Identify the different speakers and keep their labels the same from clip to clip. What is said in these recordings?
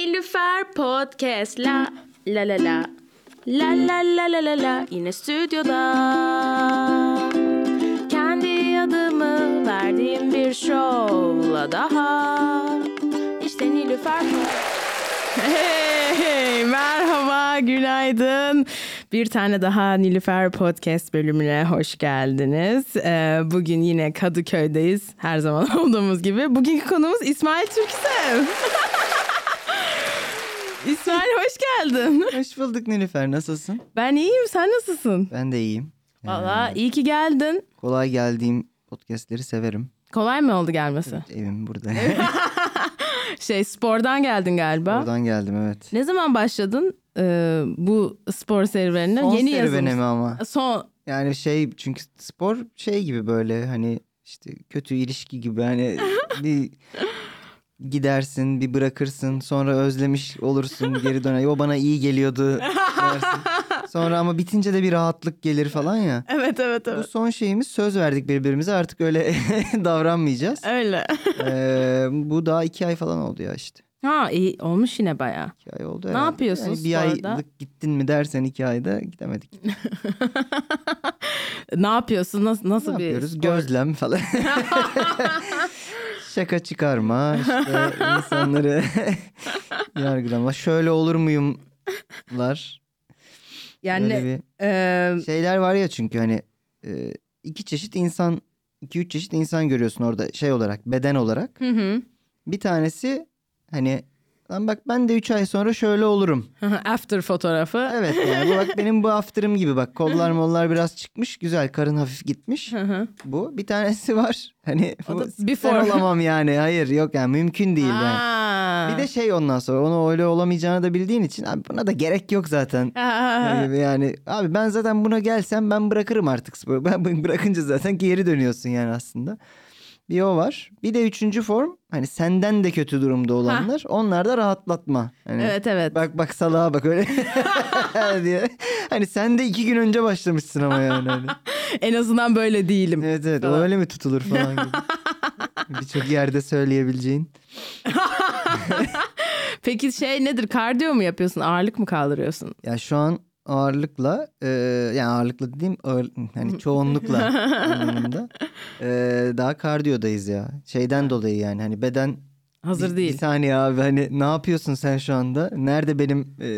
Speaker 1: Nilüfer Podcast la la la la la la la la la la yine stüdyoda kendi adımı verdiğim bir şovla daha işte Nilüfer Hey, merhaba, günaydın. Bir tane daha Nilüfer Podcast bölümüne hoş geldiniz. Ee, bugün yine Kadıköy'deyiz her zaman olduğumuz gibi. Bugünkü konumuz İsmail Türksev. İsmail hoş geldin.
Speaker 2: Hoş bulduk Nilüfer. Nasılsın?
Speaker 1: Ben iyiyim, sen nasılsın?
Speaker 2: Ben de iyiyim. Ee,
Speaker 1: Valla iyi ki geldin.
Speaker 2: kolay geldiğim podcastleri severim.
Speaker 1: Kolay mı oldu gelmesi?
Speaker 2: Evim burada.
Speaker 1: Şey, spordan geldin galiba.
Speaker 2: Oradan geldim evet.
Speaker 1: Ne zaman başladın ee, bu spor serüvenine?
Speaker 2: Son
Speaker 1: Yeni
Speaker 2: serüvenim
Speaker 1: yazılmış.
Speaker 2: ama.
Speaker 1: Son
Speaker 2: Yani şey çünkü spor şey gibi böyle hani işte kötü ilişki gibi hani bir gidersin bir bırakırsın sonra özlemiş olursun geri döner. O bana iyi geliyordu dersin. Sonra ama bitince de bir rahatlık gelir falan ya.
Speaker 1: Evet evet
Speaker 2: Bu
Speaker 1: evet.
Speaker 2: son şeyimiz söz verdik birbirimize artık öyle davranmayacağız.
Speaker 1: Öyle.
Speaker 2: Ee, bu daha iki ay falan oldu ya işte.
Speaker 1: Ha iyi olmuş yine bayağı.
Speaker 2: İki ay oldu.
Speaker 1: Ne
Speaker 2: herhalde.
Speaker 1: yapıyorsun
Speaker 2: Yani bir
Speaker 1: sporda?
Speaker 2: aylık gittin mi dersen iki ayda gidemedik.
Speaker 1: Ne yapıyorsun? Nasıl nasıl
Speaker 2: ne
Speaker 1: bir
Speaker 2: yapıyoruz?
Speaker 1: spor?
Speaker 2: Gözlem falan. Şaka çıkarma işte insanları yargılama. Şöyle olur muyumlar.
Speaker 1: Yani
Speaker 2: Böyle bir
Speaker 1: e,
Speaker 2: şeyler var ya çünkü hani e, iki çeşit insan iki üç çeşit insan görüyorsun orada şey olarak beden olarak.
Speaker 1: hı hı.
Speaker 2: Bir tanesi hani lan bak ben de üç ay sonra şöyle olurum.
Speaker 1: after fotoğrafı.
Speaker 2: Evet yani bu bak benim bu after'ım gibi bak kollar mollar biraz çıkmış güzel karın hafif gitmiş
Speaker 1: Hı hı.
Speaker 2: bu bir tanesi var hani
Speaker 1: O
Speaker 2: bu,
Speaker 1: da
Speaker 2: ben
Speaker 1: before.
Speaker 2: olamam yani hayır yok yani mümkün değil yani.
Speaker 1: Ha.
Speaker 2: Bir de şey ondan sonra onu öyle olamayacağını da bildiğin için abi buna da gerek yok zaten.
Speaker 1: Ha.
Speaker 2: Yani, yani abi ben zaten buna gelsem ben bırakırım artık sporu. Ben bunu bırakınca zaten geri dönüyorsun yani aslında. Bir o var. Bir de üçüncü form hani senden de kötü durumda olanlar. Onlar da rahatlatma. Hani
Speaker 1: Evet evet.
Speaker 2: Bak bak salağa bak öyle diye. Hani sen de iki gün önce başlamışsın ama yani. Hani.
Speaker 1: En azından böyle değilim.
Speaker 2: Evet evet o
Speaker 1: Falan.
Speaker 2: öyle mi tutulur falan gibi. Birçok yerde söyleyebileceğin.
Speaker 1: Peki şey nedir? Kardiyo mu yapıyorsun? Ağırlık mı kaldırıyorsun?
Speaker 2: Ya şu an ağırlıkla e, yani ağırlıkla dediğim ağır, hani çoğunlukla anlamında e, daha kardiyodayız ya. Şeyden dolayı yani hani beden
Speaker 1: Hazır
Speaker 2: bir, Bir
Speaker 1: değil.
Speaker 2: saniye abi hani ne yapıyorsun sen şu anda? Nerede benim e,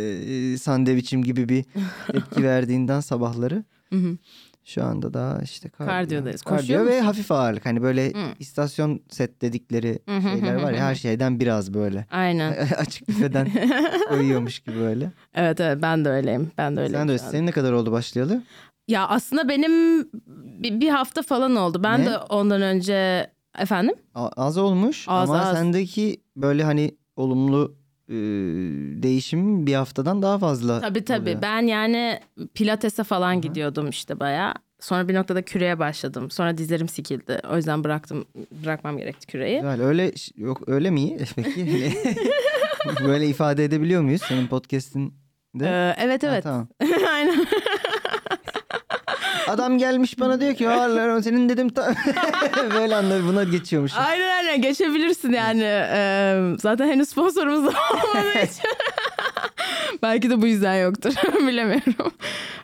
Speaker 2: sandviçim gibi bir tepki verdiğinden sabahları?
Speaker 1: Hı hı.
Speaker 2: Şu anda daha işte kardiyo.
Speaker 1: Kardiyodayız.
Speaker 2: Kardiyo
Speaker 1: Koşuyor
Speaker 2: ve hafif ağırlık. Hani böyle
Speaker 1: Hı.
Speaker 2: istasyon set dedikleri
Speaker 1: Hı hı hı
Speaker 2: şeyler var ya
Speaker 1: hı
Speaker 2: her şeyden biraz böyle.
Speaker 1: Aynen.
Speaker 2: Açık büfeden uyuyormuş gibi böyle.
Speaker 1: Evet evet ben de öyleyim. Ben de öyleyim.
Speaker 2: Sen de öyle.
Speaker 1: şu an.
Speaker 2: Senin ne kadar oldu başlayalı?
Speaker 1: Ya aslında benim bir, bir hafta falan oldu. Ben
Speaker 2: Ne?
Speaker 1: de ondan önce efendim.
Speaker 2: A- Az olmuş
Speaker 1: Az,
Speaker 2: ama
Speaker 1: az.
Speaker 2: sendeki böyle hani olumlu e, değişim bir haftadan daha fazla.
Speaker 1: Tabii tabii.
Speaker 2: oluyor.
Speaker 1: Ben yani pilatese falan gidiyordum işte bayağı. Sonra bir noktada küreye başladım. Sonra dizlerim sikildi. O yüzden bıraktım. Bırakmam gerekti küreyi.
Speaker 2: Güzel. Öyle ş- yok öyle mi iyi? Peki. hani böyle ifade edebiliyor muyuz senin podcast'in? de?
Speaker 1: Ee, evet evet.
Speaker 2: Ha, tamam.
Speaker 1: Aynen.
Speaker 2: Adam gelmiş bana diyor ki "Ağırlar senin dedim ta-" böyle anlar buna geçiyormuş.
Speaker 1: Aynen aynen geçebilirsin yani. Ee, zaten henüz sponsorumuz da olmadığı için. Belki de bu yüzden yoktur. Bilemiyorum.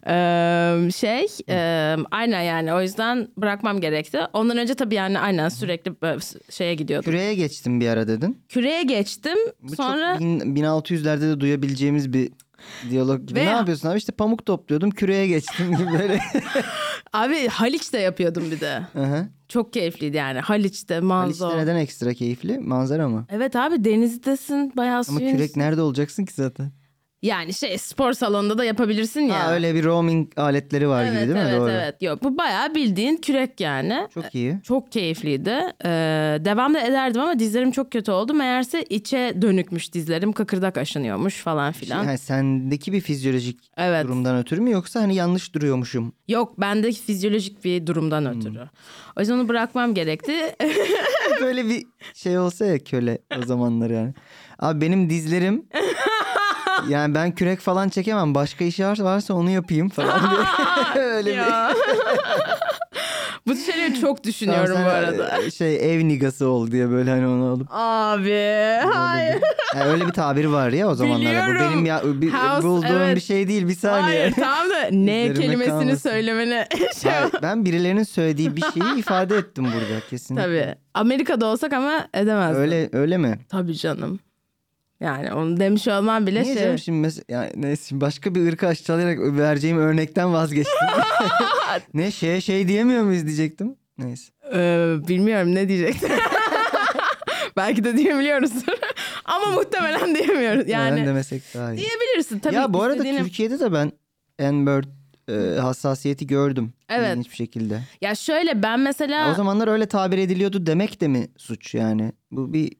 Speaker 1: Ee, şey e, aynen yani o yüzden bırakmam gerekti. Ondan önce tabii yani aynen sürekli böyle şeye gidiyordum.
Speaker 2: Küreye geçtim bir ara dedin.
Speaker 1: Küreye geçtim.
Speaker 2: Bu
Speaker 1: sonra
Speaker 2: çok bin- 1600'lerde de duyabileceğimiz bir diyalog gibi.
Speaker 1: Ve-
Speaker 2: Ne yapıyorsun abi? İşte pamuk topluyordum, küreye geçtim gibi böyle.
Speaker 1: abi Haliç'te yapıyordum bir de.
Speaker 2: Hı hı.
Speaker 1: Çok keyifliydi yani. Haliç'te manzara.
Speaker 2: Haliç'te neden ekstra keyifli? Manzara mı?
Speaker 1: Evet abi denizdesin bayağı
Speaker 2: Ama
Speaker 1: suyun.
Speaker 2: kürek nerede olacaksın ki zaten?
Speaker 1: Yani şey spor salonunda da yapabilirsin ya.
Speaker 2: Ha, öyle bir roaming aletleri var
Speaker 1: Evet
Speaker 2: gibi değil mi?
Speaker 1: evet
Speaker 2: Doğru.
Speaker 1: evet. Yok bu bayağı bildiğin kürek yani.
Speaker 2: Çok iyi.
Speaker 1: Çok keyifliydi. Ee, devam da ederdim ama dizlerim çok kötü oldu. Meğerse içe dönükmüş dizlerim. Kıkırdak aşınıyormuş falan filan.
Speaker 2: Yani Şey, sendeki bir fizyolojik
Speaker 1: evet.
Speaker 2: durumdan ötürü mü yoksa hani yanlış duruyormuşum?
Speaker 1: Yok bende fizyolojik bir durumdan
Speaker 2: Hmm.
Speaker 1: ötürü. O yüzden onu bırakmam gerekti.
Speaker 2: Böyle bir şey olsa ya köle o zamanlar yani. Abi benim dizlerim yani ben kürek falan çekemem. Başka iş var- varsa onu yapayım falan diye. Öyle bir.
Speaker 1: Ya. Bu şeyleri çok
Speaker 2: Tamam,
Speaker 1: düşünüyorum
Speaker 2: sen,
Speaker 1: bu arada.
Speaker 2: şey e, Şey ev nigası ol diye böyle hani onu alıp.
Speaker 1: Abi hayır.
Speaker 2: Yani öyle bir tabir var ya o zamanlarda. Bu
Speaker 1: Biliyorum.
Speaker 2: benim ya, bir,
Speaker 1: House,
Speaker 2: bulduğum
Speaker 1: evet.
Speaker 2: bir şey değil bir saniye.
Speaker 1: Hayır tamam da ne
Speaker 2: Üzerime
Speaker 1: kelimesini
Speaker 2: kalmasın.
Speaker 1: söylemene şey
Speaker 2: Hayır, ben birilerinin söylediği bir şeyi ifade ettim burada kesinlikle.
Speaker 1: Tabii. Amerika'da olsak ama edemezdim.
Speaker 2: Öyle öyle mi?
Speaker 1: Tabii canım. Yani onu demiş olman bile
Speaker 2: Niye
Speaker 1: şey.
Speaker 2: canım şimdi mes- yani neyse şimdi başka bir ırkı aşağılayarak vereceğim örnekten vazgeçtim. ne şeye şey diyemiyor muyuz diyecektim. Neyse.
Speaker 1: Ee, bilmiyorum ne diyecektim. Belki de diyebiliyoruzdur. ama muhtemelen diyemiyoruz.
Speaker 2: Yani...
Speaker 1: Yani
Speaker 2: demesek daha iyi.
Speaker 1: diyebilirsin tabii.
Speaker 2: ya bu arada
Speaker 1: istediğini-
Speaker 2: Türkiye'de de ben N-Bird e, hassasiyeti gördüm.
Speaker 1: Evet.
Speaker 2: ilginç bir şekilde.
Speaker 1: Ya şöyle ben mesela
Speaker 2: O zamanlar öyle tabir ediliyordu demek de mi suç yani? Bu bir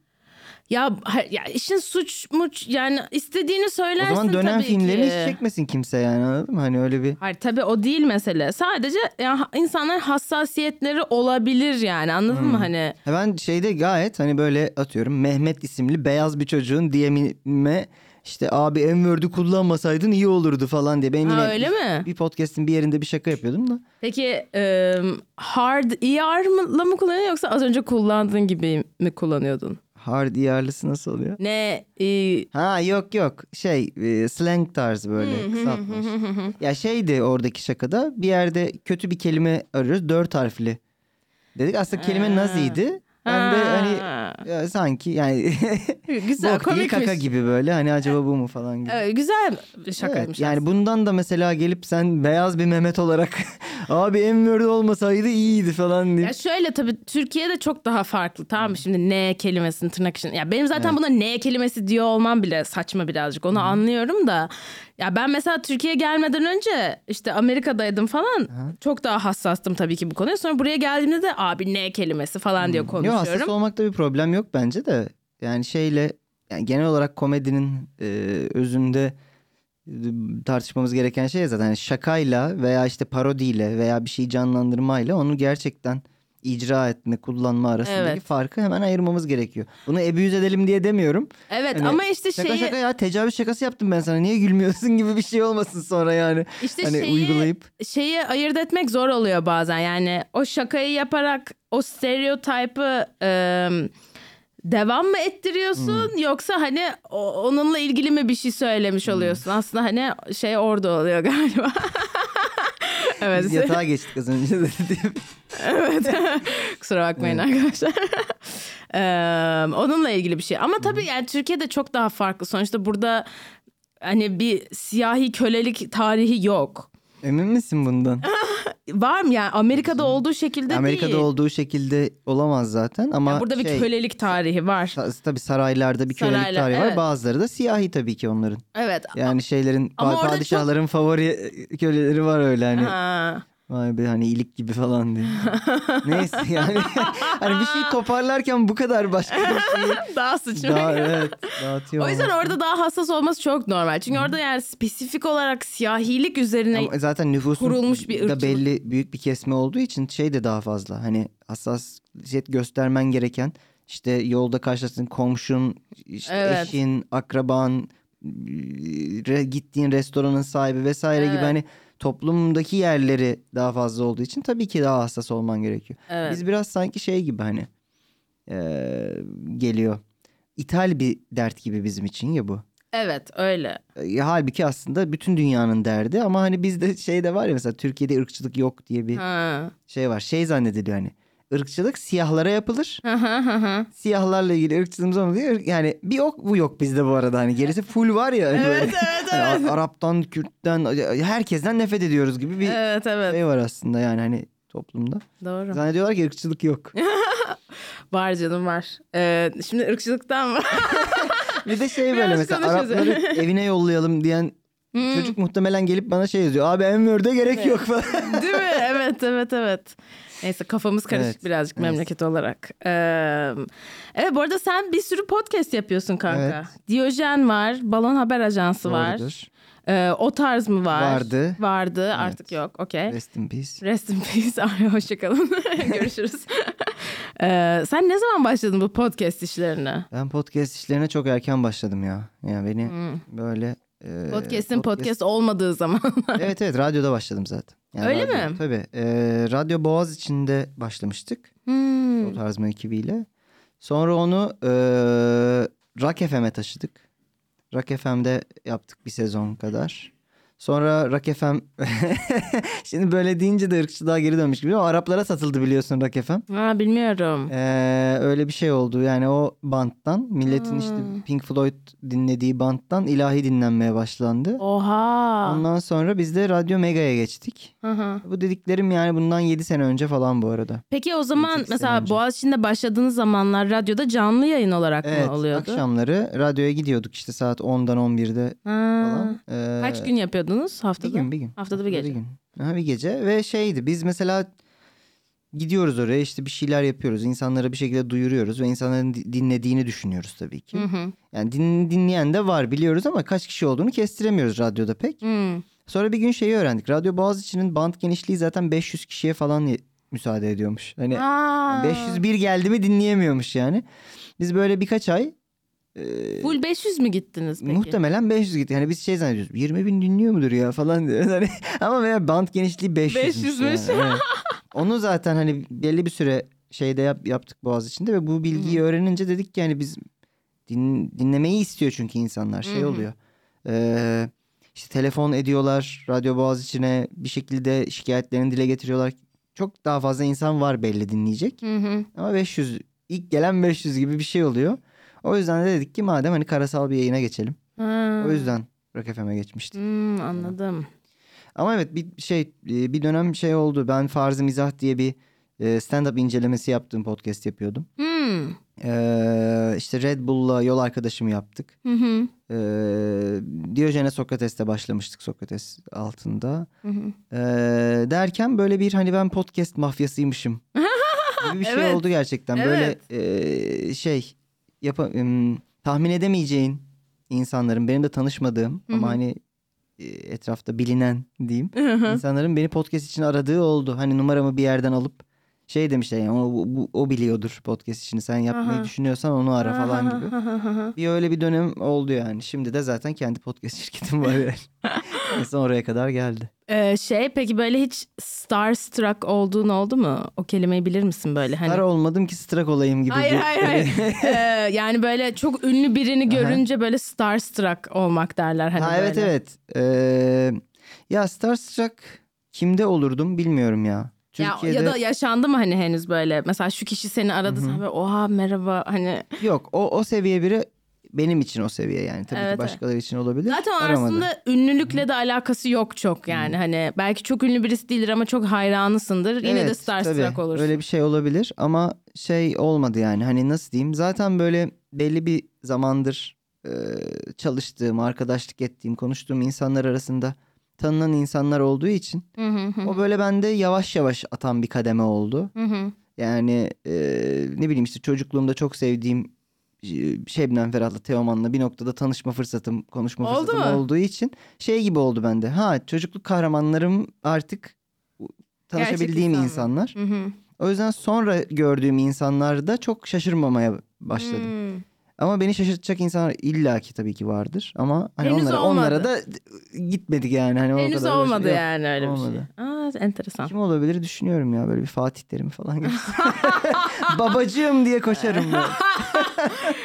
Speaker 1: ya, ha- ya işin suç muç yani istediğini söylersin
Speaker 2: o zaman dönem
Speaker 1: tabii
Speaker 2: filmlerini
Speaker 1: ki.
Speaker 2: hiç çekmesin kimse yani anladın mı? Hani öyle bir
Speaker 1: Hayır tabii o değil mesele. Sadece ya, ha- insanların hassasiyetleri olabilir yani anladın
Speaker 2: Hmm.
Speaker 1: mı hani?
Speaker 2: Ha E Ben şeyde gayet hani böyle atıyorum Mehmet isimli beyaz bir çocuğun DM'ime işte abi N-word'ü kullanmasaydın iyi olurdu falan diye. Ben
Speaker 1: Ha,
Speaker 2: yine
Speaker 1: öyle mi?
Speaker 2: bir podcast'in bir yerinde bir şaka yapıyordum da.
Speaker 1: Peki e, hard ER mı, mı kullanıyorsun yoksa az önce kullandığın gibi mi kullanıyordun?
Speaker 2: Hard yarlısı nasıl oluyor?
Speaker 1: Ne e,
Speaker 2: Ha yok yok şey e, slang tarzı böyle kısaltmış. ya şeydi oradaki şakada bir yerde kötü bir kelime arıyoruz dört harfli. Dedik aslında kelime naziydi. Ben de hani
Speaker 1: Ha. Ee,
Speaker 2: ya sanki yani
Speaker 1: güzel
Speaker 2: bok değil
Speaker 1: komikmiş.
Speaker 2: kaka gibi böyle hani acaba bu mu falan gibi.
Speaker 1: Evet, güzel bir şakaymış.
Speaker 2: Evet, yani bundan da mesela gelip sen beyaz bir Mehmet olarak abi Enver'de olmasaydı iyiydi falan diye.
Speaker 1: Ya şöyle tabii Türkiye'de çok daha farklı tamam mı? Şimdi ne kelimesini tırnak için. Ya benim zaten buna ne kelimesi diyor olmam bile saçma birazcık. Onu anlıyorum da. Ya ben mesela Türkiye'ye gelmeden önce işte Amerika'daydım falan. Çok daha hassastım tabii ki bu konuya. Sonra buraya geldiğimde de abi ne kelimesi falan diye
Speaker 2: Yok
Speaker 1: konuşuyorum.
Speaker 2: hassas olmakta bir problem yok bence de. Yani şeyle yani genel olarak komedinin e, özünde e, tartışmamız gereken şey zaten yani şakayla veya işte parodiyle veya bir şeyi canlandırmayla onu gerçekten icra etme, kullanma arasındaki
Speaker 1: Evet.
Speaker 2: farkı hemen ayırmamız gerekiyor. Bunu ebüyüz edelim diye demiyorum.
Speaker 1: Evet
Speaker 2: Hani
Speaker 1: ama işte
Speaker 2: Şaka
Speaker 1: şeyi
Speaker 2: şaka ya tecavüz şakası yaptım ben sana. Niye gülmüyorsun gibi bir şey olmasın sonra yani.
Speaker 1: işte
Speaker 2: hani
Speaker 1: şeyi
Speaker 2: uygulayıp
Speaker 1: şeyi ayırt etmek zor oluyor bazen. Yani o şakayı yaparak o stereotipı e, devam mı ettiriyorsun yoksa hani o- onunla ilgili mi bir şey söylemiş oluyorsun? Aslında hani şey orada oluyor galiba. evet.
Speaker 2: Biz yatağa geçtik az önce de dediğim.
Speaker 1: Kusura bakmayın arkadaşlar. Eee, onunla ilgili bir şey. Ama tabii yani Türkiye'de çok daha farklı. Sonuçta burada hani bir siyahi kölelik tarihi yok.
Speaker 2: Emin misin bundan?
Speaker 1: Var mı yani Amerika'da olduğu şekilde
Speaker 2: Amerika'da
Speaker 1: değil.
Speaker 2: olduğu şekilde olamaz zaten ama
Speaker 1: Yani burada
Speaker 2: şey,
Speaker 1: bir kölelik tarihi var.
Speaker 2: ta- tabii saraylarda bir kölelik
Speaker 1: Saraylar,
Speaker 2: tarihi
Speaker 1: evet.
Speaker 2: var. Bazıları da siyahi tabii ki onların.
Speaker 1: Evet.
Speaker 2: Yani şeylerin
Speaker 1: Ama
Speaker 2: pa-
Speaker 1: orada
Speaker 2: padişahların favori e, köleleri var öyle hani.
Speaker 1: Ha.
Speaker 2: Vay be hani ilik gibi falan diye. Neyse yani hani bir şey toparlarken bu kadar başka bir şey
Speaker 1: Daha sıçmak.
Speaker 2: daha evet dağıtıyor.
Speaker 1: O yüzden
Speaker 2: olmak.
Speaker 1: orada daha hassas olması çok normal. Çünkü orada yani spesifik olarak siyahilik üzerine
Speaker 2: Ama zaten nüfusun
Speaker 1: Hani kurulmuş bir ırkçılık.
Speaker 2: da belli büyük bir kesme olduğu için şey de daha fazla. Hani hassasiyet göstermen gereken işte yolda karşılaştığın komşun, işte
Speaker 1: Evet.
Speaker 2: eşin, akraban, re- gittiğin restoranın sahibi vesaire gibi
Speaker 1: Evet.
Speaker 2: hani toplumdaki yerleri daha fazla olduğu için tabii ki daha hassas olman gerekiyor.
Speaker 1: Evet.
Speaker 2: Biz biraz sanki şey gibi hani eee, geliyor. İthal bir dert gibi bizim için ya bu.
Speaker 1: Evet öyle.
Speaker 2: E, Halbuki aslında bütün dünyanın derdi ama hani bizde şey de var ya mesela Türkiye'de ırkçılık yok diye bir
Speaker 1: Ha.
Speaker 2: şey var. Şey zannediliyor hani ırkçılık siyahlara yapılır.
Speaker 1: Hı hı hı hı.
Speaker 2: Siyahlarla ilgili ırkçılığımız olmadı. diye ırk- Yani bir yok bu yok bizde bu arada hani gerisi full var ya. hani böyle.
Speaker 1: evet,
Speaker 2: Hani A- Arap'tan, Kürt'ten herkesten nefret ediyoruz gibi bir
Speaker 1: evet evet.
Speaker 2: şey var aslında yani hani toplumda.
Speaker 1: Doğru.
Speaker 2: Zannediyorlar ki ırkçılık yok.
Speaker 1: Var canım var. Ee, şimdi ırkçılıktan var.
Speaker 2: Bir de şey böyle
Speaker 1: Biraz Hmm.
Speaker 2: mesela
Speaker 1: konuşuruz.
Speaker 2: Arapları evine yollayalım diyen çocuk muhtemelen gelip bana şey yazıyor. Abi Enver'de gerek yok falan.
Speaker 1: Değil mi? Evet evet evet. Neyse kafamız karışık
Speaker 2: Evet,
Speaker 1: birazcık
Speaker 2: evet.
Speaker 1: memleket olarak. Ee, evet bu arada sen bir sürü podcast yapıyorsun kanka. Diyojen var, Balon Haber Ajansı var.
Speaker 2: Doğrudur.
Speaker 1: Ee, o tarz mı var?
Speaker 2: Vardı.
Speaker 1: Vardı artık yok okey.
Speaker 2: Rest in peace.
Speaker 1: Rest in peace. Ay, Hoşçakalın. Görüşürüz. Ee, sen ne zaman başladın bu podcast işlerine?
Speaker 2: Ben podcast işlerine çok erken başladım ya. Yani beni böyle e,
Speaker 1: Hmm. Podcast'in podcast,
Speaker 2: podcast-
Speaker 1: olmadığı zaman.
Speaker 2: evet evet radyoda başladım zaten.
Speaker 1: Öyle
Speaker 2: radyo-
Speaker 1: mi?
Speaker 2: Tabii. Ee, Radyo Boğaz içinde başlamıştık.
Speaker 1: Hmm.
Speaker 2: O tarzma ekibiyle. Sonra onu e, Rock FM'e taşıdık. Rock FM'de yaptık bir sezon kadar. Sonra Rock FM... Şimdi böyle deyince de ırkçılığa geri dönmüş gibi ama Araplara satıldı biliyorsun Rock FM.
Speaker 1: Ha, bilmiyorum.
Speaker 2: Ee, öyle bir şey oldu. Yani o banttan milletin işte
Speaker 1: Hmm.
Speaker 2: Pink Floyd dinlediği banttan ilahi dinlenmeye başlandı.
Speaker 1: Oha.
Speaker 2: Ondan sonra biz de Radyo Mega'ya geçtik.
Speaker 1: Hı hı.
Speaker 2: Bu dediklerim yani bundan 7 sene önce falan bu arada.
Speaker 1: Peki o zaman
Speaker 2: Yiyeceksin
Speaker 1: mesela
Speaker 2: önce.
Speaker 1: Boğaziçi'nde başladığınız zamanlar radyoda canlı yayın olarak
Speaker 2: Evet
Speaker 1: mı oluyordu?
Speaker 2: akşamları radyoya gidiyorduk işte saat 10'dan 11'de
Speaker 1: Ha.
Speaker 2: falan. Ee,
Speaker 1: Hmm. Kaç gün yapıyordunuz
Speaker 2: Bir
Speaker 1: haftada?
Speaker 2: gün bir gün.
Speaker 1: Haftada bir gece.
Speaker 2: gün. Ha, bir gece ve şeydi biz mesela gidiyoruz oraya işte bir şeyler yapıyoruz. İnsanlara bir şekilde duyuruyoruz ve insanların di- dinlediğini düşünüyoruz tabii ki.
Speaker 1: Hı hı.
Speaker 2: Yani din- dinleyen de var biliyoruz ama kaç kişi olduğunu kestiremiyoruz radyoda pek.
Speaker 1: Hı.
Speaker 2: Sonra bir gün şeyi öğrendik. Radyo Boğaziçi'nin band genişliği zaten 500 kişiye falan ye- müsaade ediyormuş. Hani
Speaker 1: Aa.
Speaker 2: 501 geldi mi dinleyemiyormuş yani. Biz böyle birkaç ay e,
Speaker 1: Full 500 mü gittiniz peki?
Speaker 2: Muhtemelen 500 gitti. Hani biz şey zannediyoruz. 20 bin dinliyor mudur ya falan diyoruz. Hani, ama veya band genişliği 500.
Speaker 1: 500'müş.
Speaker 2: Evet. Onu zaten hani belli bir süre şeyde yap, yaptık Boğaz içinde ve bu bilgiyi öğrenince dedik ki hani biz din- dinlemeyi istiyor çünkü insanlar şey
Speaker 1: Hı hı.
Speaker 2: oluyor. Ee, işte telefon ediyorlar radyo Boğaz içine bir şekilde şikayetlerini dile getiriyorlar. Çok daha fazla insan var belli dinleyecek.
Speaker 1: Hı hı.
Speaker 2: Ama 500 ilk gelen 500 gibi bir şey oluyor. O yüzden de dedik ki madem hani karasal bir yayına geçelim.
Speaker 1: Ha.
Speaker 2: O yüzden Rock FM'e geçmiştik.
Speaker 1: Hmm, anladım.
Speaker 2: Ama evet bir şey e, bir dönem şey oldu. Ben Farz-ı Mizah diye bir e, stand-up incelemesi yaptığım podcast yapıyordum.
Speaker 1: Hmm.
Speaker 2: Ee, işte Red Bull'la yol arkadaşımı yaptık.
Speaker 1: Hı hı.
Speaker 2: Ee, Diyojen'e Sokrates'te başlamıştık Sokrates altında.
Speaker 1: Hı hı.
Speaker 2: Ee, derken böyle bir hani ben podcast mafyasıymışım gibi bir şey
Speaker 1: Evet.
Speaker 2: oldu gerçekten. Böyle e, şey yapa, em, tahmin edemeyeceğin insanların benim de tanışmadığım
Speaker 1: Hı
Speaker 2: ama
Speaker 1: hı.
Speaker 2: hani e, etrafta bilinen diyeyim.
Speaker 1: Hı hı.
Speaker 2: İnsanların beni podcast için aradığı oldu. Hani numaramı bir yerden alıp şey demişler yani o, bu- o biliyordur podcast işini sen yapmayı
Speaker 1: Aha.
Speaker 2: düşünüyorsan onu ara falan gibi.
Speaker 1: Hı hı hı hı.
Speaker 2: Bir öyle bir dönem oldu yani. Şimdi de zaten kendi podcast şirketim var yani. Neyse oraya kadar geldi.
Speaker 1: Ee, şey peki böyle hiç starstruck olduğun oldu mu? O kelimeyi bilir misin böyle hani?
Speaker 2: Star olmadım ki strak olayım gibi.
Speaker 1: Hayır
Speaker 2: bir-
Speaker 1: hayır hayır. Ee, yani böyle çok ünlü birini
Speaker 2: Aha.
Speaker 1: görünce böyle starstruck olmak derler hani
Speaker 2: ha evet
Speaker 1: böyle.
Speaker 2: evet. Ee, ya Starstruck kimde olurdum bilmiyorum ya.
Speaker 1: Ya,
Speaker 2: Türkiye'de
Speaker 1: ya da yaşandı mı hani henüz böyle mesela şu kişi seni aradı sen böyle oha merhaba hani
Speaker 2: yok o o seviye biri benim için o seviye yani tabii
Speaker 1: Evet,
Speaker 2: ki başkaları için olabilir.
Speaker 1: zaten o
Speaker 2: Aramadı.
Speaker 1: aslında ünlülükle de alakası yok çok yani hani belki çok ünlü birisi değildir ama çok hayranısındır yine de
Speaker 2: Evet,
Speaker 1: starstruck
Speaker 2: tabii.
Speaker 1: olursun.
Speaker 2: Öyle bir şey olabilir ama şey olmadı yani hani nasıl diyeyim zaten böyle belli bir zamandır e, çalıştığım, arkadaşlık ettiğim, konuştuğum insanlar arasında tanınan insanlar olduğu için
Speaker 1: Hı hı hı.
Speaker 2: o böyle bende yavaş yavaş atan bir kademe oldu.
Speaker 1: Hı hı.
Speaker 2: Yani e, ne bileyim işte çocukluğumda çok sevdiğim e, Şebnem Ferah'la Teoman'la bir noktada tanışma fırsatım, konuşma
Speaker 1: Oldu
Speaker 2: fırsatım
Speaker 1: mu?
Speaker 2: olduğu için şey gibi oldu bende. Ha çocukluk kahramanlarım artık tanışabildiğim
Speaker 1: insan mı?
Speaker 2: insanlar.
Speaker 1: Hı hı.
Speaker 2: O yüzden sonra gördüğüm insanlarda çok şaşırmamaya başladım.
Speaker 1: Hmm.
Speaker 2: Ama beni şaşırtacak insanlar illaki tabii ki vardır ama hani
Speaker 1: Henüz
Speaker 2: onlara
Speaker 1: olmadı.
Speaker 2: onlara da gitmedik yani hani o
Speaker 1: Henüz
Speaker 2: kadar
Speaker 1: olmadı
Speaker 2: Yok.
Speaker 1: yani öyle
Speaker 2: olmadı.
Speaker 1: bir şey. Aa enteresan.
Speaker 2: Kim olabilir düşünüyorum ya böyle bir Fatih Terim falan gibi. Babacığım diye koşarım ben.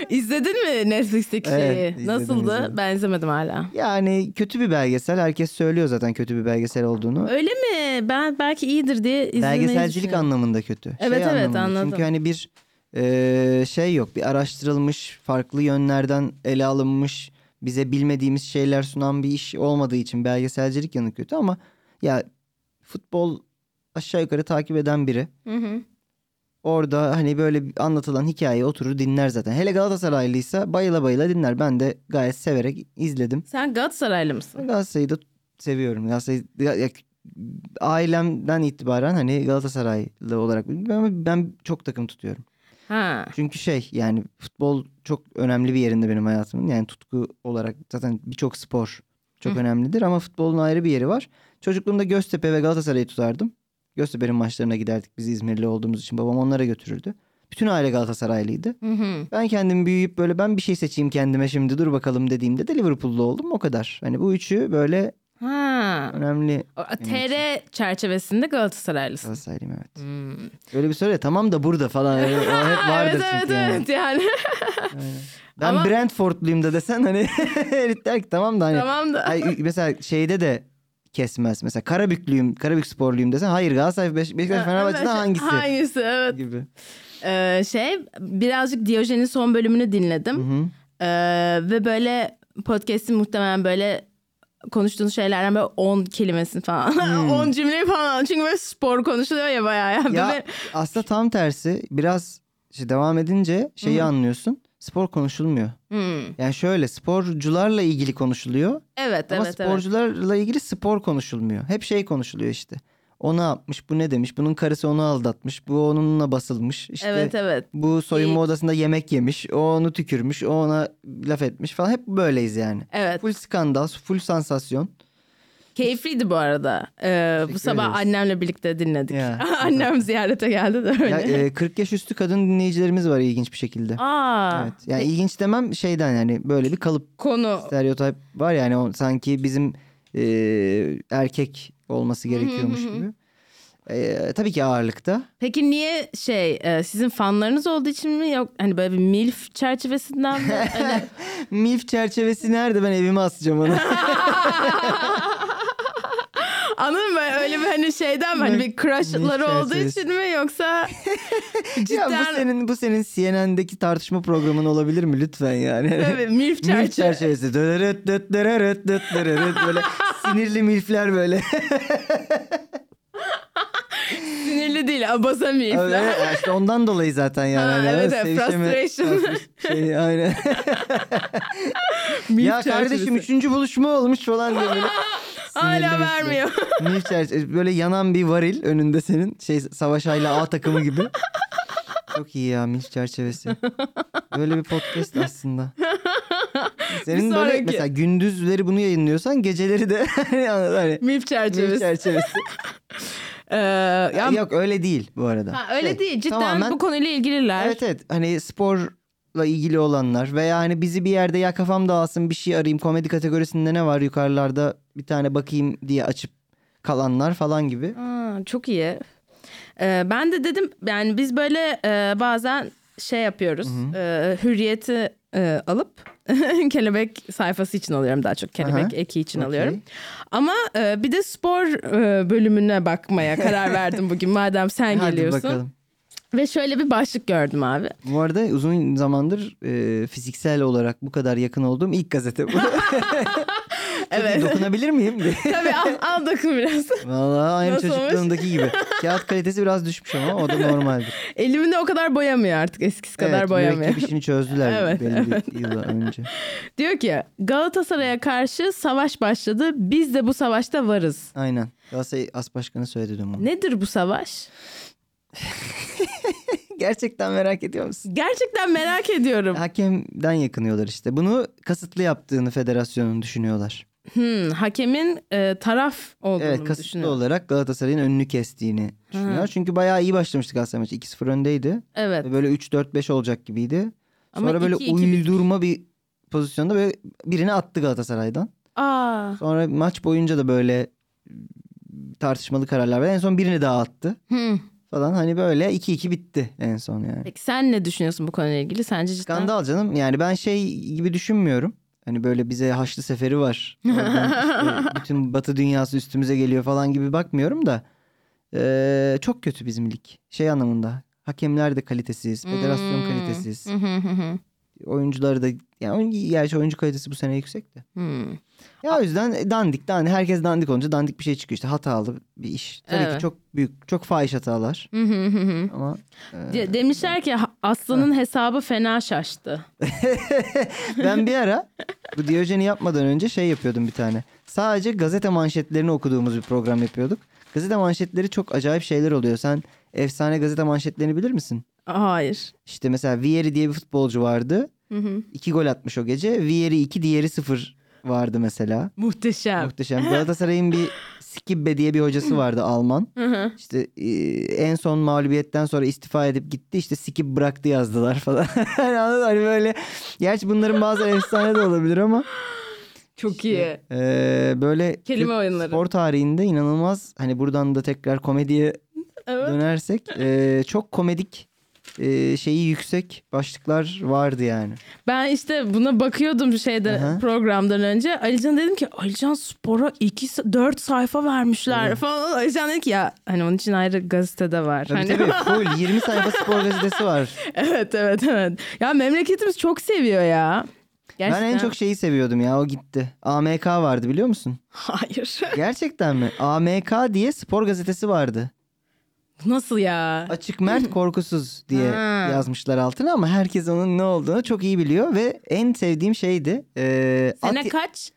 Speaker 1: İzledin mi Netflix'teki
Speaker 2: Evet,
Speaker 1: şeyi?
Speaker 2: izledim,
Speaker 1: Nasıldı?
Speaker 2: izledim.
Speaker 1: Ben izlemedim hala.
Speaker 2: Yani kötü bir belgesel. Herkes söylüyor zaten kötü bir belgesel olduğunu.
Speaker 1: Öyle mi? Ben belki iyidir diye izlemeyi
Speaker 2: Belgeselcilik anlamında kötü.
Speaker 1: Evet, evet, anladım.
Speaker 2: Çünkü hani bir e, şey yok. Bir araştırılmış, farklı yönlerden ele alınmış, bize bilmediğimiz şeyler sunan bir iş olmadığı için belgeselcilik yanı kötü ama ya futbol aşağı yukarı takip eden biri
Speaker 1: anladım.
Speaker 2: orada hani böyle anlatılan hikayeyi oturur dinler zaten. Hele Galatasaraylıysa bayıla bayıla dinler. Ben de gayet severek izledim.
Speaker 1: Sen Galatasaraylı mısın?
Speaker 2: Galatasaray'ı da seviyorum. Galatasaray ya- ya- ailemden itibaren hani Galatasaraylı olarak ben, ben çok takım tutuyorum.
Speaker 1: Ha.
Speaker 2: Çünkü şey yani futbol çok önemli bir yerinde benim hayatımın. Yani tutku olarak zaten birçok spor çok
Speaker 1: Hı.
Speaker 2: önemlidir ama futbolun ayrı bir yeri var. Çocukluğumda Göztepe ve Galatasaray'ı tutardım. Göztepe'nin maçlarına giderdik biz İzmirli olduğumuz için babam onlara götürürdü. Bütün aile Galatasaraylıydı.
Speaker 1: Hı hı.
Speaker 2: Ben kendim büyüyüp böyle ben bir şey seçeyim kendime şimdi dur bakalım dediğimde de Liverpool'lu oldum o kadar. Hani bu üçü böyle
Speaker 1: Ha. Ha.
Speaker 2: Önemli.
Speaker 1: O- TR çerçevesinde Galatasaraylısın.
Speaker 2: Galatasaraylıyım evet.
Speaker 1: Hmm.
Speaker 2: Öyle bir söyle tamam da burada falan. Öyle, o hep vardır
Speaker 1: evet evet
Speaker 2: çünkü. yani.
Speaker 1: evet yani.
Speaker 2: Ben
Speaker 1: Ama-
Speaker 2: Brentfordluyum da desen hani herif der ki tamam da hani.
Speaker 1: tamam da.
Speaker 2: Ay, mesela şeyde de kesmez. Mesela Karabüklüyüm, Karabük sporluyum desen hayır Galatasaray, Beş- Beşiktaş, Fenerbahçe'den hangisi?
Speaker 1: Hangisi evet.
Speaker 2: Gibi.
Speaker 1: Ee, şey birazcık Diyojen'in son bölümünü dinledim.
Speaker 2: Hı-hı.
Speaker 1: Ee, ve böyle podcast'in muhtemelen böyle konuştuğunuz şeylerden böyle 10 kelimesini falan. 10 cümleyi falan. Çünkü böyle spor konuşuluyor ya bayağı. Ya.
Speaker 2: Hmm. Ya
Speaker 1: Böyle-
Speaker 2: aslında tam tersi biraz işte devam edince şeyi anlıyorsun. Spor konuşulmuyor.
Speaker 1: Hmm.
Speaker 2: Yani şöyle sporcularla ilgili konuşuluyor
Speaker 1: Evet
Speaker 2: ama
Speaker 1: evet evet.
Speaker 2: sporcularla ilgili spor konuşulmuyor. Hep şey konuşuluyor işte. O ne yapmış, bu ne demiş, bunun karısı onu aldatmış, bu onunla basılmış. İşte
Speaker 1: Evet evet.
Speaker 2: bu soyunma
Speaker 1: İyi.
Speaker 2: odasında yemek yemiş, o onu tükürmüş, o ona laf etmiş falan. Hep böyleyiz yani.
Speaker 1: Evet.
Speaker 2: Full skandal, full sansasyon.
Speaker 1: Keyifliydi bu arada. Ee, bu
Speaker 2: Teşekkür
Speaker 1: sabah
Speaker 2: ederiz.
Speaker 1: annemle birlikte dinledik.
Speaker 2: Ya.
Speaker 1: Annem ziyarete geldi de öyle.
Speaker 2: Ya, e, 40 yaş üstü kadın dinleyicilerimiz var ilginç bir şekilde.
Speaker 1: Aa. e,
Speaker 2: Evet. Yani ilginç demem şeyden yani böyle bir kalıp
Speaker 1: Konu.
Speaker 2: stereotip var yani o sanki bizim e, erkek olması gerekiyormuş gibi. E, tabii ki ağırlıkta.
Speaker 1: Peki niye şey e, sizin fanlarınız olduğu için mi yok hani böyle bir milf çerçevesinden mi? Hani-
Speaker 2: MILF çerçevesi nerede ben evime asacağım onu.
Speaker 1: Anladın mı? Öyle bir hani şeyden mi? Hani bir crushları
Speaker 2: milf
Speaker 1: olduğu
Speaker 2: çerçevesi.
Speaker 1: için mi yoksa
Speaker 2: ya bu
Speaker 1: cidden
Speaker 2: senin bu senin CNN'deki tartışma programın olabilir mi lütfen yani?
Speaker 1: Tabii, milf
Speaker 2: MILF
Speaker 1: çerçeve.
Speaker 2: çerçevesi. Döröröt, dört, döröröt, dört, döröröt. böyle sinirli milfler böyle.
Speaker 1: sinirli değil. Abaza milfler.
Speaker 2: Evet, ya işte ondan dolayı zaten yani.
Speaker 1: Ha,
Speaker 2: Hani
Speaker 1: evet,
Speaker 2: o
Speaker 1: evet,
Speaker 2: sevişeme-
Speaker 1: frustration.
Speaker 2: Şey, aynen.
Speaker 1: Milf
Speaker 2: ya
Speaker 1: çerçevesi.
Speaker 2: kardeşim üçüncü buluşma olmuş falan diye böyle.
Speaker 1: Hala
Speaker 2: sinirli
Speaker 1: vermiyor.
Speaker 2: milfler. Milf çerçevesi. Böyle yanan bir varil önünde senin. Şey Savaş Ayla A takımı gibi. Çok iyi ya milf çerçevesi. Böyle bir podcast aslında. Senin
Speaker 1: Bir
Speaker 2: böyle
Speaker 1: sonraki.
Speaker 2: mesela gündüzleri bunu yayınlıyorsan geceleri de hani
Speaker 1: Milf çerçevesi.
Speaker 2: milf çerçevesi.
Speaker 1: Ee, ya-
Speaker 2: Yok öyle değil bu arada.
Speaker 1: Ha, öyle
Speaker 2: Şey,
Speaker 1: değil. Cidden
Speaker 2: tamamen-
Speaker 1: bu konuyla ilgililer.
Speaker 2: Evet evet hani sporla ilgili olanlar veya hani bizi bir yerde ya kafam dağılsın bir şey arayayım komedi kategorisinde ne var yukarılarda bir tane bakayım diye açıp kalanlar falan gibi.
Speaker 1: Aa, çok iyi. Ee, ben de dedim yani biz böyle e, bazen şey yapıyoruz. e, hürriyeti e, alıp kelebek sayfası için alıyorum daha çok kelebek
Speaker 2: Aha,
Speaker 1: eki için
Speaker 2: okey.
Speaker 1: alıyorum. Ama e, bir de spor e, bölümüne bakmaya karar verdim bugün madem sen
Speaker 2: Hadi
Speaker 1: geliyorsun.
Speaker 2: bakalım.
Speaker 1: Ve şöyle bir başlık gördüm abi.
Speaker 2: Bu arada uzun zamandır e, fiziksel olarak bu kadar yakın olduğum ilk gazete bu. evet. Dokunabilir miyim? diye.
Speaker 1: Tabii al, al dokun biraz.
Speaker 2: Vallahi aynı
Speaker 1: Nasıl olmuş?
Speaker 2: çocukluğumdaki gibi. Kağıt kalitesi biraz düşmüş ama o da normaldir.
Speaker 1: Elimini o kadar boyamıyor artık eskisi kadar
Speaker 2: evet,
Speaker 1: boyamıyor.
Speaker 2: mürekkep işini çözdüler
Speaker 1: Evet,
Speaker 2: belli bir yıl önce.
Speaker 1: Diyor ki Galatasaray'a karşı savaş başladı. Biz de bu savaşta varız.
Speaker 2: Aynen. Galatasaray As Başkanı söyledi dün bunu.
Speaker 1: Nedir bu savaş?
Speaker 2: Gerçekten merak ediyor musun?
Speaker 1: Gerçekten merak ediyorum.
Speaker 2: Hakemden yakınıyorlar işte. Bunu kasıtlı yaptığını federasyonun düşünüyorlar.
Speaker 1: Hmm, hakemin e, taraf olduğunu
Speaker 2: evet
Speaker 1: evet,
Speaker 2: kasıtlı olarak Galatasaray'ın önünü kestiğini düşünüyorlar. Çünkü bayağı iyi başlamıştı Galatasaray maçı. 2-0 öndeydi.
Speaker 1: Evet.
Speaker 2: Böyle 3-4-5 olacak gibiydi.
Speaker 1: Ama
Speaker 2: Sonra böyle
Speaker 1: 2-2 bitti.
Speaker 2: uydurma bir pozisyonda böyle birini attı Galatasaray'dan.
Speaker 1: Aa.
Speaker 2: Sonra maç boyunca da böyle tartışmalı kararlar verdi. En son birini daha attı
Speaker 1: hmm.
Speaker 2: falan. Hani böyle 2-2 bitti en son yani.
Speaker 1: Peki sen ne düşünüyorsun bu konuyla ilgili? Sence cidden?
Speaker 2: Skandal canım. Yani ben şey gibi düşünmüyorum. Hani böyle bize haçlı seferi var. Oradan işte bütün batı dünyası üstümüze geliyor falan gibi bakmıyorum da. Ee, çok kötü bizim lig. Şey anlamında. Hakemler de kalitesiz. Federasyon
Speaker 1: Hmm.
Speaker 2: kalitesiz.
Speaker 1: Hı hı hı hı.
Speaker 2: Oyuncuları da yani oyun- gerçi oyuncu kalitesi bu sene yüksek de.
Speaker 1: Hmm.
Speaker 2: Ya o yüzden e, dandik dandik. Herkes dandik olunca dandik bir şey çıkıyor işte. Hatalı bir iş. Tabii ki
Speaker 1: Evet.
Speaker 2: çok büyük, çok fahiş hatalar.
Speaker 1: Hı hı hı hı.
Speaker 2: Ama
Speaker 1: De- Demişler ki "Ha- Aslan'ın hesabı fena şaştı.
Speaker 2: Ben bir ara bu Diyojen'i yapmadan önce şey yapıyordum bir tane. Sadece gazete manşetlerini okuduğumuz bir program yapıyorduk. Gazete manşetleri çok acayip şeyler oluyor. Sen efsane gazete manşetlerini bilir misin?
Speaker 1: Hayır.
Speaker 2: İşte mesela Vieri diye bir futbolcu vardı.
Speaker 1: Hı hı.
Speaker 2: İki gol atmış o gece. Vieri 2, diğeri 0 vardı mesela.
Speaker 1: Muhteşem.
Speaker 2: Muhteşem. Galatasaray'ın bir Skibbe diye bir hocası vardı Alman.
Speaker 1: Hı hı.
Speaker 2: İşte e, en son mağlubiyetten sonra istifa edip gitti. İşte skip bıraktı yazdılar falan. Hani anladın mı? hani böyle. Gerçi bunların bazıları efsane de olabilir ama.
Speaker 1: Çok iyi.
Speaker 2: Ee, böyle
Speaker 1: Kelime
Speaker 2: Türk
Speaker 1: oyunları.
Speaker 2: spor tarihinde inanılmaz hani buradan da tekrar komediye
Speaker 1: Evet.
Speaker 2: dönersek e, çok komedik e, şeyi yüksek başlıklar vardı yani.
Speaker 1: Ben işte buna bakıyordum şeyde
Speaker 2: Aha.
Speaker 1: programdan önce. Alican dedim ki Alican spora 2 4 sayfa vermişler falan. Alican dedi ki ya hani onun için ayrı gazetede var.
Speaker 2: Tabii
Speaker 1: hani
Speaker 2: tabii full 20 sayfa spor gazetesi var.
Speaker 1: evet evet evet. Ya memleketimiz çok seviyor ya. Gerçekten.
Speaker 2: Ben en çok şeyi seviyordum ya o gitti. AMK vardı biliyor musun?
Speaker 1: Hayır.
Speaker 2: Gerçekten mi? AMK diye spor gazetesi vardı.
Speaker 1: Nasıl ya?
Speaker 2: Açık mert korkusuz diye
Speaker 1: Ha.
Speaker 2: yazmışlar altına ama herkes onun ne olduğunu çok iyi biliyor ve en sevdiğim şeydi. Ee,
Speaker 1: Sene
Speaker 2: at-
Speaker 1: kaç?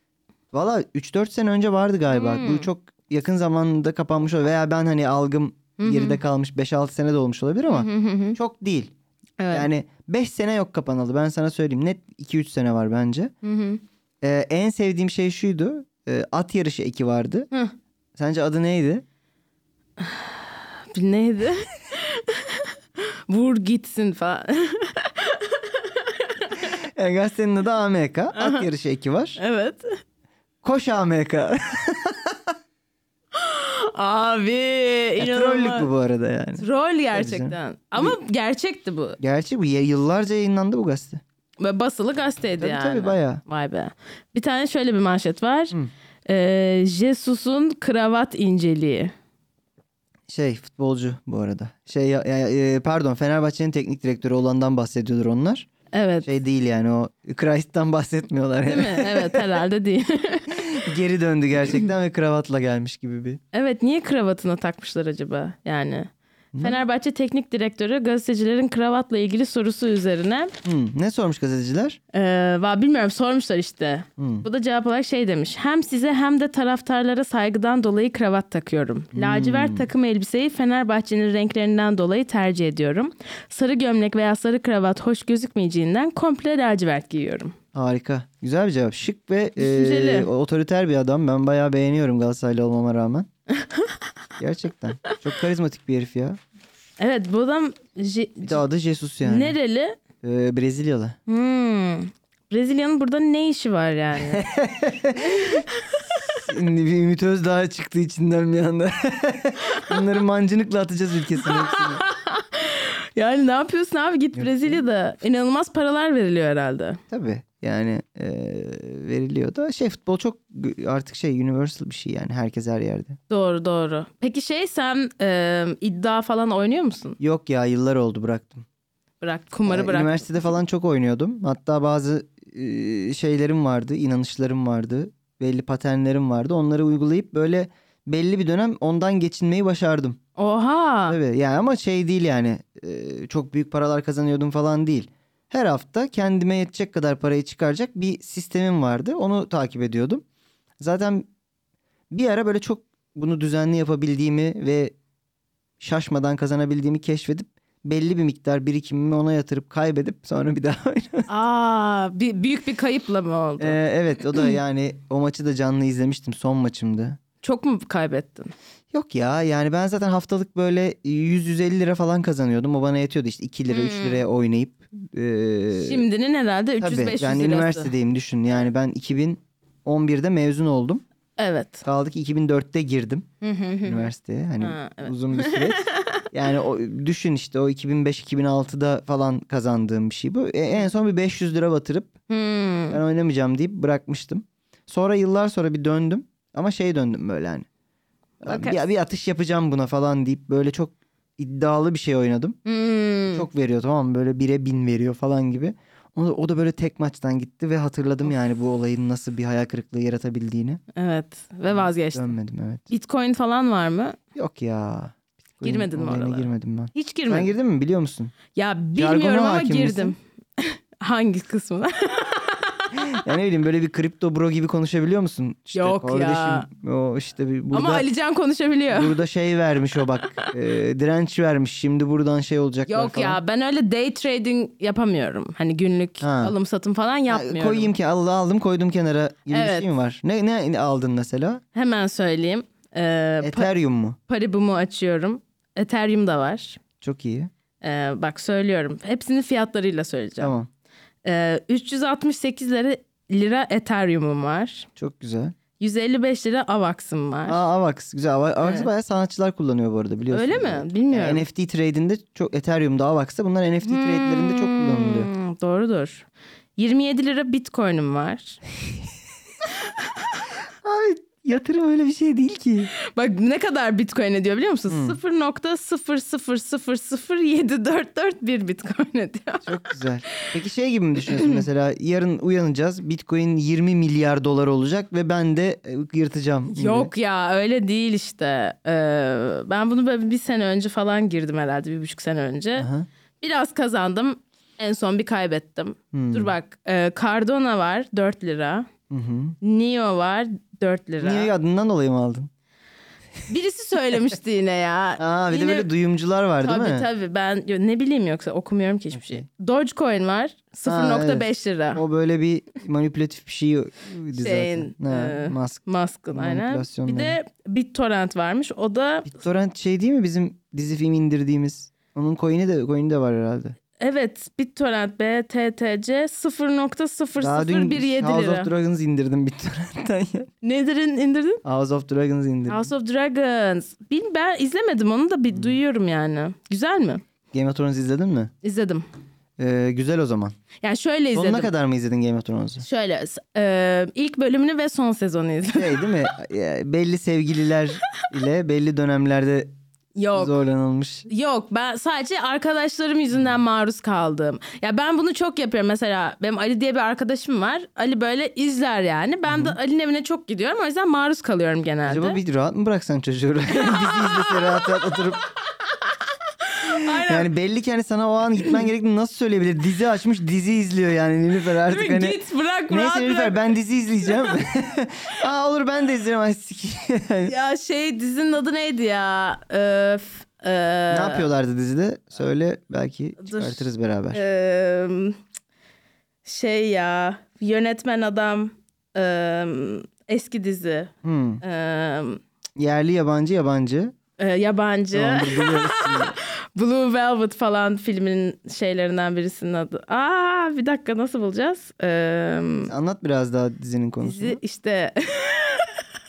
Speaker 2: Valla 3-4 sene önce vardı galiba.
Speaker 1: Hmm.
Speaker 2: Bu çok yakın zamanda kapanmış olabilir. Veya ben hani algım
Speaker 1: hı.
Speaker 2: geride kalmış 5-6 sene de olmuş olabilir ama
Speaker 1: Hı hı hı.
Speaker 2: çok değil.
Speaker 1: evet.
Speaker 2: Yani 5 sene yok kapanalı ben sana söyleyeyim. Net 2-3 sene var bence.
Speaker 1: Hı hı.
Speaker 2: Ee, en sevdiğim şey şuydu. Ee, at yarışı eki vardı.
Speaker 1: Hı.
Speaker 2: Sence adı neydi?
Speaker 1: Bir Neydi? Vur gitsin falan.
Speaker 2: Yani gazetenin adı AMK. At yarışı eki var.
Speaker 1: evet.
Speaker 2: Koş AMK.
Speaker 1: Abi
Speaker 2: E, Trollük bu
Speaker 1: inanılmaz.
Speaker 2: bu arada yani.
Speaker 1: Troll gerçekten. Ama gerçekti bu.
Speaker 2: Gerçi bu y- yıllarca yayınlandı bu gazete.
Speaker 1: Ve basılı gazeteydi
Speaker 2: Tabii
Speaker 1: yani.
Speaker 2: tabii bayağı.
Speaker 1: Vay be. Bir tane şöyle bir manşet var. Ee, Jesus'un kravat inceliği.
Speaker 2: Şey futbolcu bu arada. Şey ya- ya- e, pardon Fenerbahçe'nin teknik direktörü olandan bahsediyordur onlar.
Speaker 1: Evet.
Speaker 2: Şey değil yani o Christ'tan bahsetmiyorlar
Speaker 1: Değil
Speaker 2: yani.
Speaker 1: mi? Evet herhalde değil.
Speaker 2: Geri döndü gerçekten ve kravatla gelmiş gibi bir.
Speaker 1: evet niye kravatına takmışlar acaba yani? Fenerbahçe Teknik Direktörü gazetecilerin kravatla ilgili sorusu üzerine
Speaker 2: Hmm, Ne sormuş gazeteciler?
Speaker 1: Ee, va- bilmiyorum sormuşlar işte. Bu da cevap olarak şey demiş. Hem size hem de taraftarlara saygıdan dolayı kravat takıyorum. Lacivert takım elbiseyi Fenerbahçe'nin renklerinden dolayı tercih ediyorum. Sarı gömlek veya sarı kravat hoş gözükmeyeceğinden komple lacivert giyiyorum.
Speaker 2: Harika. Güzel bir cevap. Şık ve e,
Speaker 1: Düşünceli.
Speaker 2: otoriter bir adam. Ben bayağı beğeniyorum Galatasaraylı olmama rağmen. gerçekten. Çok karizmatik bir herif ya.
Speaker 1: Evet bu adam Je-
Speaker 2: Bir de adı Jesus yani.
Speaker 1: nereli?
Speaker 2: Ee, Brezilyalı.
Speaker 1: Hmm. Brezilya'nın burada ne işi var yani?
Speaker 2: Şimdi bir Ümit Özdağ çıktı içinden bir anda. Bunları mancınıkla atacağız ülkesine hepsini.
Speaker 1: yani ne yapıyorsun abi git Brezilya'da. inanılmaz paralar veriliyor herhalde.
Speaker 2: Tabii yani e, veriliyor da şey futbol çok g- artık şey universal bir şey yani herkes her yerde.
Speaker 1: Doğru doğru. Peki şey sen e, iddia falan oynuyor musun?
Speaker 2: Yok ya yıllar oldu bıraktım.
Speaker 1: Bırak kumarı
Speaker 2: Yani
Speaker 1: bırak.
Speaker 2: Üniversitede falan çok oynuyordum. Hatta bazı e, şeylerim vardı, inanışlarım vardı, belli paternlerim vardı. Onları uygulayıp böyle belli bir dönem ondan geçinmeyi başardım.
Speaker 1: Oha.
Speaker 2: Tabii yani ama şey değil yani e, çok büyük paralar kazanıyordum falan değil. Her hafta kendime yetecek kadar parayı çıkaracak bir sistemim vardı. Onu takip ediyordum. Zaten bir ara böyle çok bunu düzenli yapabildiğimi ve şaşmadan kazanabildiğimi keşfedip belli bir miktar birikimimi ona yatırıp kaybedip sonra bir daha oynadım.
Speaker 1: Aa, bi- büyük bir kayıpla mı oldu?
Speaker 2: E, evet o da yani o maçı da canlı izlemiştim son maçımdı.
Speaker 1: Çok mu kaybettin?
Speaker 2: Yok ya yani ben zaten haftalık böyle 100-150 lira falan kazanıyordum. O bana yetiyordu işte 2 lira
Speaker 1: Hmm.
Speaker 2: 3 liraya oynayıp. eee,
Speaker 1: Şimdinin herhalde 300
Speaker 2: e, tabii,
Speaker 1: 500
Speaker 2: yani
Speaker 1: lirası.
Speaker 2: üniversitedeyim düşün yani ben 2011'de mezun oldum.
Speaker 1: Evet.
Speaker 2: Kaldı ki 2004'te girdim
Speaker 1: Hı hı hı.
Speaker 2: üniversiteye hani
Speaker 1: Ha, evet.
Speaker 2: uzun bir süreç. yani o, düşün işte o 2005-2006'da falan kazandığım bir şey bu. E, en son bir 500 lira batırıp
Speaker 1: Hmm.
Speaker 2: ben oynamayacağım deyip bırakmıştım. Sonra yıllar sonra bir döndüm ama şey döndüm böyle hani.
Speaker 1: Bakarsın.
Speaker 2: Bir, bir atış yapacağım buna falan deyip böyle çok iddialı bir şey oynadım.
Speaker 1: Hmm.
Speaker 2: Çok veriyor tamam mı? Böyle bire bin veriyor falan gibi. O da, o da böyle tek maçtan gitti ve hatırladım yani bu olayın nasıl bir hayal kırıklığı yaratabildiğini.
Speaker 1: Evet ve vazgeçtin.
Speaker 2: Dönmedim evet.
Speaker 1: Bitcoin falan var mı?
Speaker 2: Yok ya. Bitcoin
Speaker 1: Girmedin mi
Speaker 2: olayına
Speaker 1: oralara?
Speaker 2: Girmedim ben.
Speaker 1: Hiç
Speaker 2: Sen
Speaker 1: girmedim.
Speaker 2: girdin mi biliyor musun?
Speaker 1: ya
Speaker 2: Jargona
Speaker 1: bilmiyorum ama
Speaker 2: hakim
Speaker 1: girdim. Hangi kısmına?
Speaker 2: Yani ne bileyim böyle bir kripto bro gibi konuşabiliyor musun? İşte
Speaker 1: Yok ya.
Speaker 2: kardeşim, O işte bir burada...
Speaker 1: Ama Alican konuşabiliyor.
Speaker 2: Burada şey vermiş o bak. e, direnç vermiş. Şimdi buradan şey olacak.
Speaker 1: Yok ya ben öyle day trading yapamıyorum. Hani günlük
Speaker 2: Ha.
Speaker 1: alım satım falan yapmıyorum.
Speaker 2: Koyayım ki Allah aldım koydum kenara gibi bir
Speaker 1: Evet.
Speaker 2: şey mi var? Ne, ne aldın mesela?
Speaker 1: Hemen söyleyeyim. Ee, pa-
Speaker 2: Ethereum mu?
Speaker 1: Paribum'u açıyorum. Ethereum da var.
Speaker 2: Çok iyi.
Speaker 1: Ee, bak söylüyorum. Hepsinin fiyatlarıyla söyleyeceğim.
Speaker 2: Tamam.
Speaker 1: Ee, 368 lira, lira Ethereum'um var.
Speaker 2: Çok güzel.
Speaker 1: 155 lira Avax'ım var.
Speaker 2: Aa Avax güzel. Ava- Avax'ı
Speaker 1: Evet.
Speaker 2: bayağı sanatçılar kullanıyor bu arada biliyorsun.
Speaker 1: Öyle mi? Bilmiyorum.
Speaker 2: Yani NFT trade'inde çok Ethereum'da Avax'ta bunlar NFT trade'lerinde çok kullanılıyor.
Speaker 1: Hmm, Doğrudur. 27 lira Bitcoin'im var.
Speaker 2: Abi yatırım öyle bir şey değil ki.
Speaker 1: Bak ne kadar Bitcoin ediyor biliyor musun?
Speaker 2: Hmm.
Speaker 1: 0.0000744 Bitcoin ediyor.
Speaker 2: Çok güzel. Peki şey gibi mi düşünüyorsun mesela yarın uyanacağız Bitcoin 20 milyar dolar olacak ve ben de e, yırtacağım. gibi.
Speaker 1: Yok ya öyle değil işte. Ee, ben bunu böyle bir sene önce falan girdim herhalde bir buçuk sene önce.
Speaker 2: Aha.
Speaker 1: Biraz kazandım. En son bir kaybettim.
Speaker 2: Hmm.
Speaker 1: Dur bak e, Cardona var 4 lira.
Speaker 2: Hı hı.
Speaker 1: Neo var 4 lira.
Speaker 2: Niye adından dolayı mı aldın?
Speaker 1: Birisi söylemişti yine ya.
Speaker 2: Aa bir
Speaker 1: Yine-
Speaker 2: de böyle duyumcular var değil
Speaker 1: tabii,
Speaker 2: mi?
Speaker 1: Tabii ben yo, ne bileyim yoksa okumuyorum ki hiçbir şey. Dogecoin var 0.5 lira.
Speaker 2: O böyle bir manipülatif bir şey
Speaker 1: Şeyin,
Speaker 2: zaten. Ha,
Speaker 1: e,
Speaker 2: Musk.
Speaker 1: Musk'ın aynen. Bir
Speaker 2: Manipülasyonları.
Speaker 1: de BitTorrent varmış. O da
Speaker 2: BitTorrent şey değil mi bizim dizi film indirdiğimiz? Onun coin'i de coin'i de var herhalde.
Speaker 1: evet BitTorrent BTTC
Speaker 2: Daha dün
Speaker 1: 0.00017
Speaker 2: House
Speaker 1: lira.
Speaker 2: of Dragons indirdim BitTorrent'ten ya.
Speaker 1: Nedir in- indirdin?
Speaker 2: House of Dragons indirdim.
Speaker 1: House of Dragons. Bil, ben izlemedim onu da
Speaker 2: Hmm.
Speaker 1: bir duyuyorum yani. Güzel mi?
Speaker 2: Game of Thrones izledin mi?
Speaker 1: İzledim.
Speaker 2: Ee, güzel o zaman.
Speaker 1: Yani şöyle izledim.
Speaker 2: Sonuna kadar mı izledin Game of Thrones'u?
Speaker 1: Şöyle s- e, ilk bölümünü ve son sezonu izledim.
Speaker 2: Şey değil mi? Ya, belli sevgililer ile belli dönemlerde
Speaker 1: Yok.
Speaker 2: zorlanılmış.
Speaker 1: Yok ben sadece arkadaşlarım yüzünden
Speaker 2: Hmm.
Speaker 1: maruz kaldım. Ya ben bunu çok yapıyorum mesela benim Ali diye bir arkadaşım var. Ali böyle izler yani. Ben de Ali'nin evine çok gidiyorum o yüzden maruz kalıyorum genelde.
Speaker 2: Acaba bir rahat mı bıraksan çocuğu? Dizi izlese rahat rahat oturup.
Speaker 1: Aynen.
Speaker 2: Yani belli ki hani sana o an gitmen gerektiğini nasıl söyleyebilir? Dizi açmış dizi izliyor yani Nilüfer artık
Speaker 1: Değil mi?
Speaker 2: hani.
Speaker 1: Git bırak rahat
Speaker 2: Neyse Nilüfer
Speaker 1: bırak.
Speaker 2: ben dizi izleyeceğim. Aa olur ben de izlerim. Ay, sik-
Speaker 1: Ya şey dizinin adı neydi ya? Öf, e,
Speaker 2: ne yapıyorlardı dizide? Söyle belki
Speaker 1: Dur.
Speaker 2: çıkartırız beraber.
Speaker 1: e, şey ya yönetmen adam e, eski dizi
Speaker 2: Hmm.
Speaker 1: e,
Speaker 2: Yerli yabancı yabancı.
Speaker 1: e, yabancı.
Speaker 2: Tamamdır biliyoruz şimdi.
Speaker 1: Blue Velvet falan filmin şeylerinden birisinin adı. Aa bir dakika nasıl bulacağız? Ee,
Speaker 2: Anlat biraz daha dizinin konusunu.
Speaker 1: dizi işte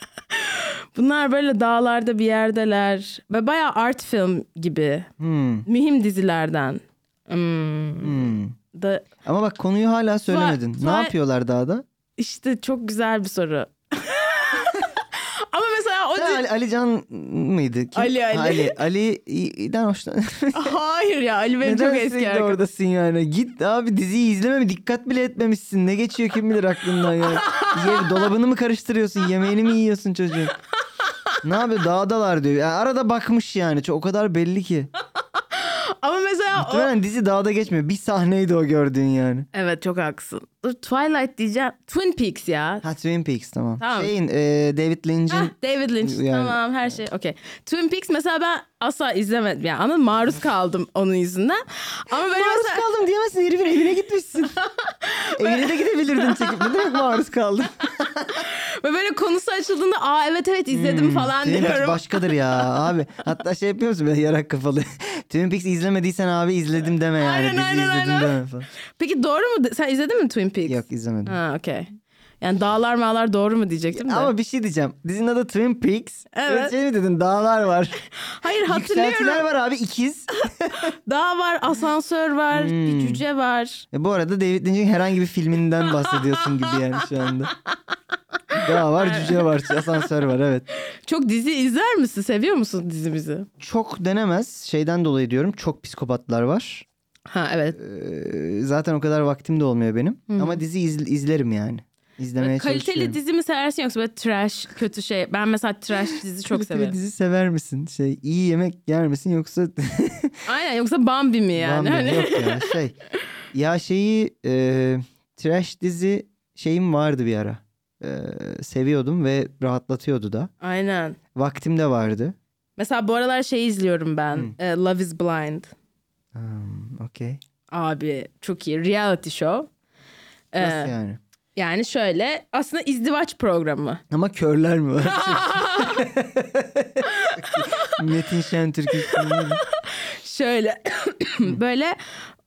Speaker 1: bunlar böyle dağlarda bir yerdeler ve bayağı art film gibi
Speaker 2: Hmm.
Speaker 1: mühim dizilerden. Hmm,
Speaker 2: Hmm.
Speaker 1: da
Speaker 2: Ama bak konuyu hala söylemedin.
Speaker 1: Tuval-
Speaker 2: ne
Speaker 1: tuval-
Speaker 2: yapıyorlar dağda?
Speaker 1: işte çok güzel bir soru. Ama mesela o
Speaker 2: Ya,
Speaker 1: dizi-
Speaker 2: Ali, Ali Can mıydı? Kim?
Speaker 1: Ali, Ali.
Speaker 2: Ha, Ali. Ali'den hoşlan.
Speaker 1: hayır ya Ali benim
Speaker 2: Neden
Speaker 1: çok
Speaker 2: sürekli
Speaker 1: eski arkadaşım.
Speaker 2: oradasın yani? Git abi diziyi izlememe dikkat bile etmemişsin. Ne geçiyor kim bilir aklından yani. Ye, dolabını mı karıştırıyorsun? Yemeğini mi yiyorsun çocuğun? Ne yapıyor? Dağdalar diyor. Ya arada bakmış yani. Çok, o kadar belli ki.
Speaker 1: Ama mesela o
Speaker 2: Muhtemelen dizi dağda geçmiyor. Bir sahneydi o gördüğün yani.
Speaker 1: Evet çok haklısın. Dur Twilight diyeceğim. Twin Peaks ya.
Speaker 2: Ha Twin Peaks tamam.
Speaker 1: Tamam.
Speaker 2: Şeyin e, David
Speaker 1: Ah,
Speaker 2: Lynch'in
Speaker 1: David Lynch
Speaker 2: Yani-
Speaker 1: tamam her şey okey. Twin Peaks mesela ben asla izlemedim yani ama maruz kaldım onun yüzünden. Ama böyle
Speaker 2: Maruz
Speaker 1: mesela
Speaker 2: kaldım diyemezsin herifin evine gitmişsin. evine de gidebilirdin çekip. Ne demek maruz kaldım?
Speaker 1: ve böyle konusu açıldığında aa evet evet izledim
Speaker 2: Hmm,
Speaker 1: falan
Speaker 2: Twin Peaks
Speaker 1: diyorum.
Speaker 2: başkadır ya abi. Hatta şey yapıyor musun böyle yarak kafalı. Twin Peaks izlemediysen abi izledim deme yani.
Speaker 1: Aynen,
Speaker 2: Dizi
Speaker 1: aynen,
Speaker 2: izledim
Speaker 1: aynen.
Speaker 2: deme falan.
Speaker 1: Peki doğru mu? Sen izledin mi Twin Peaks?
Speaker 2: Yok izlemedim.
Speaker 1: Ha okey. Yani dağlar mağlar doğru mu diyecektim de.
Speaker 2: Ama bir şey diyeceğim. Dizinin adı Twin Peaks.
Speaker 1: Evet.
Speaker 2: Şey mi dedin? Dağlar var.
Speaker 1: Hayır
Speaker 2: Yükseltiler
Speaker 1: hatırlıyorum.
Speaker 2: var abi ikiz.
Speaker 1: Dağ var, asansör var,
Speaker 2: Hmm.
Speaker 1: bir cüce var.
Speaker 2: E, bu arada David Lynch'in herhangi bir filminden bahsediyorsun gibi yani şu anda. Dağ var, cüce var, asansör var evet.
Speaker 1: Çok dizi izler misin? Seviyor musun dizimizi?
Speaker 2: Çok denemez şeyden dolayı diyorum. Çok psikopatlar var.
Speaker 1: Ha evet.
Speaker 2: Ee, zaten o kadar vaktim de olmuyor benim.
Speaker 1: Hı.
Speaker 2: Ama dizi iz- izlerim yani. İzlemeye çalışıyorum.
Speaker 1: Kaliteli dizi mi seversin yoksa böyle trash, kötü şey. Ben mesela trash dizi çok
Speaker 2: Kaliteli
Speaker 1: severim.
Speaker 2: dizi sever misin? Şey iyi yemek yer misin yoksa
Speaker 1: Aynen yoksa Bambi mi yani?
Speaker 2: Lan benim
Speaker 1: Hani-
Speaker 2: yok yani şey. Ya şeyi e, trash dizi şeyim vardı bir ara. E, seviyordum ve rahatlatıyordu da.
Speaker 1: Aynen.
Speaker 2: Vaktim de vardı.
Speaker 1: Mesela bu aralar şey izliyorum ben.
Speaker 2: Hmm.
Speaker 1: e, Love is Blind.
Speaker 2: Hmm, Okey.
Speaker 1: Abi çok iyi. Reality show. E,
Speaker 2: Nasıl yani?
Speaker 1: yani şöyle aslında izdivaç programı.
Speaker 2: Ama körler mi var? Metin Şentürk'ün filmi.
Speaker 1: Şöyle böyle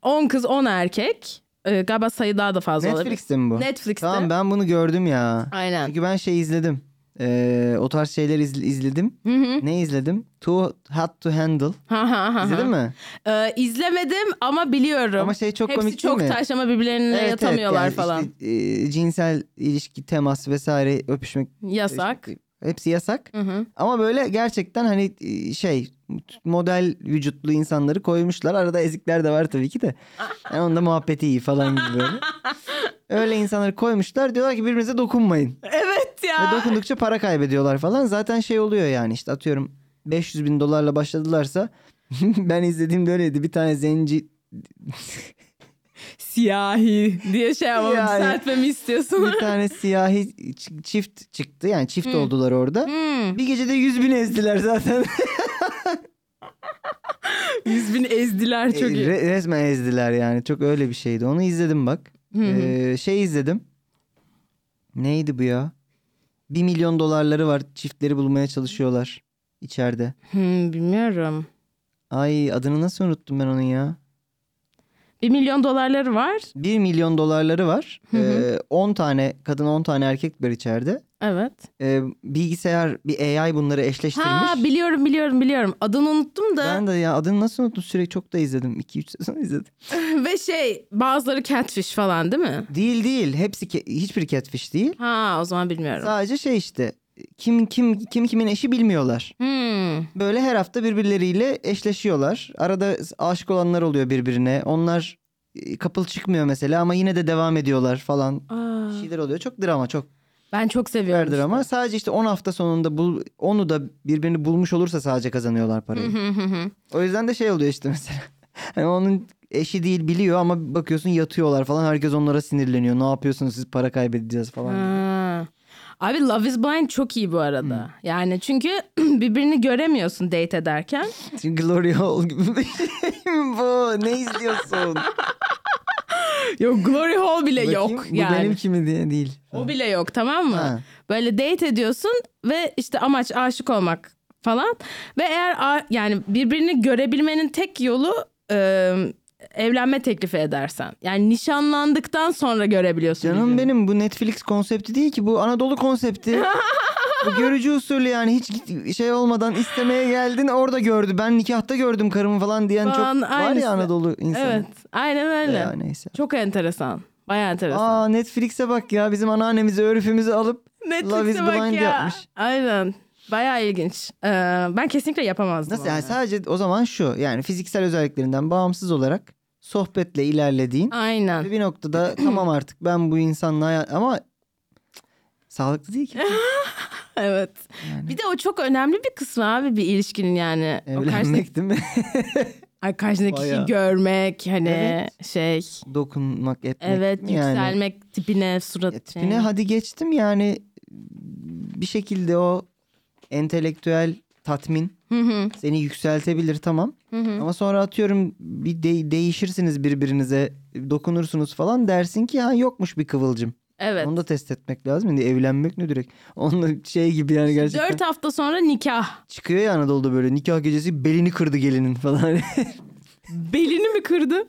Speaker 1: 10 kız 10 erkek. e, e, galiba sayı daha da fazla olabilir.
Speaker 2: Netflix'te mi bu?
Speaker 1: Netflix'te.
Speaker 2: Tamam ben bunu gördüm ya.
Speaker 1: Aynen.
Speaker 2: Çünkü ben şey izledim. Ee, o tarz şeyler iz- izledim.
Speaker 1: Hı hı.
Speaker 2: Ne izledim? Too Hot to Handle.
Speaker 1: Ha, ha, ha, ha.
Speaker 2: İzledin mi?
Speaker 1: Ee, izlemedim ama biliyorum.
Speaker 2: Ama şey çok
Speaker 1: Hepsi
Speaker 2: komik
Speaker 1: çok
Speaker 2: değil mi?
Speaker 1: taş ama birbirlerine yatamıyorlar
Speaker 2: yani
Speaker 1: falan.
Speaker 2: işte, e, cinsel ilişki, temas vesaire öpüşmek
Speaker 1: Yasak.
Speaker 2: işte, hepsi yasak.
Speaker 1: Hı hı.
Speaker 2: Ama böyle gerçekten hani e, şey model vücutlu insanları koymuşlar. Arada ezikler de var tabii ki de. Yani onda muhabbeti iyi falan gibi böyle. Öyle insanları koymuşlar. Diyorlar ki birbirinize dokunmayın.
Speaker 1: Evet ya.
Speaker 2: Ve dokundukça para kaybediyorlar falan. Zaten şey oluyor yani işte atıyorum 500 bin dolarla başladılarsa ben izlediğimde öyleydi. Bir tane zenci
Speaker 1: Siyahi diye şey ama
Speaker 2: Yani.
Speaker 1: düzeltmemi istiyorsun.
Speaker 2: bir tane siyahi çi- çift çıktı. Yani çift
Speaker 1: Hı.
Speaker 2: oldular orada.
Speaker 1: Hmm.
Speaker 2: Bir gecede 100 bin ezdiler zaten.
Speaker 1: Yüz bin ezdiler çok iyi.
Speaker 2: E, Re- resmen ezdiler yani. Çok öyle bir şeydi. Onu izledim bak.
Speaker 1: Hı hı.
Speaker 2: Ee, şey izledim. Neydi bu ya? 1 milyon dolarları var. Çiftleri bulmaya çalışıyorlar içeride.
Speaker 1: Hmm, bilmiyorum.
Speaker 2: Ay adını nasıl unuttum ben onun ya?
Speaker 1: Bir milyon dolarları var.
Speaker 2: 1 milyon dolarları var.
Speaker 1: Hı hı.
Speaker 2: Ee, 10 tane kadın 10 tane erkek var içeride.
Speaker 1: Evet.
Speaker 2: Ee, bilgisayar bir AI bunları eşleştirmiş.
Speaker 1: Ha biliyorum biliyorum biliyorum. Adını unuttum da.
Speaker 2: ben de ya adını nasıl unuttum sürekli çok da izledim. 2-3 sezon izledim.
Speaker 1: Ve şey bazıları catfish falan değil mi?
Speaker 2: Değil değil. Hepsi ke- hiçbir catfish değil.
Speaker 1: Ha o zaman bilmiyorum.
Speaker 2: Sadece şey işte kim kim kim kimin eşi bilmiyorlar.
Speaker 1: Hmm.
Speaker 2: Böyle her hafta birbirleriyle eşleşiyorlar. Arada aşık olanlar oluyor birbirine. Onlar e, kapıl çıkmıyor mesela ama yine de devam ediyorlar falan.
Speaker 1: Aa,
Speaker 2: Şeyler oluyor. Çok drama, çok
Speaker 1: ben çok seviyorum.
Speaker 2: verdir ama sadece işte 10 hafta sonunda bul, onu da birbirini bulmuş olursa sadece kazanıyorlar parayı.
Speaker 1: Hı hı hı.
Speaker 2: o yüzden de şey oluyor işte mesela. Hani onun eşi değil biliyor ama bakıyorsun yatıyorlar falan herkes onlara sinirleniyor. Ne yapıyorsunuz siz para kaybedeceğiz falan.
Speaker 1: Ha. Abi Love is Blind çok iyi bu arada. Yani çünkü birbirini göremiyorsun date ederken.
Speaker 2: Çünkü Glory Hall gibi bir şey mi bu? Ne izliyorsun?
Speaker 1: Yok Glory Hall bile yok
Speaker 2: Bakayım, Bu
Speaker 1: yani.
Speaker 2: benim kimi diye değil.
Speaker 1: O bile yok tamam mı?
Speaker 2: Ha.
Speaker 1: Böyle date ediyorsun ve işte amaç aşık olmak falan. Ve eğer a- yani birbirini görebilmenin tek yolu e, evlenme teklifi edersen. Yani nişanlandıktan sonra görebiliyorsun.
Speaker 2: Canım
Speaker 1: birbirini.
Speaker 2: benim bu Netflix konsepti değil ki bu Anadolu konsepti. bu görücü usulü yani hiç git- şey olmadan istemeye geldin orada gördü. Ben nikahta gördüm karımı falan diyen
Speaker 1: Falan,
Speaker 2: çok var
Speaker 1: aynısı.
Speaker 2: ya Anadolu insanı.
Speaker 1: Evet aynen
Speaker 2: Ya
Speaker 1: öyle.
Speaker 2: neyse.
Speaker 1: Çok enteresan. Bayağı enteresan.
Speaker 2: Aa Netflix'e bak ya bizim anneannemizi örfümüzü alıp Love is
Speaker 1: Netflix'e bak
Speaker 2: Blind
Speaker 1: ya.
Speaker 2: yapmış.
Speaker 1: Aynen. Bayağı ilginç. Ee, ben kesinlikle yapamazdım.
Speaker 2: Nasıl
Speaker 1: onu.
Speaker 2: yani sadece o zaman şu yani fiziksel özelliklerinden bağımsız olarak sohbetle ilerlediğin ve
Speaker 1: Aynen.
Speaker 2: bir noktada tamam artık ben bu insanla haya- ama sağlıklı değil ki.
Speaker 1: Evet. Bir de o çok önemli bir kısmı abi bir ilişkinin yani. O karşıdaki,
Speaker 2: Evlenmek değil mi?
Speaker 1: ay, karşıdaki kişiyi
Speaker 2: Bayağı.
Speaker 1: görmek hani
Speaker 2: Evet.
Speaker 1: şey.
Speaker 2: Dokunmak etmek
Speaker 1: Evet
Speaker 2: mi yani?
Speaker 1: yükselmek tipine surat.
Speaker 2: Ya tipine hadi geçtim yani bir şekilde o entelektüel tatmin
Speaker 1: Hı hı,
Speaker 2: seni yükseltebilir tamam.
Speaker 1: hı hı.
Speaker 2: Ama sonra atıyorum bir de- değişirsiniz birbirinize dokunursunuz falan dersin ki ha yokmuş bir kıvılcım.
Speaker 1: Evet.
Speaker 2: Onu da test etmek lazım. Yani evlenmek ne direkt? Onunla şey gibi yani gerçekten.
Speaker 1: Dört hafta sonra nikah.
Speaker 2: Çıkıyor ya Anadolu'da böyle nikah gecesi belini kırdı gelinin falan.
Speaker 1: Belini mi kırdı?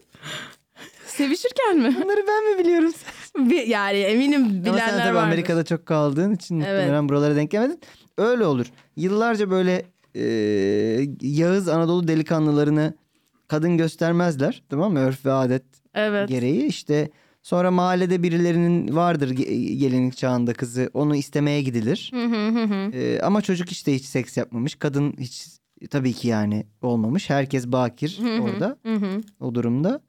Speaker 1: Sevişirken mi?
Speaker 2: Bunları ben mi biliyorum?
Speaker 1: Bir- yani eminim
Speaker 2: Ama sen
Speaker 1: bilenler
Speaker 2: tabii
Speaker 1: var.
Speaker 2: Amerika'da çok kaldığın için muhtemelen buralara denk gelmedin. Öyle olur. Yıllarca böyle e, Yağız Anadolu delikanlılarını kadın göstermezler. Tamam mı? Örf ve adet
Speaker 1: Evet.
Speaker 2: gereği. işte sonra mahallede birilerinin vardır ge- gelinlik çağında kızı. Onu istemeye gidilir.
Speaker 1: Hı hı hı hı.
Speaker 2: E, ama çocuk işte hiç seks yapmamış. Kadın hiç tabii ki yani olmamış. Herkes bakir
Speaker 1: Hı hı.
Speaker 2: orada
Speaker 1: Hı hı,
Speaker 2: o durumda.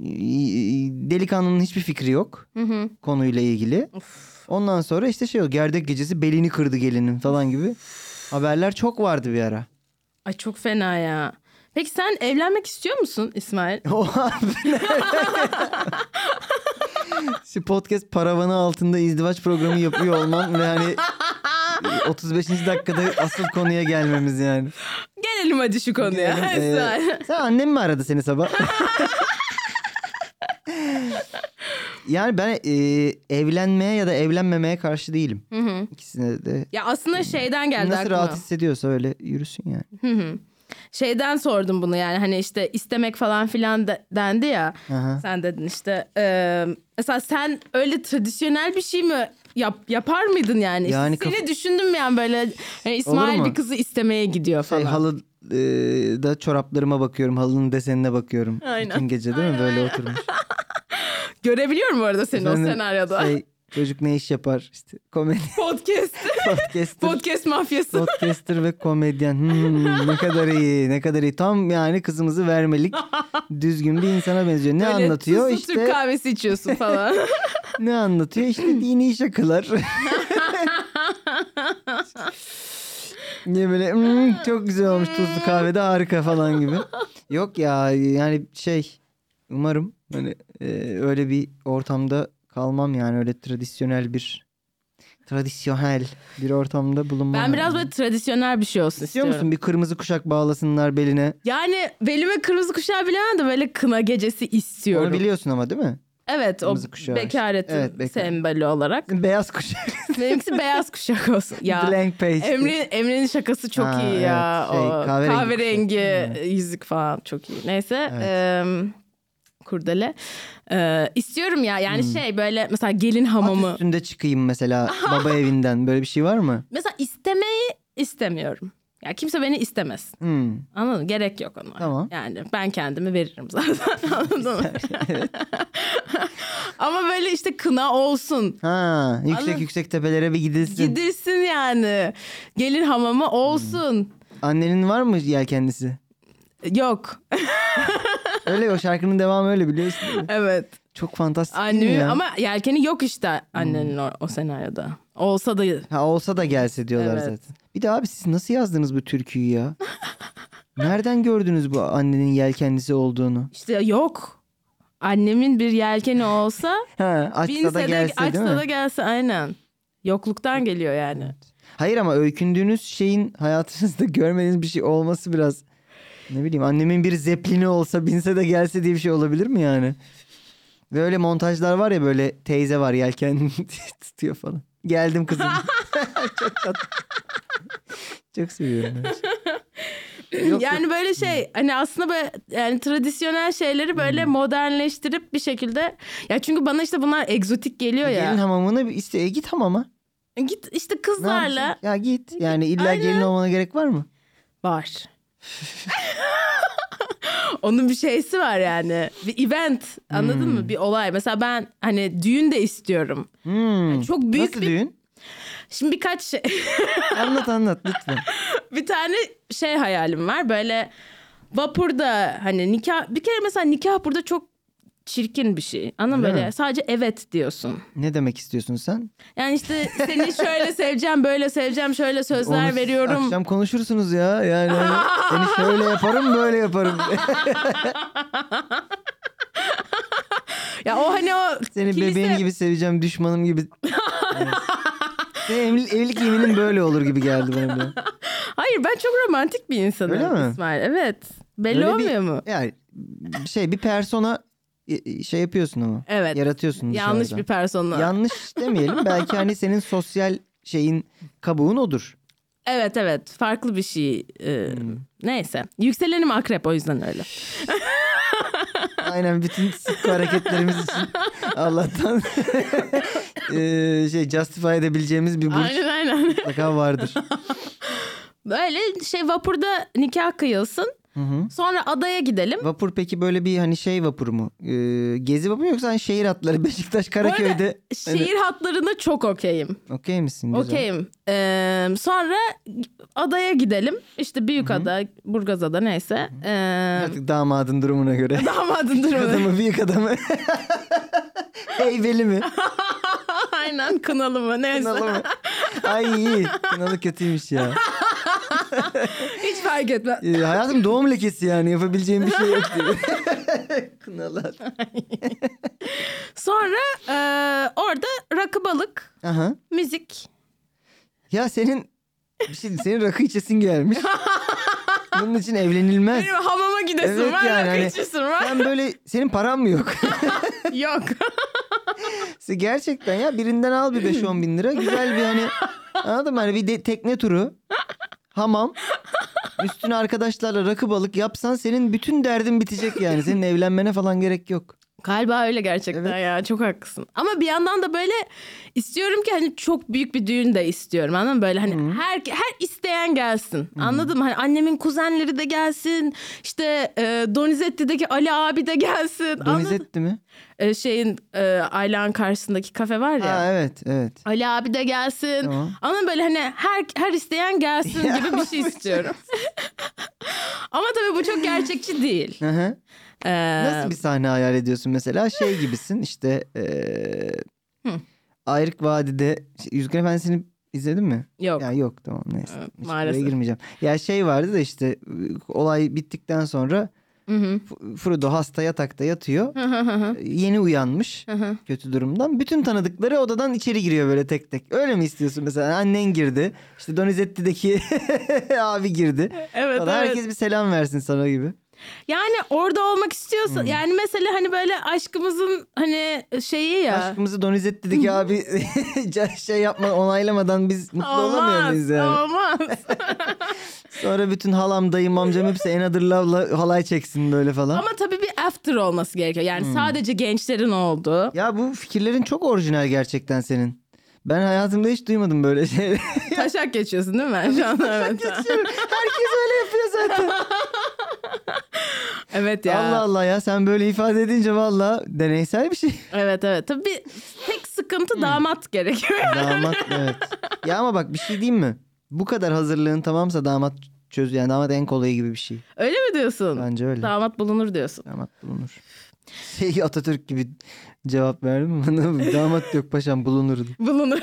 Speaker 2: E, Delikanlının hiçbir fikri yok
Speaker 1: hı hı.
Speaker 2: konuyla ilgili.
Speaker 1: Of.
Speaker 2: Ondan sonra işte şey o gerdek gecesi belini kırdı gelinin falan gibi haberler çok vardı bir ara.
Speaker 1: Ay çok fena ya. Peki sen evlenmek istiyor musun İsmail?
Speaker 2: O haberler- Şu podcast paravanı altında izdivaç programı yapıyor olman ve hani 35. dakikada asıl konuya gelmemiz yani.
Speaker 1: Gelelim hadi şu konuya.
Speaker 2: Gelelim, ee,
Speaker 1: İsmail.
Speaker 2: sen annem mi aradı seni sabah? yani ben e, evlenmeye ya da evlenmemeye karşı değilim.
Speaker 1: Hı hı.
Speaker 2: İkisine de
Speaker 1: ya aslında şeyden geldi
Speaker 2: nasıl
Speaker 1: aklıma.
Speaker 2: rahat hissediyorsa öyle yürüsün yani.
Speaker 1: Hı hı. şeyden sordum bunu yani hani işte istemek falan filan de- dendi ya.
Speaker 2: Aha.
Speaker 1: Sen dedin işte e, mesela sen öyle tradisyonel bir şey mi yap- yapar mıydın yani?
Speaker 2: Yani
Speaker 1: Seni
Speaker 2: kaf-
Speaker 1: düşündüm yani böyle hani İsmail
Speaker 2: mu?
Speaker 1: bir kızı istemeye gidiyor falan.
Speaker 2: Şey, halı e, da çoraplarıma bakıyorum. Halının desenine bakıyorum.
Speaker 1: Aynen.
Speaker 2: Bütün gece değil mi? Böyle oturmuş.
Speaker 1: Görebiliyorum bu arada seni
Speaker 2: Efendim,
Speaker 1: o senaryoda.
Speaker 2: Şey, çocuk ne iş yapar? İşte komedi
Speaker 1: Podcast.
Speaker 2: podcaster.
Speaker 1: Podcast mafyası.
Speaker 2: podcaster ve komedyen. Hmm, ne kadar iyi. Ne kadar iyi. Tam yani kızımızı vermelik düzgün bir insana benziyor. Ne
Speaker 1: Böyle
Speaker 2: anlatıyor?
Speaker 1: tuzlu
Speaker 2: işte
Speaker 1: Türk kahvesi içiyorsun falan.
Speaker 2: ne anlatıyor? İşte dini şakalar. Niye böyle "Hmm, çok güzel olmuş tuzlu kahvede harika falan gibi. Yok ya yani şey umarım hani e, öyle bir ortamda kalmam yani öyle tradisyonel bir tradisyonel bir ortamda bulunmam.
Speaker 1: ben biraz
Speaker 2: yani.
Speaker 1: böyle tradisyonel bir şey olsun
Speaker 2: İstiyor
Speaker 1: istiyorum.
Speaker 2: musun bir kırmızı kuşak bağlasınlar beline?
Speaker 1: Yani belime kırmızı kuşağı bilemem de böyle kına gecesi istiyorum.
Speaker 2: Onu biliyorsun ama değil mi?
Speaker 1: evet o
Speaker 2: Kırmızı kuşağı işte.
Speaker 1: bekaretin
Speaker 2: Evet, bekar.
Speaker 1: sembolü olarak.
Speaker 2: Beyaz kuşak.
Speaker 1: Benimkisi beyaz kuşak olsun. Ya
Speaker 2: Blank page.
Speaker 1: Emre, Emre'nin şakası çok
Speaker 2: Ha,
Speaker 1: iyi ya.
Speaker 2: evet, şey,
Speaker 1: o
Speaker 2: kahverengi
Speaker 1: kahverengi,
Speaker 2: kuşak.
Speaker 1: yüzük falan çok iyi. Neyse.
Speaker 2: Evet.
Speaker 1: em, kurdele. E, istiyorum ya yani
Speaker 2: Hmm.
Speaker 1: şey böyle mesela gelin hamamı.
Speaker 2: At üstünde çıkayım mesela baba evinden. Böyle bir şey var mı?
Speaker 1: Mesela istemeyi istemiyorum. Ya kimse beni istemez.
Speaker 2: Hmm.
Speaker 1: Anladın mı? Gerek yok ona.
Speaker 2: Tamam.
Speaker 1: Yani ben kendimi veririm zaten. Anladın mı? Ama böyle işte kına olsun.
Speaker 2: Ha, yüksek
Speaker 1: Anladım.
Speaker 2: yüksek tepelere bir gidilsin.
Speaker 1: Gidilsin yani. Gelin hamama olsun.
Speaker 2: Annenin var mı yelkenlisi?
Speaker 1: Yok.
Speaker 2: Öyle o şarkının devamı öyle biliyorsun. değil mi?
Speaker 1: Evet.
Speaker 2: Çok fantastik değil mi
Speaker 1: Annemi
Speaker 2: ya? Hmm.
Speaker 1: ama yelkeni yok işte annenin o, o senaryoda. Olsa da
Speaker 2: Ha, olsa da gelse diyorlar
Speaker 1: Evet.
Speaker 2: zaten. Bir de abi siz nasıl yazdınız bu türküyü ya? Nereden gördünüz bu annenin yelkenlisi olduğunu?
Speaker 1: işte yok. Annemin bir yelkeni olsa
Speaker 2: Ha, açsa
Speaker 1: binse
Speaker 2: da
Speaker 1: de
Speaker 2: gelse değil mi?
Speaker 1: açsa da gelse aynen. Yokluktan geliyor yani.
Speaker 2: Hayır ama öykündüğünüz şeyin hayatınızda görmediğiniz bir şey olması biraz ne bileyim annemin bir zeplini olsa binse de gelse diye bir şey olabilir mi yani? Ve öyle montajlar var ya böyle teyze var yelken tutuyor falan. Geldim kızım. Çok tatlı. Çok seviyorum. ben. Yok, Hmm.
Speaker 1: yani böyle şey hani aslında böyle yani tradisyonel şeyleri böyle modernleştirip bir şekilde ya çünkü bana işte bunlar egzotik geliyor ya.
Speaker 2: Gelin hamamına bir- işte e, git hamama.
Speaker 1: Git işte
Speaker 2: Ne
Speaker 1: kızlarla
Speaker 2: yapacaksın? Ya git. Yani illa gelin olmana gerek var mı?
Speaker 1: var. Onun bir şeysi var yani. Bir event anladın mı? Bir olay. Mesela ben hani düğün de istiyorum.
Speaker 2: Hmm.
Speaker 1: Çok büyük
Speaker 2: Nasıl
Speaker 1: bir
Speaker 2: düğün?
Speaker 1: şimdi birkaç şey,
Speaker 2: Anlat anlat lütfen.
Speaker 1: bir tane şey hayalim var. Böyle vapurda hani nikah bir kere mesela nikah burada çok çirkin bir şey. Anladın mı?
Speaker 2: Öyle
Speaker 1: böyle
Speaker 2: mi?
Speaker 1: sadece evet diyorsun.
Speaker 2: Ne demek istiyorsun sen?
Speaker 1: Yani işte seni şöyle seveceğim, böyle seveceğim, şöyle sözler
Speaker 2: Onu siz
Speaker 1: veriyorum.
Speaker 2: Akşam konuşursunuz ya. Yani hani seni şöyle yaparım böyle yaparım.
Speaker 1: Ya o hani o
Speaker 2: seni
Speaker 1: kilise...
Speaker 2: bebeğim gibi seveceğim düşmanım gibi. Evet. Senin evlilik, evlilik yeminin böyle olur gibi geldi bana. bir an.
Speaker 1: Hayır ben çok romantik bir insanım
Speaker 2: Öyle mi?
Speaker 1: İsmail. Evet. Belli
Speaker 2: Öyle bir-
Speaker 1: olmuyor mu?
Speaker 2: Yani şey bir persona e, şey yapıyorsun ama.
Speaker 1: Evet.
Speaker 2: Yaratıyorsun
Speaker 1: Yanlış bir
Speaker 2: dışarıdan.
Speaker 1: persona.
Speaker 2: Yanlış demeyelim. Belki hani senin sosyal şeyin kabuğun odur.
Speaker 1: Evet evet. Farklı bir şey. Ee,
Speaker 2: Hmm.
Speaker 1: Neyse. Yükselenim akrep o yüzden öyle.
Speaker 2: Aynen bütün sık hareketlerimiz için Allah'tan e, şey justify edebileceğimiz bir burç
Speaker 1: Aynen aynen.
Speaker 2: mutlaka vardır.
Speaker 1: Böyle şey vapurda nikah kıyılsın.
Speaker 2: Hı hı.
Speaker 1: Sonra adaya gidelim.
Speaker 2: Vapur peki böyle bir hani şey vapuru mu? Ee, gezi vapuru mu yoksa hani şehir atları Beşiktaş Karaköy'de hani
Speaker 1: Şehir hatlarına çok okeyim.
Speaker 2: okey misin? Güzel.
Speaker 1: Okeyim. Ee, sonra adaya gidelim. İşte Büyükada, Burgazada neyse. Ee,
Speaker 2: Artık damadın durumuna göre.
Speaker 1: damadın durumu.
Speaker 2: adamı büyük adamı. Heybeli mi?
Speaker 1: Aynen kınalı mı neyse.
Speaker 2: Kınalı mı? Ay iyi. Kınalı kötüymüş ya.
Speaker 1: Hiç fark etmez.
Speaker 2: Ee, hayatım doğum lekesi yani yapabileceğim bir şey yok diyor. Kınalı.
Speaker 1: Sonra e, orada rakı balık,
Speaker 2: Aha.
Speaker 1: müzik.
Speaker 2: Ya senin bir şey senin rakı içesin gelmiş. Bunun için evlenilmez.
Speaker 1: Benim hamama gidesin
Speaker 2: Evet
Speaker 1: var,
Speaker 2: yani
Speaker 1: rakı
Speaker 2: hani-
Speaker 1: içesin var.
Speaker 2: Sen böyle senin paran mı yok?
Speaker 1: Yok.
Speaker 2: İşte gerçekten ya birinden al bir 5-10 bin lira. Güzel bir hani anladın mı? Hani bir de tekne turu. Hamam. Üstüne arkadaşlarla rakı balık yapsan senin bütün derdin bitecek yani. Senin evlenmene falan gerek yok.
Speaker 1: Galiba öyle gerçekten
Speaker 2: Evet.
Speaker 1: ya çok haklısın. Ama bir yandan da böyle istiyorum ki hani çok büyük bir düğün de istiyorum anladın mı? Böyle hani her, her isteyen gelsin anladın mı? Hani annemin kuzenleri de gelsin işte e, Donizetti'deki Ali abi de gelsin. anladın mı?
Speaker 2: Donizetti mi?
Speaker 1: E, şeyin e, Aylan karşısındaki kafe var ya.
Speaker 2: Ha evet evet.
Speaker 1: Ali abi de gelsin.
Speaker 2: Tamam.
Speaker 1: Ama böyle hani her her isteyen gelsin
Speaker 2: Ya,
Speaker 1: gibi bir şey
Speaker 2: bu
Speaker 1: istiyorum. Ama tabii bu çok gerçekçi değil.
Speaker 2: Hı hı.
Speaker 1: Ee,
Speaker 2: Nasıl bir sahne hayal ediyorsun mesela? Şey gibisin işte eee
Speaker 1: Hı.
Speaker 2: Ayrık Vadide Yüzgen Efendisi'ni izledin mi?
Speaker 1: Ee, Yok.
Speaker 2: Ya yok tamam neyse.
Speaker 1: Evet,
Speaker 2: Hiç
Speaker 1: maalesef.
Speaker 2: Buraya girmeyeceğim. Ya şey vardı da işte olay bittikten sonra
Speaker 1: Hı hı.
Speaker 2: F- Frodo hasta yatakta yatıyor.
Speaker 1: Hı hı hı hı.
Speaker 2: Yeni uyanmış
Speaker 1: Hı hı.
Speaker 2: kötü durumdan. Bütün tanıdıkları odadan içeri giriyor böyle tek tek. Öyle mi istiyorsun mesela? Annen girdi. İşte Donizetti'deki abi girdi.
Speaker 1: Evet,
Speaker 2: Falan.
Speaker 1: evet.
Speaker 2: Herkes bir selam versin sana gibi.
Speaker 1: Yani orada olmak istiyorsa
Speaker 2: Hmm.
Speaker 1: yani mesela hani böyle aşkımızın hani şeyi ya.
Speaker 2: Aşkımızı Donizetti'deki abi şey yapma onaylamadan biz mutlu olamıyor
Speaker 1: Olmaz,
Speaker 2: muyuz yani?
Speaker 1: olmaz.
Speaker 2: Sonra bütün halam, dayım, amcam hepsi Another Love'la halay çeksin böyle falan.
Speaker 1: Ama tabii bir after olması gerekiyor. Yani
Speaker 2: Hmm.
Speaker 1: sadece gençlerin olduğu.
Speaker 2: Ya bu fikirlerin çok orijinal gerçekten senin. Ben hayatımda hiç duymadım böyle şey.
Speaker 1: Taşak geçiyorsun değil mi? Şu an evet.
Speaker 2: Herkes öyle yapıyor zaten.
Speaker 1: evet ya.
Speaker 2: Allah Allah ya sen böyle ifade edince valla deneysel bir şey.
Speaker 1: Evet evet. Tabii bir tek sıkıntı
Speaker 2: Hmm.
Speaker 1: damat gerekiyor.
Speaker 2: Damat evet. Ya ama bak bir şey diyeyim mi? Bu kadar hazırlığın tamamsa damat çöz yani damat en kolayı gibi bir şey.
Speaker 1: Öyle mi diyorsun?
Speaker 2: Bence öyle.
Speaker 1: Damat bulunur diyorsun.
Speaker 2: Damat bulunur. Şey Atatürk gibi cevap verdim mi bana? Damat yok paşam bulunurdu.
Speaker 1: Bulunur.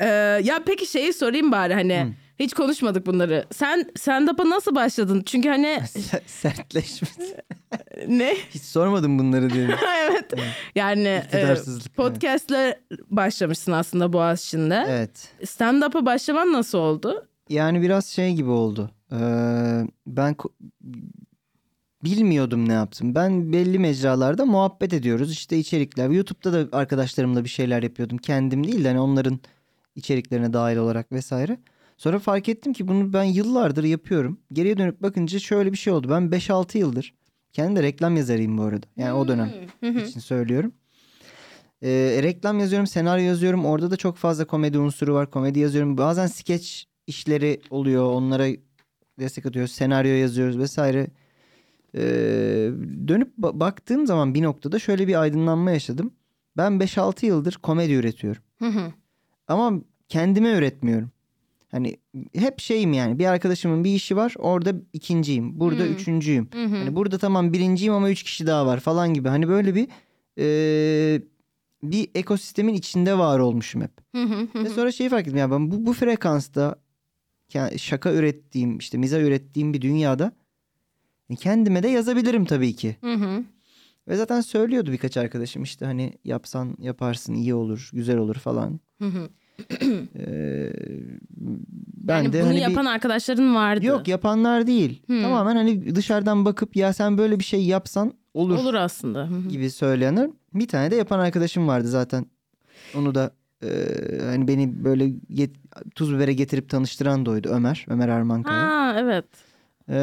Speaker 1: Ee, ya peki şeyi sorayım bari hani
Speaker 2: Hmm.
Speaker 1: hiç konuşmadık bunları. Sen stand-up'a nasıl başladın? Çünkü hani
Speaker 2: Se- Sertleşmesi.
Speaker 1: ne?
Speaker 2: Hiç sormadım bunları diye.
Speaker 1: evet. Yani e,
Speaker 2: İktidarsızlık.
Speaker 1: podcast'le başlamışsın aslında Boğaziçi'nde.
Speaker 2: Evet.
Speaker 1: Stand-up'a başlaman nasıl oldu?
Speaker 2: Yani biraz şey gibi oldu. Ee, ben ko- bilmiyordum ne yaptım. Ben belli mecralarda muhabbet ediyoruz. İşte içerikler. YouTube'da da arkadaşlarımla bir şeyler yapıyordum. Kendim değil de hani onların içeriklerine dahil olarak vesaire. Sonra fark ettim ki bunu ben yıllardır yapıyorum. Geriye dönüp bakınca şöyle bir şey oldu. Ben 5-6 yıldır kendi de reklam yazarıyım bu arada. Yani o dönem
Speaker 1: Hı hı.
Speaker 2: için söylüyorum. Ee, reklam yazıyorum, senaryo yazıyorum. Orada da çok fazla komedi unsuru var. Komedi yazıyorum. Bazen skeç işleri oluyor. Onlara destek atıyoruz. Senaryo yazıyoruz vesaire. Ee, dönüp ba- baktığım zaman bir noktada şöyle bir aydınlanma yaşadım. Ben 5-6 yıldır komedi üretiyorum.
Speaker 1: Hı hı.
Speaker 2: Ama kendime üretmiyorum. Hani hep şeyim yani bir arkadaşımın bir işi var orada ikinciyim burada
Speaker 1: Hmm.
Speaker 2: üçüncüyüm.
Speaker 1: Hı hı.
Speaker 2: Hani burada tamam birinciyim ama üç kişi daha var falan gibi. Hani böyle bir eee, bir ekosistemin içinde var olmuşum hep.
Speaker 1: Hı hı hı.
Speaker 2: Ve sonra şeyi fark ettim ya ben bu, bu frekansta ke- şaka ürettiğim işte miza ürettiğim bir dünyada kendime de yazabilirim tabii ki.
Speaker 1: Hı hı.
Speaker 2: Ve zaten söylüyordu birkaç arkadaşım işte hani yapsan yaparsın iyi olur güzel olur falan.
Speaker 1: Hı hı.
Speaker 2: Eee, ben
Speaker 1: Yani
Speaker 2: de
Speaker 1: bunu
Speaker 2: hani bir-
Speaker 1: yapan arkadaşların vardı.
Speaker 2: Yok yapanlar değil.
Speaker 1: Hmm.
Speaker 2: Tamamen hani dışarıdan bakıp ya sen böyle bir şey yapsan olur.
Speaker 1: Olur aslında. Hı hı.
Speaker 2: gibi söylenir. Bir tane de yapan arkadaşım vardı zaten. Onu da e, hani beni böyle yet- tuz bibere getirip tanıştıran da oydu Ömer. Ömer Armankaya.
Speaker 1: Ha evet.
Speaker 2: E,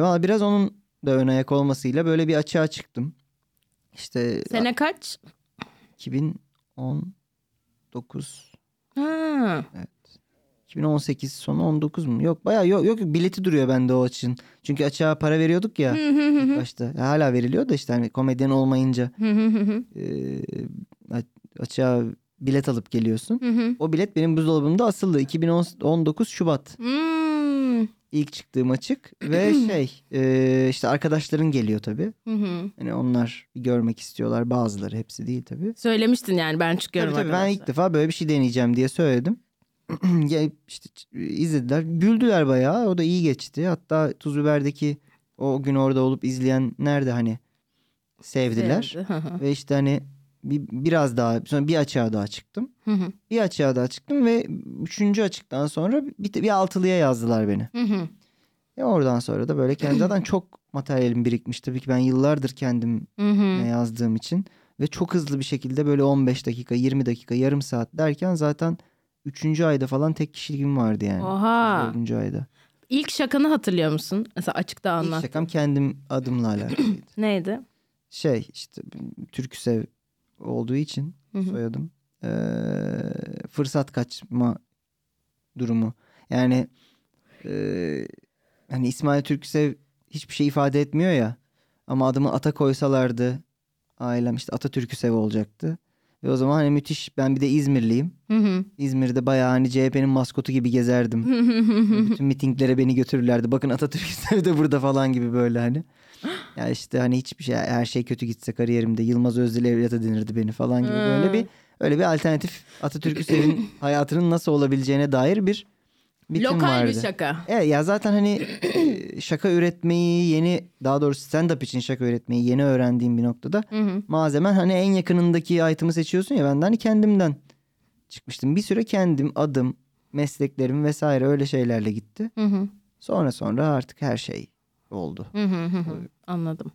Speaker 2: Valla biraz onun da ön ayak olmasıyla böyle bir açığa çıktım. İşte
Speaker 1: Sene kaç?
Speaker 2: 2019
Speaker 1: Ha.
Speaker 2: 2018 sonu 19 mu? Yok bayağı yok, yok bileti duruyor bende o açın. Çünkü açığa para veriyorduk ya
Speaker 1: Hı hı hı.
Speaker 2: ilk başta. Hala veriliyor da işte hani komedyen olmayınca
Speaker 1: Hı hı hı hı.
Speaker 2: e, a- açığa bilet alıp geliyorsun.
Speaker 1: Hı hı.
Speaker 2: O bilet benim buzdolabımda asıldı. 2019 Şubat
Speaker 1: Hmm.
Speaker 2: ilk çıktığım açık ve şey e, işte arkadaşların geliyor tabii.
Speaker 1: Hı hı.
Speaker 2: Hani onlar bir görmek istiyorlar bazıları hepsi değil tabii.
Speaker 1: Söylemiştin yani ben çıkıyorum
Speaker 2: Tabii tabii ben ilk
Speaker 1: arkadaşlar.
Speaker 2: defa böyle bir şey deneyeceğim diye söyledim. Ya işte ç- izlediler güldüler bayağı o da iyi geçti. Hatta Tuz Biber'deki o gün orada olup izleyenler de hani sevdiler.
Speaker 1: Sevdi. Hı hı.
Speaker 2: Ve işte hani bir, biraz daha sonra bir açığa daha çıktım.
Speaker 1: Hı hı.
Speaker 2: Bir açığa daha çıktım ve üçüncü açıktan sonra bir, bir altılıya yazdılar beni.
Speaker 1: Hı hı.
Speaker 2: E oradan sonra da böyle kendi zaten çok materyalim birikmiş. Tabii ki ben yıllardır kendime
Speaker 1: Hı hı.
Speaker 2: yazdığım için. Ve çok hızlı bir şekilde böyle 15 dakika, 20 dakika, yarım saat derken zaten üçüncü ayda falan tek kişiliğim vardı yani.
Speaker 1: Oha.
Speaker 2: Dördüncü ayda.
Speaker 1: İlk şakanı hatırlıyor musun? Mesela açıkta
Speaker 2: İlk
Speaker 1: anlat.
Speaker 2: şakam kendim adımla alakalıydı.
Speaker 1: Neydi?
Speaker 2: şey işte Türküsev olduğu için
Speaker 1: Hı hı.
Speaker 2: soyadım. Ee, fırsat kaçma durumu. Yani e, hani İsmail Türküsev hiçbir şey ifade etmiyor ya. Ama adımı ata koysalardı ailem işte Atatürküsev olacaktı. Ve o zaman hani müthiş ben bir de İzmirliyim.
Speaker 1: Hı hı.
Speaker 2: İzmir'de bayağı hani CHP'nin maskotu gibi gezerdim. Bütün mitinglere beni götürürlerdi. Bakın Atatürk ister de burada falan gibi böyle hani. Ya işte hani hiçbir şey her şey kötü gitse kariyerimde Yılmaz Özdil evlata denirdi beni falan gibi böyle
Speaker 1: Hmm.
Speaker 2: bir öyle bir alternatif Atatürk Üsev'in hayatının nasıl olabileceğine dair bir bitim
Speaker 1: Lokal
Speaker 2: vardı.
Speaker 1: bir şaka.
Speaker 2: Evet ya zaten hani e, şaka üretmeyi yeni daha doğrusu stand up için şaka üretmeyi yeni öğrendiğim bir noktada
Speaker 1: Hı hı.
Speaker 2: malzemen hani en yakınındaki item'ı seçiyorsun ya ben de hani kendimden çıkmıştım. Bir süre kendim adım mesleklerim vesaire öyle şeylerle gitti.
Speaker 1: Hı hı.
Speaker 2: Sonra sonra artık her şey oldu.
Speaker 1: Hı hı hı hı. Anladım.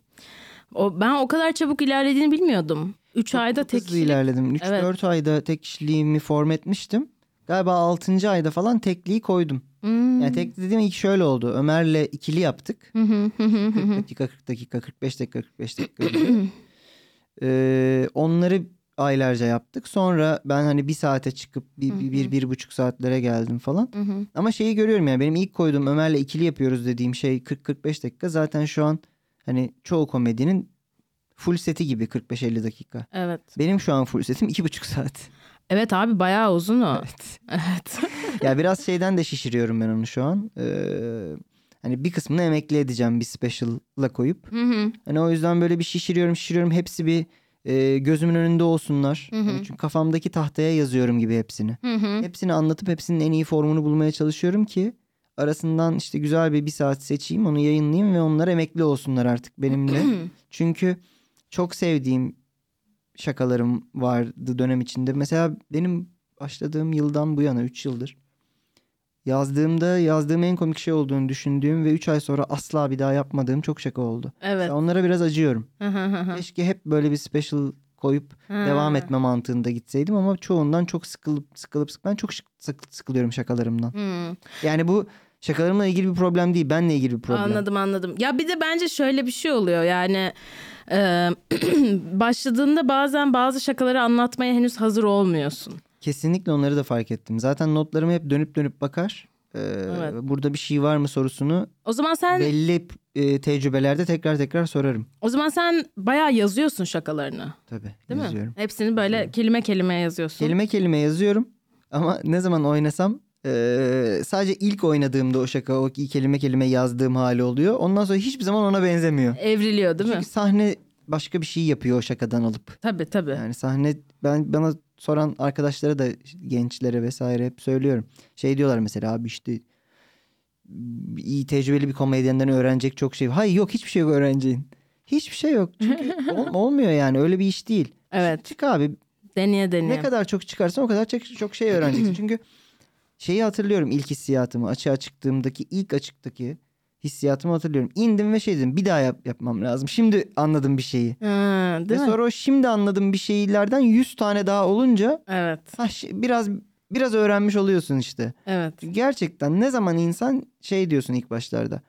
Speaker 1: O, ben o kadar çabuk ilerlediğini bilmiyordum. 3 ayda
Speaker 2: Çok
Speaker 1: tek
Speaker 2: hızlı
Speaker 1: kişilik.
Speaker 2: ilerledim. 3-4
Speaker 1: Evet.
Speaker 2: ayda tek kişiliğimi form etmiştim. Galiba 6. ayda falan tekliği koydum.
Speaker 1: Hmm.
Speaker 2: Yani tek dediğim ilk şöyle oldu. Ömer'le ikili yaptık.
Speaker 1: Hı hı hı hı hı
Speaker 2: 40
Speaker 1: hı.
Speaker 2: dakika 40 dakika 45 dakika 45 dakika. gibi. Ee, onları aylarca yaptık. Sonra ben hani bir saate çıkıp bir, bir, bir, bir buçuk saatlere geldim falan.
Speaker 1: Hı hı.
Speaker 2: Ama şeyi görüyorum yani benim ilk koyduğum Ömer'le ikili yapıyoruz dediğim şey 40-45 dakika. Zaten şu an hani çoğu komedinin full seti gibi 45-50 dakika.
Speaker 1: Evet.
Speaker 2: Benim şu an full setim 2,5 saat.
Speaker 1: Evet abi bayağı uzun o.
Speaker 2: Evet.
Speaker 1: Evet.
Speaker 2: ya biraz şeyden de şişiriyorum ben onu şu an. Ee, hani bir kısmını emekli edeceğim bir special'la koyup.
Speaker 1: Hı hı.
Speaker 2: Hani o yüzden böyle bir şişiriyorum şişiriyorum hepsi bir e, gözümün önünde olsunlar.
Speaker 1: Hı hı.
Speaker 2: Hani çünkü kafamdaki tahtaya yazıyorum gibi hepsini.
Speaker 1: Hı hı.
Speaker 2: Hepsini anlatıp hepsinin en iyi formunu bulmaya çalışıyorum ki arasından işte güzel bir bir saat seçeyim onu yayınlayayım ve onlar emekli olsunlar artık benimle. Çünkü çok sevdiğim şakalarım vardı dönem içinde. Mesela benim başladığım yıldan bu yana 3 yıldır yazdığımda yazdığım en komik şey olduğunu düşündüğüm ve 3 ay sonra asla bir daha yapmadığım çok şaka oldu.
Speaker 1: Evet.
Speaker 2: Mesela Onlara biraz acıyorum.
Speaker 1: Hı hı hı hı.
Speaker 2: Keşke hep böyle bir special koyup
Speaker 1: Ha.
Speaker 2: devam etme mantığında gitseydim ama çoğundan çok sıkılıp sıkılıp sık- ben çok şık- sık- sıkılıyorum şakalarımdan.
Speaker 1: Hı.
Speaker 2: Yani bu şakalarımla ilgili bir problem değil, benle ilgili bir problem.
Speaker 1: Anladım anladım. Ya bir de bence şöyle bir şey oluyor yani e, başladığında bazen bazı şakaları anlatmaya henüz hazır olmuyorsun.
Speaker 2: Kesinlikle onları da fark ettim. Zaten notlarımı hep dönüp dönüp bakar. Ee,
Speaker 1: Evet.
Speaker 2: Burada bir şey var mı sorusunu
Speaker 1: O zaman sen
Speaker 2: belli e, tecrübelerde tekrar tekrar sorarım.
Speaker 1: o zaman sen bayağı yazıyorsun şakalarını.
Speaker 2: Tabii
Speaker 1: Değil
Speaker 2: yazıyorum.
Speaker 1: mi? Hepsini böyle kelime kelime yazıyorsun.
Speaker 2: Kelime kelime yazıyorum ama ne zaman oynasam e, sadece ilk oynadığımda o şaka o kelime kelime yazdığım hali oluyor. Ondan sonra hiçbir zaman ona benzemiyor.
Speaker 1: Evriliyor değil mi?
Speaker 2: Çünkü sahne başka bir şey yapıyor o şakadan alıp.
Speaker 1: Tabii tabii.
Speaker 2: Yani sahne ben bana soran arkadaşlara da gençlere vesaire hep söylüyorum. Şey diyorlar mesela abi işte iyi tecrübeli bir komedyenden öğrenecek çok şey. var." Hayır yok hiçbir şey yok öğreneceğin. Hiçbir şey yok. Çünkü ol- olmuyor yani öyle bir iş değil.
Speaker 1: Evet.
Speaker 2: Çık abi
Speaker 1: Deneye deneye.
Speaker 2: ne kadar çok çıkarsan o kadar çok, çok şey öğreneceksin. Çünkü şeyi hatırlıyorum ilk hissiyatımı. Açığa çıktığımdaki ilk açıktaki hissiyatımı hatırlıyorum. İndim ve şey dedim bir daha yap- yapmam lazım. Şimdi anladım bir şeyi.
Speaker 1: Ha, değil
Speaker 2: ve
Speaker 1: mi?
Speaker 2: sonra o şimdi anladığım bir şeylerden 100 tane daha olunca
Speaker 1: Evet.
Speaker 2: ha, şey- biraz biraz öğrenmiş oluyorsun işte.
Speaker 1: Evet.
Speaker 2: Gerçekten ne zaman insan şey diyorsun ilk başlarda.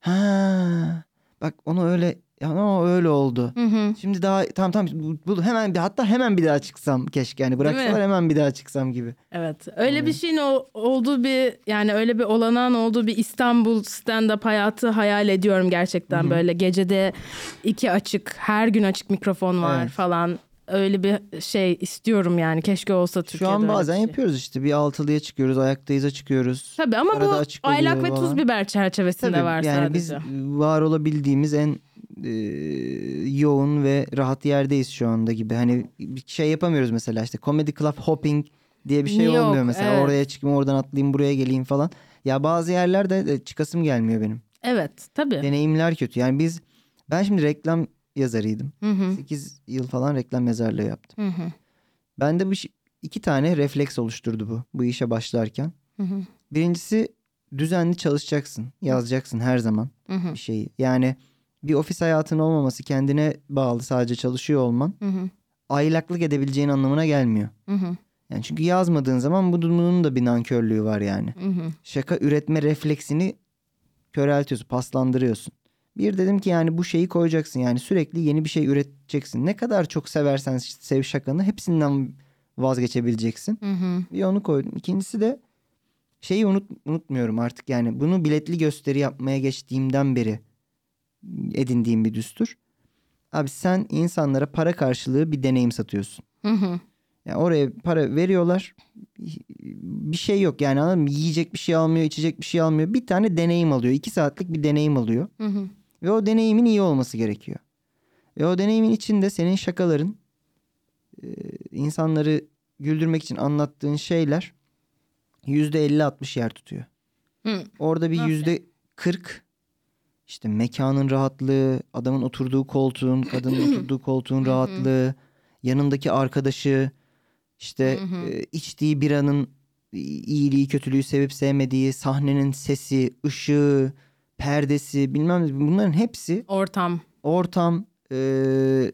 Speaker 2: Ha bak onu öyle ya o öyle oldu.
Speaker 1: Hı hı.
Speaker 2: Şimdi daha tam tam bu, bu- hemen bir hatta hemen bir daha çıksam keşke yani bıraksalar
Speaker 1: mi?
Speaker 2: hemen bir daha çıksam gibi.
Speaker 1: Evet. Öyle bir şeyin o- olduğu bir yani öyle bir olanağın olduğu bir İstanbul stand up hayatı hayal ediyorum gerçekten böyle gecede iki açık, her gün açık mikrofon var
Speaker 2: Evet.
Speaker 1: falan. Öyle bir şey istiyorum yani. Keşke olsa
Speaker 2: Şu
Speaker 1: Türkiye'de.
Speaker 2: an
Speaker 1: öyle bir
Speaker 2: bazen
Speaker 1: şey.
Speaker 2: yapıyoruz işte bir altılıya çıkıyoruz, ayaktayıza çıkıyoruz.
Speaker 1: Tabii ama
Speaker 2: Arada
Speaker 1: bu
Speaker 2: açık oluyor
Speaker 1: aylak ve
Speaker 2: falan.
Speaker 1: tuz biber çerçevesinde var
Speaker 2: yani
Speaker 1: sadece.
Speaker 2: biz var olabildiğimiz en e, yoğun ve rahat yerdeyiz şu anda gibi. Hani bir şey yapamıyoruz mesela işte comedy club hopping diye bir şey
Speaker 1: Yok,
Speaker 2: olmuyor mesela.
Speaker 1: evet.
Speaker 2: Oraya çıkayım, oradan atlayayım, buraya geleyim falan. Ya bazı yerlerde de çıkasım gelmiyor benim.
Speaker 1: Evet, tabii.
Speaker 2: Deneyimler kötü. Yani biz ben şimdi reklam yazarıydım.
Speaker 1: Hı hı.
Speaker 2: 8 yıl falan reklam yazarlığı yaptım.
Speaker 1: Hı hı.
Speaker 2: Bende bu şi- iki tane refleks oluşturdu bu bu işe başlarken.
Speaker 1: Hı hı.
Speaker 2: Birincisi düzenli çalışacaksın, yazacaksın her zaman
Speaker 1: Hı hı.
Speaker 2: bir şeyi. Yani bir ofis hayatın olmaması kendine bağlı sadece çalışıyor olman
Speaker 1: Hı hı.
Speaker 2: aylaklık edebileceğin anlamına gelmiyor.
Speaker 1: Hı hı.
Speaker 2: Yani çünkü yazmadığın zaman bu- bunun da bir nankörlüğü var yani.
Speaker 1: Mhm.
Speaker 2: Şaka üretme refleksini köreltiyorsun, paslandırıyorsun. Bir dedim ki yani bu şeyi koyacaksın yani sürekli yeni bir şey üreteceksin. Ne kadar çok seversen sev şakanı hepsinden vazgeçebileceksin.
Speaker 1: Mhm.
Speaker 2: Bir onu koydum. İkincisi de şeyi unut, unutmuyorum artık yani bunu biletli gösteri yapmaya geçtiğimden beri edindiğim bir düstur. Abi sen insanlara para karşılığı bir deneyim satıyorsun.
Speaker 1: Mhm.
Speaker 2: Yani oraya para veriyorlar. Bir şey yok yani anladın mı? Yiyecek bir şey almıyor, içecek bir şey almıyor. Bir tane deneyim alıyor. iki saatlik bir deneyim alıyor.
Speaker 1: Mhm.
Speaker 2: Ve o deneyimin iyi olması gerekiyor. Ve o deneyimin içinde senin şakaların, e, insanları güldürmek için anlattığın şeyler yüzde 50-60 yer tutuyor.
Speaker 1: Hı.
Speaker 2: Orada bir
Speaker 1: Nasıl?
Speaker 2: yüzde 40 işte mekanın rahatlığı, adamın oturduğu koltuğun, kadının oturduğu koltuğun rahatlığı, yanındaki arkadaşı, işte
Speaker 1: Hı hı.
Speaker 2: e, içtiği biranın iyiliği, kötülüğü sevip sevmediği, sahnenin sesi, ışığı, perdesi bilmem ne bunların hepsi
Speaker 1: Ortam.
Speaker 2: ortam e,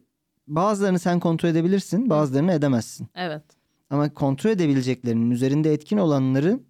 Speaker 2: bazılarını sen kontrol edebilirsin bazılarını edemezsin.
Speaker 1: Evet.
Speaker 2: Ama kontrol edebileceklerinin üzerinde etkin olanları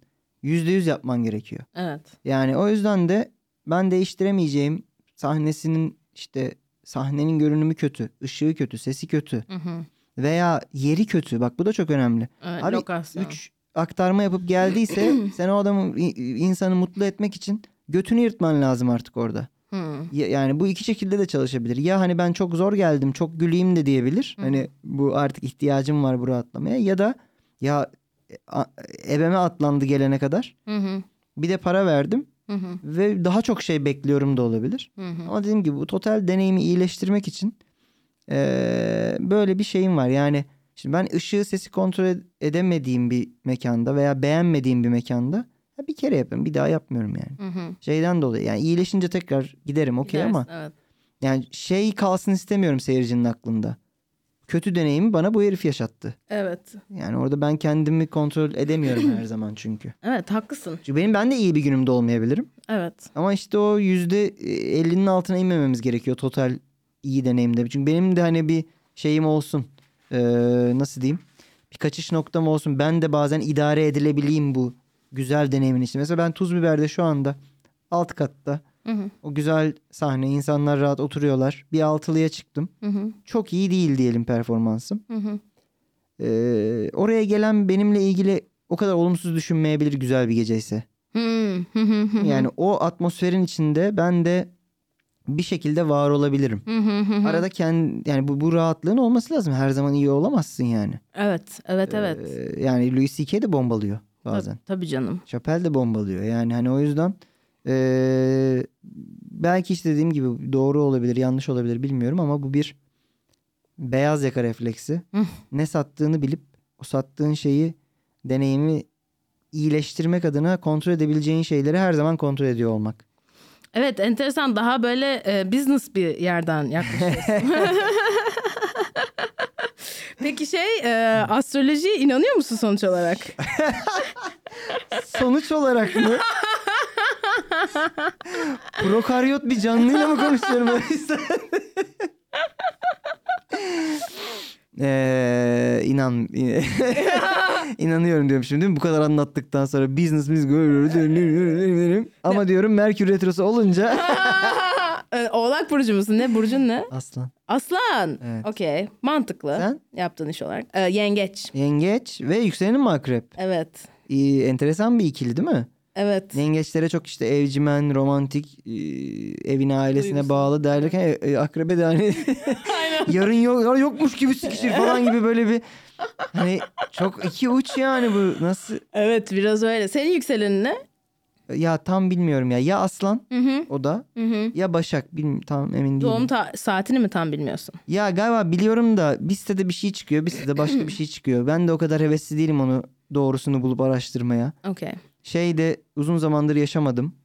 Speaker 2: yüzde yüz yapman gerekiyor.
Speaker 1: Evet.
Speaker 2: Yani o yüzden de ben değiştiremeyeceğim sahnesinin işte sahnenin görünümü kötü, ışığı kötü, sesi kötü
Speaker 1: Mhm.
Speaker 2: veya yeri kötü. Bak bu da çok önemli.
Speaker 1: Evet,
Speaker 2: Abi,
Speaker 1: Ee, lokasyon.
Speaker 2: Üç aktarma yapıp geldiyse sen o adamı i- insanı mutlu etmek için götünü yırtman lazım artık orada.
Speaker 1: Hmm.
Speaker 2: Ya- yani bu iki şekilde de çalışabilir. Ya hani ben çok zor geldim, çok güleyim de diyebilir.
Speaker 1: Hı hı.
Speaker 2: Hani bu artık ihtiyacım var bu rahatlamaya ya da ya e, a- ebeme atlandı gelene kadar.
Speaker 1: Mhm.
Speaker 2: Bir de para verdim
Speaker 1: Mhm.
Speaker 2: ve daha çok şey bekliyorum da olabilir.
Speaker 1: Mhm.
Speaker 2: Ama dediğim gibi bu total deneyimi iyileştirmek için eee, böyle bir şeyim var. Yani şimdi ben ışığı sesi kontrol ed- edemediğim bir mekanda veya beğenmediğim bir mekanda ya bir kere yapıyorum bir daha yapmıyorum yani.
Speaker 1: Mhm.
Speaker 2: Şeyden dolayı yani iyileşince tekrar giderim okey ama
Speaker 1: Gidersin, Evet.
Speaker 2: yani şey kalsın istemiyorum seyircinin aklında. Kötü deneyimi bana bu herif yaşattı.
Speaker 1: Evet.
Speaker 2: Yani orada ben kendimi kontrol edemiyorum her zaman çünkü.
Speaker 1: Evet haklısın.
Speaker 2: Çünkü benim ben de iyi bir günümde olmayabilirim.
Speaker 1: Evet.
Speaker 2: Ama işte o yüzde %50'nin altına inmememiz gerekiyor total iyi deneyimde. Çünkü benim de hani bir şeyim olsun. Ee, nasıl diyeyim? Bir kaçış noktam olsun. Ben de bazen idare edilebileyim bu güzel deneyimin için. Mesela ben Tuz Biber'de şu anda alt katta
Speaker 1: Mhm.
Speaker 2: o güzel sahne insanlar rahat oturuyorlar. Bir altılıya çıktım
Speaker 1: Mhm.
Speaker 2: çok iyi değil diyelim performansım.
Speaker 1: Mhm.
Speaker 2: Ee, oraya gelen benimle ilgili o kadar olumsuz düşünmeyebilir güzel bir geceyse.
Speaker 1: Hmm. Mhm.
Speaker 2: Yani o atmosferin içinde ben de bir şekilde var olabilirim.
Speaker 1: Mhm.
Speaker 2: Arada kendi yani bu, bu rahatlığın olması lazım. Her zaman iyi olamazsın yani.
Speaker 1: Evet. Evet evet.
Speaker 2: Ee, yani Louis C.K. de bombalıyor bazen.
Speaker 1: Tabii, tabii canım.
Speaker 2: Chappelle de bombalıyor. Yani hani o yüzden eee, belki işte dediğim gibi doğru olabilir, yanlış olabilir bilmiyorum ama bu bir beyaz yaka refleksi.
Speaker 1: Hı.
Speaker 2: ne sattığını bilip o sattığın şeyi, deneyimi iyileştirmek adına kontrol edebileceğin şeyleri her zaman kontrol ediyor olmak.
Speaker 1: Evet enteresan daha böyle e, business bir yerden yaklaşıyorsun. Peki şey e, astrolojiye inanıyor musun sonuç olarak?
Speaker 2: Sonuç olarak mı? Prokaryot bir canlıyla mı konuşuyorum o yüzden? Ee, inan inanıyorum diyorum şimdi değil mi? bu kadar anlattıktan sonra business biz görüyoruz ama diyorum Merkür retrosu olunca
Speaker 1: E, Oğlak burcu musun? Ne burcun ne?
Speaker 2: aslan
Speaker 1: Aslan.
Speaker 2: Evet.
Speaker 1: Okey. Mantıklı.
Speaker 2: Sen?
Speaker 1: Yaptığın iş olarak. E, yengeç.
Speaker 2: yengeç ve yükselenin mi akrep
Speaker 1: Evet.
Speaker 2: İyi, enteresan bir ikili değil mi
Speaker 1: Evet.
Speaker 2: Yengeçlere çok işte evcimen, romantik, e, evine ailesine
Speaker 1: Duygusal.
Speaker 2: bağlı derlerken e, e, akrebe de hani yarın yok, ya yokmuş gibi sıkışır falan gibi böyle bir hani çok iki uç yani bu nasıl
Speaker 1: Evet biraz öyle. Senin yükselenin ne?
Speaker 2: ya tam bilmiyorum ya ya aslan
Speaker 1: Hı hı.
Speaker 2: o da
Speaker 1: Hı hı.
Speaker 2: ya başak bilmiyorum tam emin değilim.
Speaker 1: Doğum ta- saatini mi tam bilmiyorsun?
Speaker 2: Ya galiba biliyorum da bir sitede bir şey çıkıyor bir sitede başka bir şey çıkıyor. Ben de o kadar hevesli değilim onu doğrusunu bulup araştırmaya.
Speaker 1: Okey.
Speaker 2: Şey de uzun zamandır yaşamadım.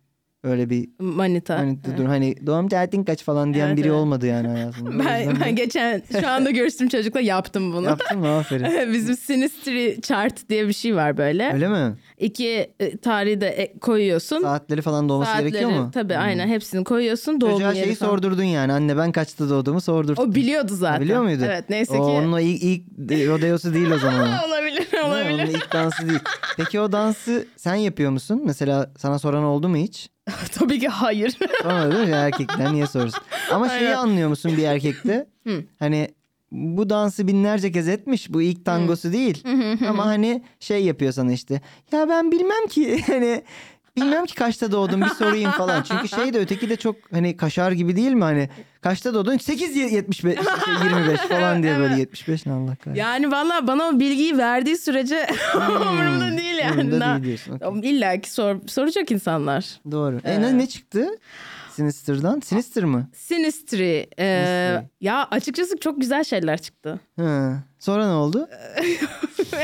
Speaker 2: Öyle bir
Speaker 1: Manita.
Speaker 2: Hani dur hani doğum tarihin kaç falan diyen
Speaker 1: Evet,
Speaker 2: biri
Speaker 1: evet.
Speaker 2: olmadı yani hayatımda. O yüzden
Speaker 1: Ben, ben geçen şu anda görüştüğüm çocukla yaptım bunu.
Speaker 2: Yaptın mı aferin.
Speaker 1: Bizim Sinistry chart diye bir şey var böyle.
Speaker 2: Öyle mi?
Speaker 1: İki e, tarihi de e, koyuyorsun.
Speaker 2: Saatleri falan da olması gerekiyor mu?
Speaker 1: tabii
Speaker 2: Hmm.
Speaker 1: aynen hepsini koyuyorsun. Doğum
Speaker 2: Çocuğa
Speaker 1: yeri
Speaker 2: şeyi
Speaker 1: falan.
Speaker 2: sordurdun yani anne ben kaçta doğduğumu sordurdun.
Speaker 1: O biliyordu zaten.
Speaker 2: biliyor muydu?
Speaker 1: Evet neyse
Speaker 2: O,
Speaker 1: ki.
Speaker 2: onun o ilk, ilk rodeosu değil o zaman.
Speaker 1: Olabilir
Speaker 2: Değil mi?
Speaker 1: olabilir.
Speaker 2: Onun ilk dansı değil. Peki o dansı sen yapıyor musun? Mesela sana soran oldu mu hiç?
Speaker 1: Tabii ki hayır.
Speaker 2: Sonra diyor ya erkekler niye sorsun? Ama şeyi
Speaker 1: Aynen.
Speaker 2: anlıyor musun bir erkekte?
Speaker 1: Hı.
Speaker 2: hani bu dansı binlerce kez etmiş. Bu ilk tangosu değil. Ama hani şey yapıyor sana işte. Ya ben bilmem ki hani bilmem ki kaçta doğdum bir sorayım falan. Çünkü şey de öteki de çok hani kaşar gibi değil mi hani? Kaçta doğdun? 8 ye- 75 şey 25 falan diye böyle 75 ne Allah kahretsin.
Speaker 1: yani valla bana o bilgiyi verdiği sürece umurumda değil yani.
Speaker 2: Hmm. Umurumda
Speaker 1: Na-
Speaker 2: değil diyorsun. okey.
Speaker 1: İlla ki sor, soracak insanlar.
Speaker 2: Doğru. E,
Speaker 1: Ee,
Speaker 2: ne, ne çıktı? Sinister'dan. Sinister mı?
Speaker 1: Sinistry. e,
Speaker 2: Sinistry.
Speaker 1: ya açıkçası çok güzel şeyler çıktı.
Speaker 2: Hı. Sonra ne oldu?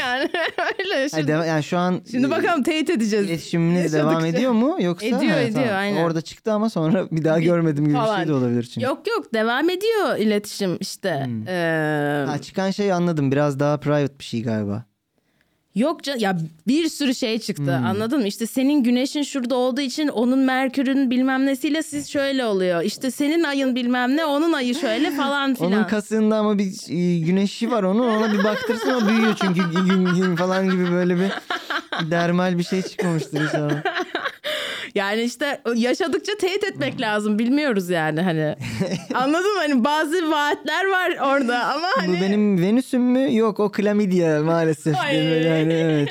Speaker 1: yani öyle.
Speaker 2: Hayır,
Speaker 1: Şimdi,
Speaker 2: deva- yani şu an
Speaker 1: şimdi
Speaker 2: e,
Speaker 1: bakalım teyit edeceğiz.
Speaker 2: İletişiminiz devam
Speaker 1: Yaşadıkça.
Speaker 2: ediyor mu yoksa?
Speaker 1: Ediyor, ediyor, aynen.
Speaker 2: Orada çıktı ama sonra bir daha görmedim gibi bir
Speaker 1: falan.
Speaker 2: şey de olabilir çünkü.
Speaker 1: Yok yok devam ediyor iletişim işte.
Speaker 2: Hmm.
Speaker 1: E,
Speaker 2: Ha, çıkan şeyi anladım biraz daha private bir şey galiba.
Speaker 1: Yok can ya bir sürü şey çıktı
Speaker 2: Hmm.
Speaker 1: anladın mı? İşte senin güneşin şurada olduğu için onun merkürün bilmem nesiyle siz şöyle oluyor. İşte senin ayın bilmem ne onun ayı şöyle falan filan.
Speaker 2: Onun kasığında ama bir e, güneşi var onun ona bir baktırsın o büyüyor çünkü gün gün falan gibi böyle bir dermal bir şey çıkmamıştır inşallah.
Speaker 1: yani işte yaşadıkça teyit
Speaker 2: Hmm.
Speaker 1: etmek lazım bilmiyoruz yani hani. Anladın mı? Hani bazı vaatler var orada ama
Speaker 2: Bu
Speaker 1: hani
Speaker 2: benim Venüs'üm mü? Yok o klamidya maalesef.
Speaker 1: Ay.
Speaker 2: yani evet.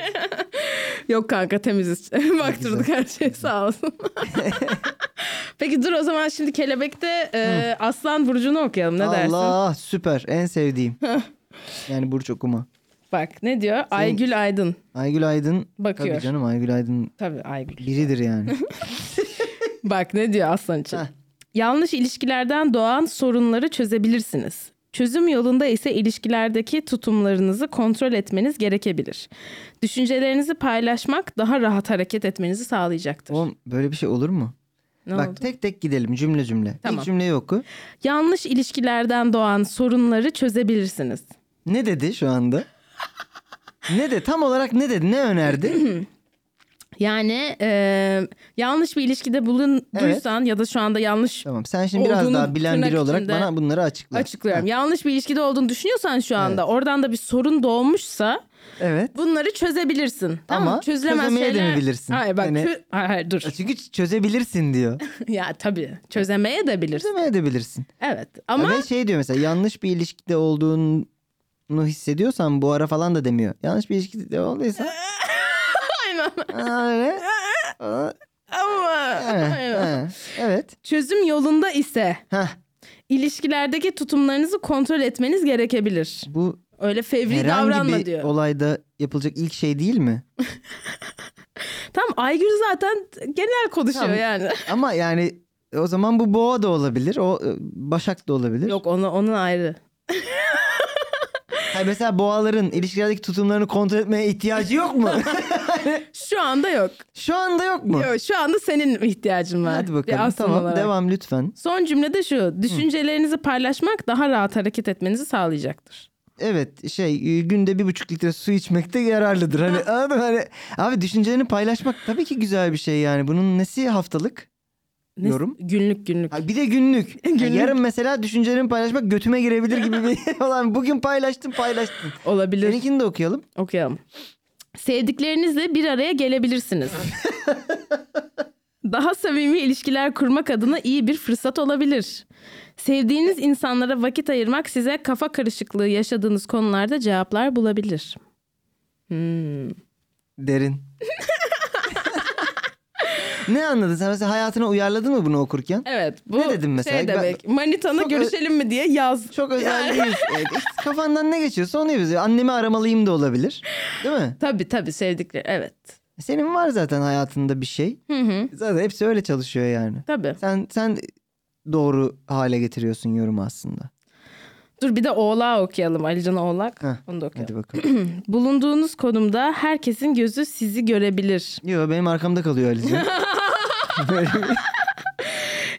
Speaker 1: yok kanka temiziz. Baktırdık her şey sağ olsun. Peki dur o zaman şimdi kelebekte e, aslan burcunu okuyalım ne dersin?
Speaker 2: Allah süper en sevdiğim. yani Burç okuma.
Speaker 1: Bak ne diyor? Aygül Aydın.
Speaker 2: Aygül Aydın.
Speaker 1: Bakıyor.
Speaker 2: Tabii canım Aygül Aydın
Speaker 1: Tabii Aygül.
Speaker 2: biridir yani.
Speaker 1: Bak ne diyor aslan için.
Speaker 2: Heh.
Speaker 1: Yanlış ilişkilerden doğan sorunları çözebilirsiniz. Çözüm yolunda ise ilişkilerdeki tutumlarınızı kontrol etmeniz gerekebilir. Düşüncelerinizi paylaşmak daha rahat hareket etmenizi sağlayacaktır.
Speaker 2: Oğlum böyle bir şey olur mu?
Speaker 1: ne
Speaker 2: Bak
Speaker 1: oldu?
Speaker 2: tek tek gidelim cümle cümle.
Speaker 1: Tamam.
Speaker 2: İlk cümleyi oku.
Speaker 1: Yanlış ilişkilerden doğan sorunları çözebilirsiniz.
Speaker 2: Ne dedi şu anda? ne de tam olarak ne dedi? Ne önerdi?
Speaker 1: Yani e, yanlış bir ilişkide bulunduysan ya da şu anda yanlış
Speaker 2: tamam sen şimdi biraz
Speaker 1: Olduğunu
Speaker 2: daha bilen
Speaker 1: tırnak
Speaker 2: biri olarak
Speaker 1: içinde
Speaker 2: bana bunları açıkla.
Speaker 1: açıklıyorum. Yanlış bir ilişkide olduğunu düşünüyorsan şu anda oradan da bir sorun doğmuşsa
Speaker 2: Evet.
Speaker 1: Bunları çözebilirsin. Tamam.
Speaker 2: Ama
Speaker 1: mı? Çözülemez
Speaker 2: çözemeye de mi
Speaker 1: şeyler...
Speaker 2: bilirsin?
Speaker 1: Hayır bak.
Speaker 2: Hani-
Speaker 1: çö- Hayır, hayır, dur.
Speaker 2: Çünkü ç- çözebilirsin diyor.
Speaker 1: ya tabii. Çözemeye de bilirsin.
Speaker 2: Çözemeye de bilirsin.
Speaker 1: Evet. Ama
Speaker 2: Ve şey diyor mesela yanlış bir ilişkide olduğunu hissediyorsan bu ara falan da demiyor. Yanlış bir ilişkide olduysa
Speaker 1: aynen.
Speaker 2: aa, öyle. Aa,
Speaker 1: Ama
Speaker 2: evet,
Speaker 1: aynen.
Speaker 2: ha, evet.
Speaker 1: Çözüm yolunda ise
Speaker 2: Hah,
Speaker 1: ilişkilerdeki tutumlarınızı kontrol etmeniz gerekebilir.
Speaker 2: bu
Speaker 1: Öyle fevri
Speaker 2: herhangi
Speaker 1: davranma
Speaker 2: bir
Speaker 1: diyor.
Speaker 2: olayda yapılacak ilk şey değil mi?
Speaker 1: Tam Aygül zaten genel konuşuyor
Speaker 2: Tamam.
Speaker 1: yani.
Speaker 2: Ama yani o zaman bu boğa da olabilir. O e, başak da olabilir.
Speaker 1: Yok onu onun ayrı.
Speaker 2: Hayır, mesela boğaların ilişkilerdeki tutumlarını kontrol etmeye ihtiyacı yok mu?
Speaker 1: Şu anda yok.
Speaker 2: Şu anda yok mu?
Speaker 1: Yok şu anda senin ihtiyacın var.
Speaker 2: Hadi
Speaker 1: Bir
Speaker 2: bakalım.
Speaker 1: aslan
Speaker 2: Tamam
Speaker 1: olarak.
Speaker 2: devam lütfen.
Speaker 1: Son cümlede şu. Düşüncelerinizi paylaşmak daha rahat hareket etmenizi sağlayacaktır.
Speaker 2: Evet şey e, günde bir buçuk litre su içmek de yararlıdır. Hani, anladın mı? Hani, abi düşüncelerini paylaşmak tabii ki güzel bir şey yani. Bunun nesi haftalık?
Speaker 1: Ne-
Speaker 2: Yorum?
Speaker 1: Günlük günlük.
Speaker 2: Ha, bir de günlük.
Speaker 1: Günlük.
Speaker 2: Yani yarın mesela düşüncelerimi paylaşmak götüme girebilir gibi bir olan. Bugün paylaştım paylaştım.
Speaker 1: Olabilir.
Speaker 2: Seninkini de okuyalım.
Speaker 1: Okuyalım. Sevdiklerinizle bir araya gelebilirsiniz. Daha samimi ilişkiler kurmak adına iyi bir fırsat olabilir. Sevdiğiniz insanlara vakit ayırmak size kafa karışıklığı yaşadığınız konularda cevaplar bulabilir. Hmm.
Speaker 2: Derin. ne anladın sen mesela hayatına uyarladın mı bunu okurken?
Speaker 1: Evet bu
Speaker 2: Ne dedim mesela?
Speaker 1: şey
Speaker 2: Ben-
Speaker 1: demek. Manitanı
Speaker 2: Çok ö-
Speaker 1: görüşelim mi diye yaz.
Speaker 2: Çok özel değil. Evet, işte kafandan ne geçiyorsa onu yapıyorsun. Annemi aramalıyım da olabilir. Değil mi?
Speaker 1: Tabii tabii sevdikleri evet.
Speaker 2: Senin var zaten hayatında bir şey.
Speaker 1: Hı hı.
Speaker 2: Zaten hepsi öyle çalışıyor yani.
Speaker 1: Tabii.
Speaker 2: Sen sen doğru hale getiriyorsun yorumu aslında.
Speaker 1: Dur bir de Oğlak okuyalım. Alican Oğlak.
Speaker 2: Heh,
Speaker 1: Onu da okuyalım.
Speaker 2: Hadi bakalım.
Speaker 1: Bulunduğunuz konumda herkesin gözü sizi görebilir.
Speaker 2: Yo benim arkamda kalıyor Ali'ciğim.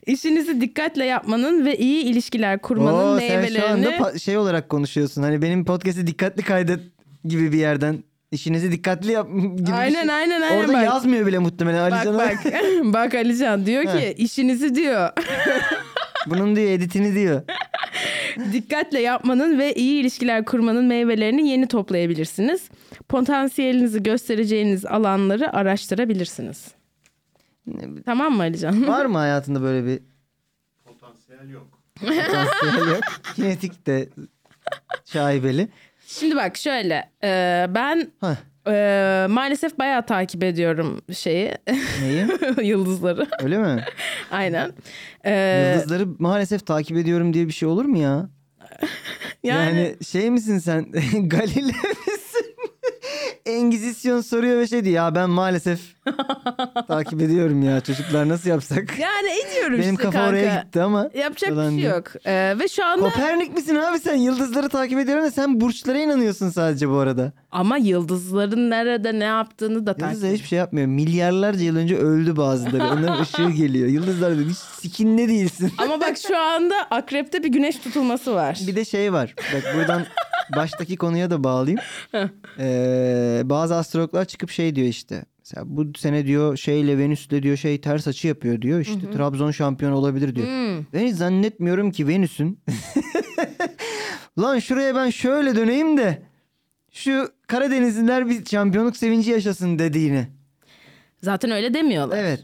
Speaker 1: İşinizi dikkatle yapmanın ve iyi ilişkiler kurmanın
Speaker 2: Oo, sen şu anda
Speaker 1: meyvelerini
Speaker 2: pa- şey olarak konuşuyorsun. Hani benim podcast'i dikkatli kaydet gibi bir yerden. İşinizi dikkatli yap gibi bir
Speaker 1: Aynen
Speaker 2: şey.
Speaker 1: aynen aynen
Speaker 2: Orada
Speaker 1: bak.
Speaker 2: yazmıyor bile muhtemelen
Speaker 1: bak
Speaker 2: Ali'ciğim.
Speaker 1: bak. bak Alican diyor ki işinizi diyor.
Speaker 2: Bunun diyor editini diyor.
Speaker 1: Dikkatle yapmanın ve iyi ilişkiler kurmanın meyvelerini yeni toplayabilirsiniz. Potansiyelinizi göstereceğiniz alanları araştırabilirsiniz. Tamam mı Alican?
Speaker 2: Var mı hayatında böyle bir
Speaker 3: Potansiyel yok.
Speaker 2: potansiyel yok? Kinetik de şaibeli.
Speaker 1: Şimdi bak şöyle e, ben
Speaker 2: Hah,
Speaker 1: e, maalesef bayağı takip ediyorum şeyi
Speaker 2: neyi?
Speaker 1: yıldızları
Speaker 2: Öyle mi?
Speaker 1: aynen. E,
Speaker 2: Yıldızları maalesef takip ediyorum diye bir şey olur mu ya? Yani,
Speaker 1: yani,
Speaker 2: şey misin sen? Galile misin? Engizisyon soruyor ve şey diyor ya ben maalesef takip ediyorum ya çocuklar nasıl yapsak?
Speaker 1: yani ediyorum
Speaker 2: Benim
Speaker 1: işte
Speaker 2: kafa
Speaker 1: kanka.
Speaker 2: oraya gitti ama.
Speaker 1: Yapacak
Speaker 2: falan
Speaker 1: bir şey
Speaker 2: diyor.
Speaker 1: yok. E, ve şu anda
Speaker 2: Kopernik misin abi sen? Yıldızları takip ediyorum da sen burçlara inanıyorsun sadece bu arada.
Speaker 1: ama yıldızların nerede ne yaptığını da takip
Speaker 2: Yıldızlar hiçbir şey yapmıyor. Milyarlarca yıl önce öldü bazıları. Onların ışığı geliyor. Yıldızlar da hiç sikinde değilsin.
Speaker 1: Ama bak şu anda akrepte bir güneş tutulması var.
Speaker 2: Bir de şey var. Bak buradan baştaki konuya da bağlayayım. Ee, bazı astrologlar çıkıp şey diyor işte. Mesela bu sene diyor şeyle Venüs'le diyor şey ters açı yapıyor diyor. İşte Trabzon şampiyon olabilir diyor.
Speaker 1: Hmm.
Speaker 2: Ben hiç zannetmiyorum ki Venüs'ün. Lan şuraya ben şöyle döneyim de şu Karadenizliler bir şampiyonluk sevinci yaşasın dediğini.
Speaker 1: Zaten öyle demiyorlar.
Speaker 2: Evet.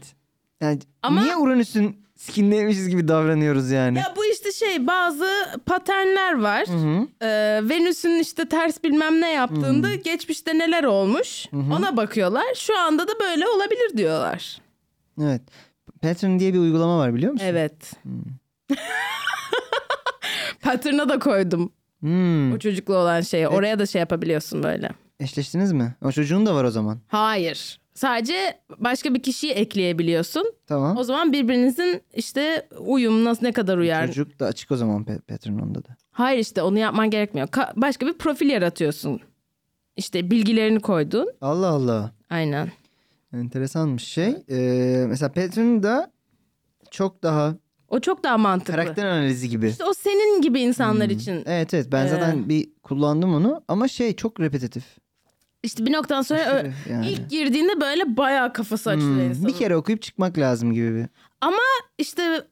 Speaker 2: Yani
Speaker 1: Ama-
Speaker 2: niye Uranüs'ün skinleymişiz gibi davranıyoruz yani?
Speaker 1: Ya bu işte şey bazı paternler var.
Speaker 2: Hı hı.
Speaker 1: Ee, Venüs'ün işte ters bilmem ne yaptığında geçmişte neler olmuş ona bakıyorlar. Şu anda da böyle olabilir diyorlar.
Speaker 2: Evet. Pattern diye bir uygulama var biliyor musun?
Speaker 1: Evet. Pattern'a Hmm. da koydum
Speaker 2: Hmm.
Speaker 1: o çocukla olan şeyi. Oraya da şey yapabiliyorsun böyle.
Speaker 2: Eşleştiniz mi? O çocuğun da var o zaman.
Speaker 1: Hayır. Sadece başka bir kişiyi ekleyebiliyorsun.
Speaker 2: Tamam.
Speaker 1: O zaman birbirinizin işte uyum nasıl ne kadar uyar.
Speaker 2: Çocuk da açık o zaman pe- pattern onda da.
Speaker 1: Hayır işte onu yapman gerekmiyor. Ka- başka bir profil yaratıyorsun. İşte bilgilerini koydun.
Speaker 2: Allah Allah.
Speaker 1: Aynen.
Speaker 2: Enteresanmış şey. Ee, mesela pattern da çok daha
Speaker 1: O çok daha mantıklı.
Speaker 2: karakter analizi gibi.
Speaker 1: İşte Ee. o senin gibi insanlar için.
Speaker 2: Evet evet ben zaten bir kullandım onu ama şey çok repetitif.
Speaker 1: İşte bir noktadan sonra ö-
Speaker 2: Aşırı yani.
Speaker 1: ilk girdiğinde böyle bayağı kafası açılıyor
Speaker 2: Hmm,
Speaker 1: insanın.
Speaker 2: bir kere okuyup çıkmak lazım gibi bir.
Speaker 1: İşte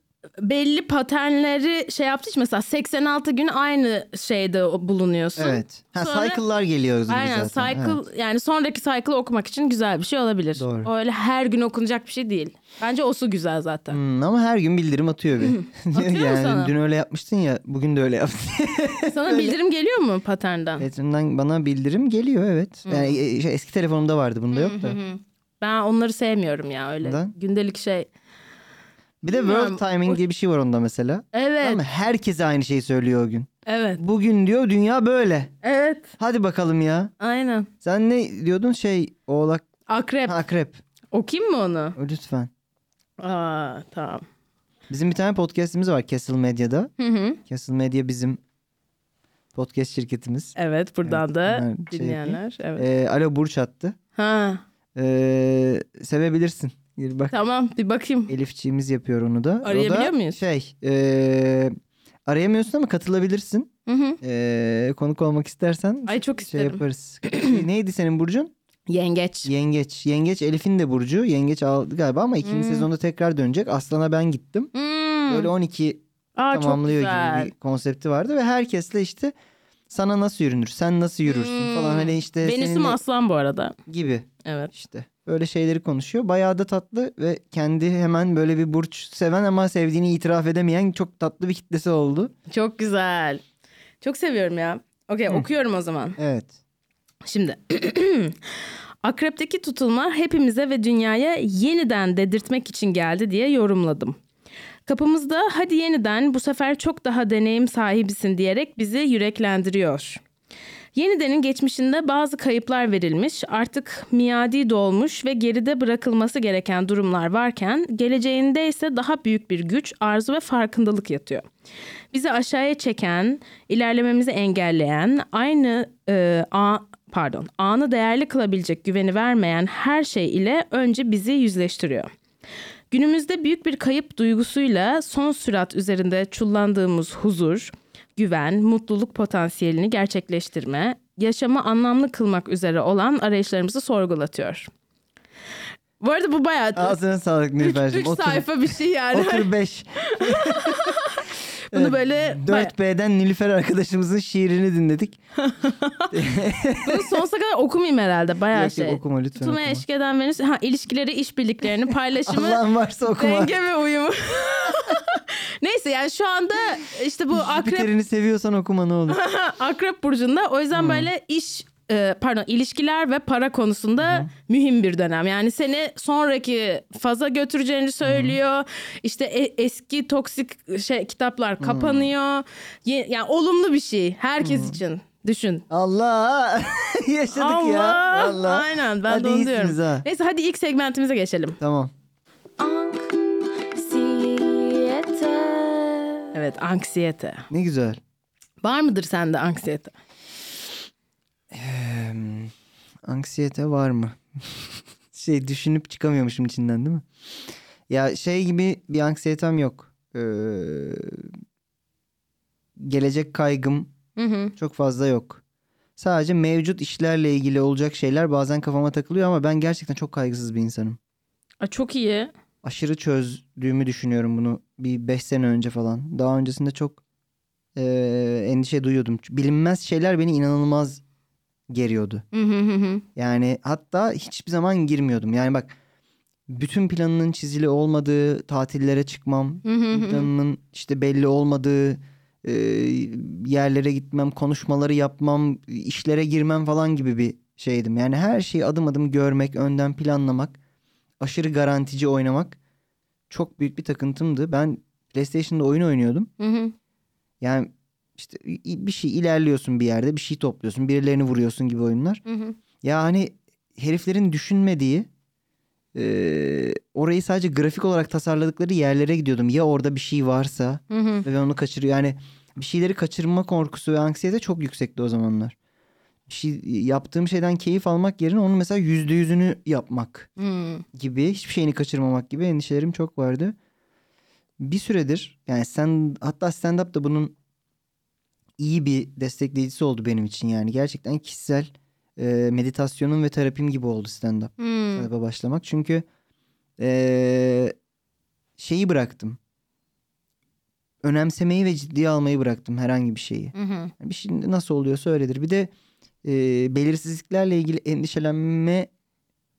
Speaker 1: belli paternleri şey yaptı için mesela 86 gün aynı şeyde o- bulunuyorsun.
Speaker 2: Evet. Ha,
Speaker 1: Sonra-
Speaker 2: cycle'lar geliyor gibi
Speaker 1: Aynen
Speaker 2: zaten.
Speaker 1: cycle
Speaker 2: Evet.
Speaker 1: yani sonraki cycle'ı okumak için güzel bir şey olabilir.
Speaker 2: Doğru.
Speaker 1: O öyle her gün okunacak bir şey değil. Bence osu güzel zaten.
Speaker 2: Hmm, ama her gün bildirim atıyor bir.
Speaker 1: Atıyor mu
Speaker 2: yani
Speaker 1: sana?
Speaker 2: dün öyle yapmıştın ya bugün de öyle yaptın.
Speaker 1: Sana bildirim geliyor mu paternden?
Speaker 2: Patreon'dan bana bildirim geliyor evet. Yani e, şey, eski telefonumda vardı bunda yok da.
Speaker 1: Ben onları sevmiyorum ya öyle.
Speaker 2: Neden?
Speaker 1: Gündelik şey.
Speaker 2: Bir de
Speaker 1: Bilmiyorum.
Speaker 2: world timing diye bir şey var onda mesela.
Speaker 1: Evet,
Speaker 2: Ama herkese aynı şeyi söylüyor o gün.
Speaker 1: evet,
Speaker 2: Bugün diyor dünya böyle.
Speaker 1: evet.
Speaker 2: Hadi bakalım ya.
Speaker 1: Aynen.
Speaker 2: Sen ne diyordun şey oğlak
Speaker 1: Akrep.
Speaker 2: Ha, akrep
Speaker 1: Okuyayım mı onu?
Speaker 2: lütfen.
Speaker 1: Aa, tamam.
Speaker 2: Bizim bir tane podcast'imiz var Castle Medya'da.
Speaker 1: Hı hı.
Speaker 2: Castle Medya bizim podcast şirketimiz.
Speaker 1: Evet, buradan da
Speaker 2: Evet, ben şey
Speaker 1: dinleyenler. evet.
Speaker 2: Ee, alo Burç attı.
Speaker 1: Ha,
Speaker 2: Ee, sevebilirsin. Gir bak.
Speaker 1: tamam bir bakayım.
Speaker 2: Elifçiğimiz yapıyor onu da. O da
Speaker 1: Arayabiliyor muyuz?
Speaker 2: Şey, e, arayamıyorsun ama katılabilirsin.
Speaker 1: Hı hı.
Speaker 2: E, konuk olmak istersen
Speaker 1: Ay çok
Speaker 2: şey
Speaker 1: isterim.
Speaker 2: yaparız. Neydi senin burcun?
Speaker 1: Yengeç.
Speaker 2: Yengeç. Yengeç Elif'in de burcu. Yengeç aldı galiba ama ikinci sezonda tekrar dönecek. Aslan'a ben gittim.
Speaker 1: Hmm.
Speaker 2: Böyle 12
Speaker 1: Aa, çok
Speaker 2: tamamlıyor
Speaker 1: güzel.
Speaker 2: gibi bir konsepti vardı ve herkesle işte sana nasıl yürünür, sen nasıl yürürsün
Speaker 1: Hmm.
Speaker 2: falan hani işte
Speaker 1: Venüs'üm
Speaker 2: seninle-
Speaker 1: aslan bu arada.
Speaker 2: gibi
Speaker 1: Evet.
Speaker 2: işte. Böyle şeyleri konuşuyor. Bayağı da tatlı ve kendi hemen böyle bir burç seven ama sevdiğini itiraf edemeyen çok tatlı bir kitlesi oldu.
Speaker 1: Çok güzel. Çok seviyorum ya. Okey okuyorum o zaman.
Speaker 2: Evet.
Speaker 1: Şimdi akrepteki tutulma hepimize ve dünyaya yeniden dedirtmek için geldi diye yorumladım. Kapımızda hadi yeniden bu sefer çok daha deneyim sahibisin diyerek bizi yüreklendiriyor. Yeniden'in geçmişinde bazı kayıplar verilmiş, artık miadi dolmuş ve geride bırakılması gereken durumlar varken geleceğinde ise daha büyük bir güç, arzu ve farkındalık yatıyor. Bizi aşağıya çeken, ilerlememizi engelleyen, aynı e, a, pardon, anı değerli kılabilecek güveni vermeyen her şey ile önce bizi yüzleştiriyor. Günümüzde büyük bir kayıp duygusuyla son sürat üzerinde çullandığımız huzur, güven, mutluluk potansiyelini gerçekleştirme, yaşamı anlamlı kılmak üzere olan arayışlarımızı sorgulatıyor. Bu arada bu bayağı
Speaker 2: Ağzına sağlık Nilüfer'cim.
Speaker 1: 3 sayfa bir şey yani.
Speaker 2: Otur 5.
Speaker 1: Bunu
Speaker 2: Evet,
Speaker 1: böyle baya-
Speaker 2: 4B'den Nilüfer arkadaşımızın şiirini dinledik.
Speaker 1: bunu sonsuza kadar okumayayım herhalde bayağı
Speaker 2: Yok,
Speaker 1: şey.
Speaker 2: yok, okuma lütfen
Speaker 1: Tutuma
Speaker 2: okuma.
Speaker 1: eşkeden Venüs. Ha, ilişkileri, işbirliklerini, paylaşımı,
Speaker 2: Allah'ın varsa okuma.
Speaker 1: denge ve uyumu. Neyse yani şu anda işte bu akrep
Speaker 2: Jüpiter'ini seviyorsan okuma ne olur.
Speaker 1: akrep burcunda. O
Speaker 2: Hmm.
Speaker 1: yüzden böyle iş e, pardon ilişkiler ve para konusunda mühim bir dönem. Yani seni sonraki faza götüreceğini söylüyor. İşte e- eski toksik şey kitaplar kapanıyor. Ye- yani olumlu bir şey herkes için. Düşün.
Speaker 2: Allah! Yaşadık ya. Allah.
Speaker 1: Aynen ben
Speaker 2: Hadi
Speaker 1: de onu diyorum.
Speaker 2: iyisiniz ha.
Speaker 1: Neyse hadi ilk segmentimize geçelim.
Speaker 2: Tamam.
Speaker 1: Evet anksiyete.
Speaker 2: Ne güzel.
Speaker 1: Var mıdır sende anksiyete?
Speaker 2: Em, anksiyete var mı? şey düşünüp çıkamıyormuşum içinden değil mi? Ya şey gibi bir anksiyetem yok. Ee, gelecek kaygım
Speaker 1: Hı hı.
Speaker 2: çok fazla yok. Sadece mevcut işlerle ilgili olacak şeyler bazen kafama takılıyor ama ben gerçekten çok kaygısız bir insanım.
Speaker 1: Aa, çok iyi.
Speaker 2: Aşırı çözdüğümü düşünüyorum bunu bir 5 sene önce falan. Daha öncesinde çok eee, endişe duyuyordum. Bilinmez şeyler beni inanılmaz geriyordu.
Speaker 1: Hı hı hı hı.
Speaker 2: Yani hatta hiçbir zaman girmiyordum. Yani bak bütün planının çizili olmadığı tatillere çıkmam,
Speaker 1: Hı hı hı.
Speaker 2: planının işte belli olmadığı e, yerlere gitmem, konuşmaları yapmam, işlere girmem falan gibi bir şeydim. Yani her şeyi adım adım görmek, önden planlamak, aşırı garantici oynamak çok büyük bir takıntımdı. Ben PlayStation'da oyun oynuyordum.
Speaker 1: Hı hı.
Speaker 2: Yani işte i- bir şey ilerliyorsun bir yerde, bir şey topluyorsun, birilerini vuruyorsun gibi oyunlar.
Speaker 1: Hı hı.
Speaker 2: Ya hani heriflerin düşünmediği eee, orayı sadece grafik olarak tasarladıkları yerlere gidiyordum. Ya orada bir şey varsa
Speaker 1: Hı hı.
Speaker 2: ve ben onu kaçırıyor. Yani bir şeyleri kaçırma korkusu ve anksiyete çok yüksekti o zamanlar. Bir şey yaptığım şeyden keyif almak yerine onun mesela yüzde yüzünü yapmak
Speaker 1: Hı.
Speaker 2: gibi hiçbir şeyini kaçırmamak gibi endişelerim çok vardı. Bir süredir yani sen hatta stand up da bunun iyi bir destekleyicisi oldu benim için yani gerçekten kişisel e, meditasyonum ve terapim gibi oldu stand up
Speaker 1: Hı.
Speaker 2: galiba başlamak. Çünkü eee, şeyi bıraktım. Önemsemeyi ve ciddiye almayı bıraktım herhangi bir şeyi.
Speaker 1: Hı hı.
Speaker 2: Yani Bir şey nasıl oluyorsa öyledir. Bir de eee, belirsizliklerle ilgili endişelenme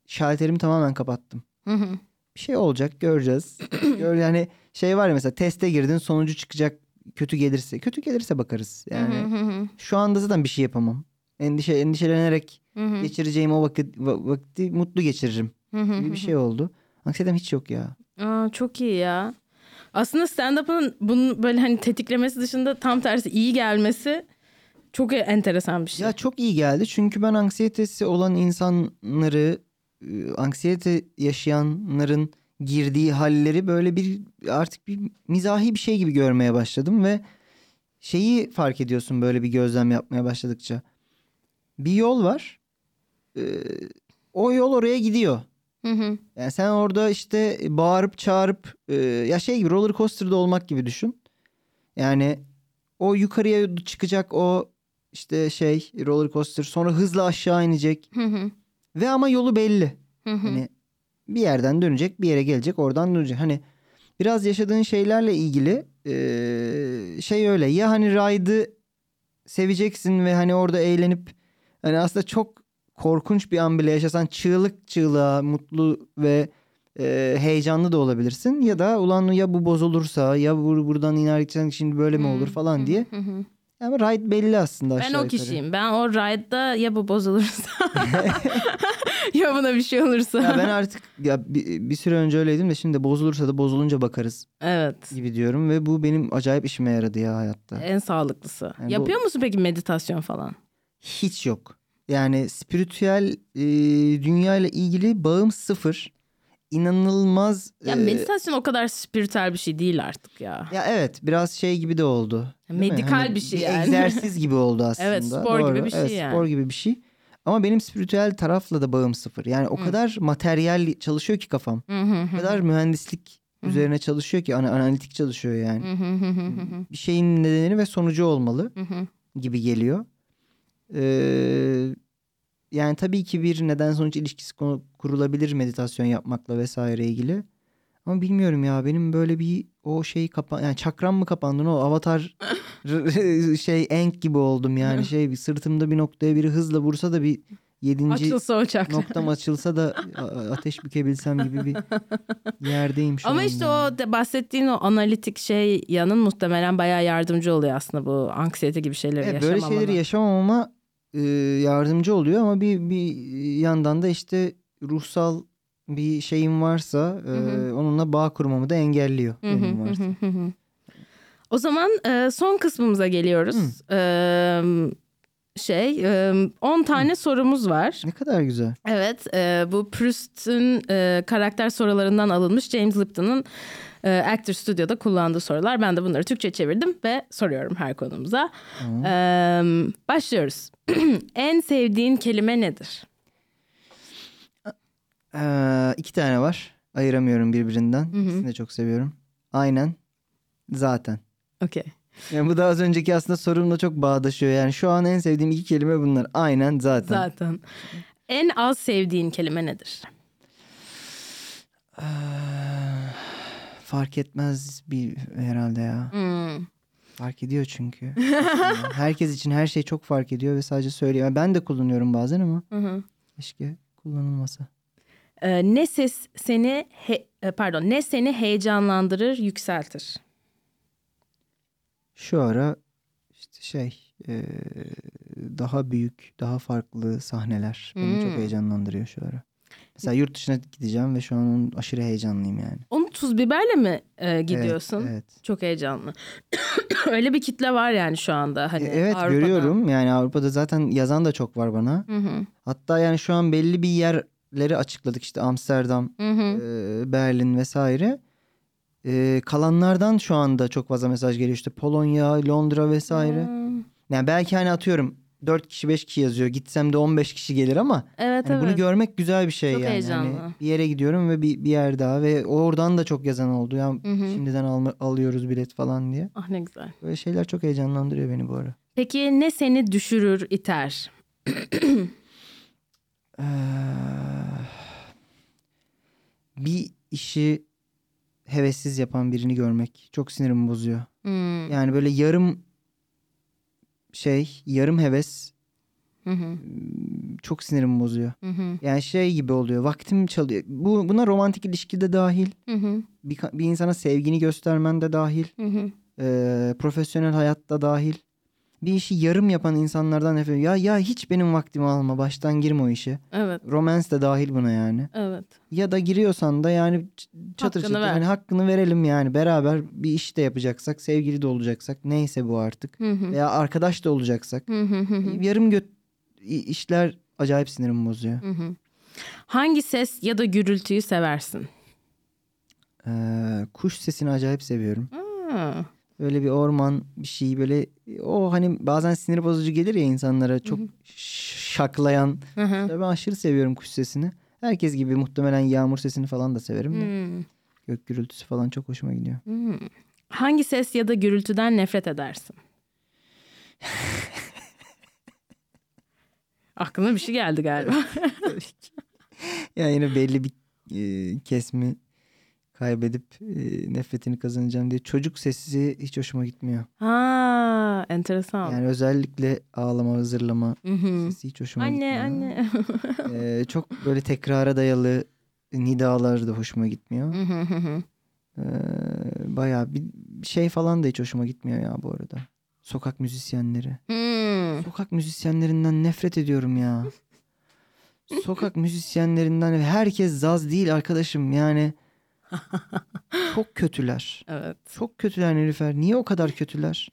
Speaker 2: şalterimi tamamen kapattım.
Speaker 1: Hı hı.
Speaker 2: Bir şey olacak göreceğiz. Gör, yani şey var ya mesela teste girdin sonucu çıkacak kötü gelirse. Kötü gelirse bakarız.
Speaker 1: Hı hı
Speaker 2: Yani
Speaker 1: hı hı.
Speaker 2: şu anda zaten bir şey yapamam. Endişe, endişelenerek
Speaker 1: Hı hı.
Speaker 2: geçireceğim o vakit, va- vakti mutlu geçiririm
Speaker 1: Hı hı
Speaker 2: gibi
Speaker 1: hı.
Speaker 2: bir şey oldu. Anksiyetem hiç yok ya.
Speaker 1: Aa, çok iyi ya. Aslında stand-up'ın bunun böyle hani tetiklemesi dışında tam tersi iyi gelmesi çok e- enteresan bir şey.
Speaker 2: Ya çok iyi geldi çünkü ben anksiyetesi olan insanları, e, anksiyete yaşayanların girdiği halleri böyle bir artık bir mizahi bir şey gibi görmeye başladım ve şeyi fark ediyorsun böyle bir gözlem yapmaya başladıkça. Bir yol var. E, o yol oraya gidiyor.
Speaker 1: Hı hı.
Speaker 2: Yani sen orada işte bağırıp çağırıp e, ya şey gibi roller coaster'da olmak gibi düşün. Yani o yukarıya çıkacak o işte şey roller coaster sonra hızla aşağı inecek
Speaker 1: Hı hı.
Speaker 2: ve ama yolu belli.
Speaker 1: Hı hı.
Speaker 2: Hani bir yerden dönecek bir yere gelecek oradan dönecek. Hani biraz yaşadığın şeylerle ilgili e, şey öyle ya hani ride'ı seveceksin ve hani orada eğlenip hani aslında çok korkunç bir an bile yaşasan çığlık çığlığa mutlu ve e, heyecanlı da olabilirsin ya da ulan ya bu bozulursa ya bu, buradan inerken şimdi böyle mi olur falan diye.
Speaker 1: Hı hı.
Speaker 2: Ama ride belli aslında
Speaker 1: Ben
Speaker 2: aşağı
Speaker 1: o
Speaker 2: yukarı.
Speaker 1: kişiyim. Ben o ride'da ya bu bozulursa ya buna bir şey olursa.
Speaker 2: Ya ben artık ya bir, bir süre önce öyleydim de şimdi bozulursa da bozulunca bakarız
Speaker 1: Evet.
Speaker 2: gibi diyorum ve bu benim acayip işime yaradı ya hayatta.
Speaker 1: En sağlıklısı.
Speaker 2: Yani bu-
Speaker 1: Yapıyor musun peki meditasyon falan?
Speaker 2: Hiç yok. Yani spiritüel e, dünya ile ilgili bağım sıfır. İnanılmaz.
Speaker 1: Ya
Speaker 2: e,
Speaker 1: meditasyon o kadar spiritüel bir şey değil artık ya.
Speaker 2: ya evet biraz şey gibi de oldu. değil mi? Hani
Speaker 1: Medikal bir şey yani.
Speaker 2: Egzersiz gibi oldu aslında.
Speaker 1: Evet, spor gibi
Speaker 2: Doğru.
Speaker 1: bir şey
Speaker 2: Evet,
Speaker 1: yani.
Speaker 2: Spor gibi bir şey. Ama benim spiritüel tarafla da bağım sıfır. Yani o
Speaker 1: Hı.
Speaker 2: kadar materyal çalışıyor ki kafam.
Speaker 1: Hı hı
Speaker 2: O
Speaker 1: hı.
Speaker 2: kadar mühendislik
Speaker 1: Hı.
Speaker 2: üzerine çalışıyor ki ana- analitik çalışıyor yani.
Speaker 1: Hı hı hı hı hı.
Speaker 2: bir şeyin nedeni ve sonucu olmalı
Speaker 1: Hı hı.
Speaker 2: gibi geliyor. Ee, yani tabii ki bir neden sonuç ilişkisi konu- kurulabilir meditasyon yapmakla vesaire ilgili. Ama bilmiyorum ya benim böyle bir o şey kapan yani çakram mı kapandı ne o avatar r- şey enk gibi oldum yani şey bir sırtımda bir noktaya biri hızla vursa da bir yedinci
Speaker 1: Açılsa uçak.
Speaker 2: noktam açılsa da a- a- ateş bükebilsem gibi bir yerdeyim şu
Speaker 1: Ama
Speaker 2: an
Speaker 1: işte
Speaker 2: yani.
Speaker 1: o de- bahsettiğin o analitik şey yanın muhtemelen bayağı yardımcı oluyor aslında bu anksiyete gibi şeyleri
Speaker 2: Evet, Ee, böyle
Speaker 1: yaşamamana.
Speaker 2: şeyleri yaşamamama e, yardımcı oluyor ama bir bir yandan da işte ruhsal bir şeyim varsa e,
Speaker 1: Hı
Speaker 2: onunla bağ kurmamı da engelliyor
Speaker 1: Hı hı,
Speaker 2: benim
Speaker 1: hı
Speaker 2: varsa.
Speaker 1: hı, hı hı. O zaman e, son kısmımıza geliyoruz. Eee, şey, e, 10 tane sorumuz var.
Speaker 2: Ne kadar güzel.
Speaker 1: Evet, e, bu Proust'un e, karakter sorularından alınmış James Lipton'un e, Actor Studio'da kullandığı sorular. Ben de bunları Türkçe çevirdim ve soruyorum her konumuza.
Speaker 2: Tamam.
Speaker 1: Eee, başlıyoruz. en sevdiğin kelime nedir?
Speaker 2: Ee, iki tane var. Ayıramıyorum birbirinden. İkisini de çok seviyorum. Aynen. Zaten.
Speaker 1: Okey.
Speaker 2: Yani bu da az önceki aslında sorumla çok bağdaşıyor. Yani şu an en sevdiğim iki kelime bunlar. Aynen zaten.
Speaker 1: Zaten. En az sevdiğin kelime nedir?
Speaker 2: Ee, fark etmez bir herhalde ya.
Speaker 1: Hmm.
Speaker 2: Fark ediyor çünkü. Yani Herkes için her şey çok fark ediyor ve sadece söylüyor. Yani Ben de kullanıyorum bazen ama
Speaker 1: Hı hı.
Speaker 2: keşke kullanılmasa.
Speaker 1: Ee, ne ses seni he- e, pardon ne seni heyecanlandırır, yükseltir?
Speaker 2: Şu ara işte şey ee, daha büyük, daha farklı sahneler beni çok
Speaker 1: Hmm.
Speaker 2: heyecanlandırıyor şu ara. Mesela yurt dışına gideceğim ve şu an onun aşırı heyecanlıyım yani.
Speaker 1: Onu tuz biberle mi e,
Speaker 2: Evet,
Speaker 1: gidiyorsun?
Speaker 2: evet.
Speaker 1: Çok heyecanlı. Öyle bir kitle var yani şu anda hani
Speaker 2: E, evet
Speaker 1: Avrupa'da.
Speaker 2: görüyorum. Yani Avrupa'da zaten yazan da çok var bana.
Speaker 1: Hı hı,
Speaker 2: Hatta yani şu an belli bir yerleri açıkladık işte Amsterdam,
Speaker 1: hı hı.
Speaker 2: e, Berlin vesaire. E, kalanlardan şu anda çok fazla mesaj geliyor işte Polonya, Londra vesaire.
Speaker 1: Hmm,
Speaker 2: Yani belki hani atıyorum 4 kişi 5 kişi yazıyor. Gitsem de 15 kişi gelir ama
Speaker 1: Evet
Speaker 2: hani
Speaker 1: evet.
Speaker 2: bunu görmek güzel bir şey
Speaker 1: Çok
Speaker 2: yani. Hani
Speaker 1: heyecanlı.
Speaker 2: bir yere gidiyorum ve bir, bir yer daha ve oradan da çok yazan oldu. Yani
Speaker 1: Hı hı.
Speaker 2: şimdiden alma- alıyoruz bilet falan diye.
Speaker 1: ah ne güzel.
Speaker 2: Böyle şeyler çok heyecanlandırıyor beni bu ara.
Speaker 1: Peki ne seni düşürür, iter?
Speaker 2: Ee, bir işi hevessiz yapan birini görmek çok sinirimi bozuyor.
Speaker 1: Hmm,
Speaker 2: Yani böyle yarım şey, yarım heves
Speaker 1: Hı hı,
Speaker 2: çok sinirimi bozuyor.
Speaker 1: hı hı,
Speaker 2: Yani şey gibi oluyor. Vaktim çalıyor. Bu buna romantik ilişkide dahil,
Speaker 1: hı hı,
Speaker 2: bir, ka- bir insana sevgini göstermen de dahil,
Speaker 1: hı hı.
Speaker 2: ee, profesyonel hayatta dahil. Bir işi yarım yapan insanlardan nefret Ya ya hiç benim vaktimi alma. Baştan girme o işe.
Speaker 1: Evet,
Speaker 2: Romance de dahil buna yani.
Speaker 1: evet.
Speaker 2: Ya da giriyorsan da yani ç- çatır
Speaker 1: Hakkını
Speaker 2: çatır
Speaker 1: ver.
Speaker 2: hani hakkını verelim yani beraber bir iş de yapacaksak, sevgili de olacaksak neyse bu artık
Speaker 1: Hı hı,
Speaker 2: veya arkadaş da olacaksak.
Speaker 1: hı hı, hı hı.
Speaker 2: Yarım göt i- işler acayip sinirimi bozuyor.
Speaker 1: Hı hı. Hangi ses ya da gürültüyü seversin?
Speaker 2: Ee, kuş sesini acayip seviyorum.
Speaker 1: Ha,
Speaker 2: Böyle bir orman bir şey böyle o hani bazen sinir bozucu gelir ya insanlara çok ş- şaklayan.
Speaker 1: hı hı.
Speaker 2: Ben aşırı seviyorum kuş sesini. Herkes gibi muhtemelen yağmur sesini falan da severim. de.
Speaker 1: Hmm,
Speaker 2: Gök gürültüsü falan çok hoşuma gidiyor.
Speaker 1: hmm. Hangi ses ya da gürültüden nefret edersin? Aklına bir şey geldi galiba.
Speaker 2: Ya yine belli bir e, kesimi kaybedip e, nefretini kazanacağım diye. Çocuk sesi hiç hoşuma gitmiyor.
Speaker 1: ha, enteresan.
Speaker 2: Yani özellikle ağlama, zırlama
Speaker 1: Hı hı.
Speaker 2: sesi hiç hoşuma
Speaker 1: Anne
Speaker 2: gitmiyor.
Speaker 1: anne.
Speaker 2: Ee, çok böyle tekrara dayalı nidalar da hoşuma gitmiyor.
Speaker 1: Hı hı hı hı.
Speaker 2: Ee, bayağı bir şey falan da hiç hoşuma gitmiyor ya bu arada. Sokak müzisyenleri.
Speaker 1: Hmm.
Speaker 2: Sokak müzisyenlerinden nefret ediyorum ya. Sokak müzisyenlerinden herkes zaz değil arkadaşım yani. Çok kötüler.
Speaker 1: Evet.
Speaker 2: Çok kötüler Nilüfer. Niye o kadar kötüler?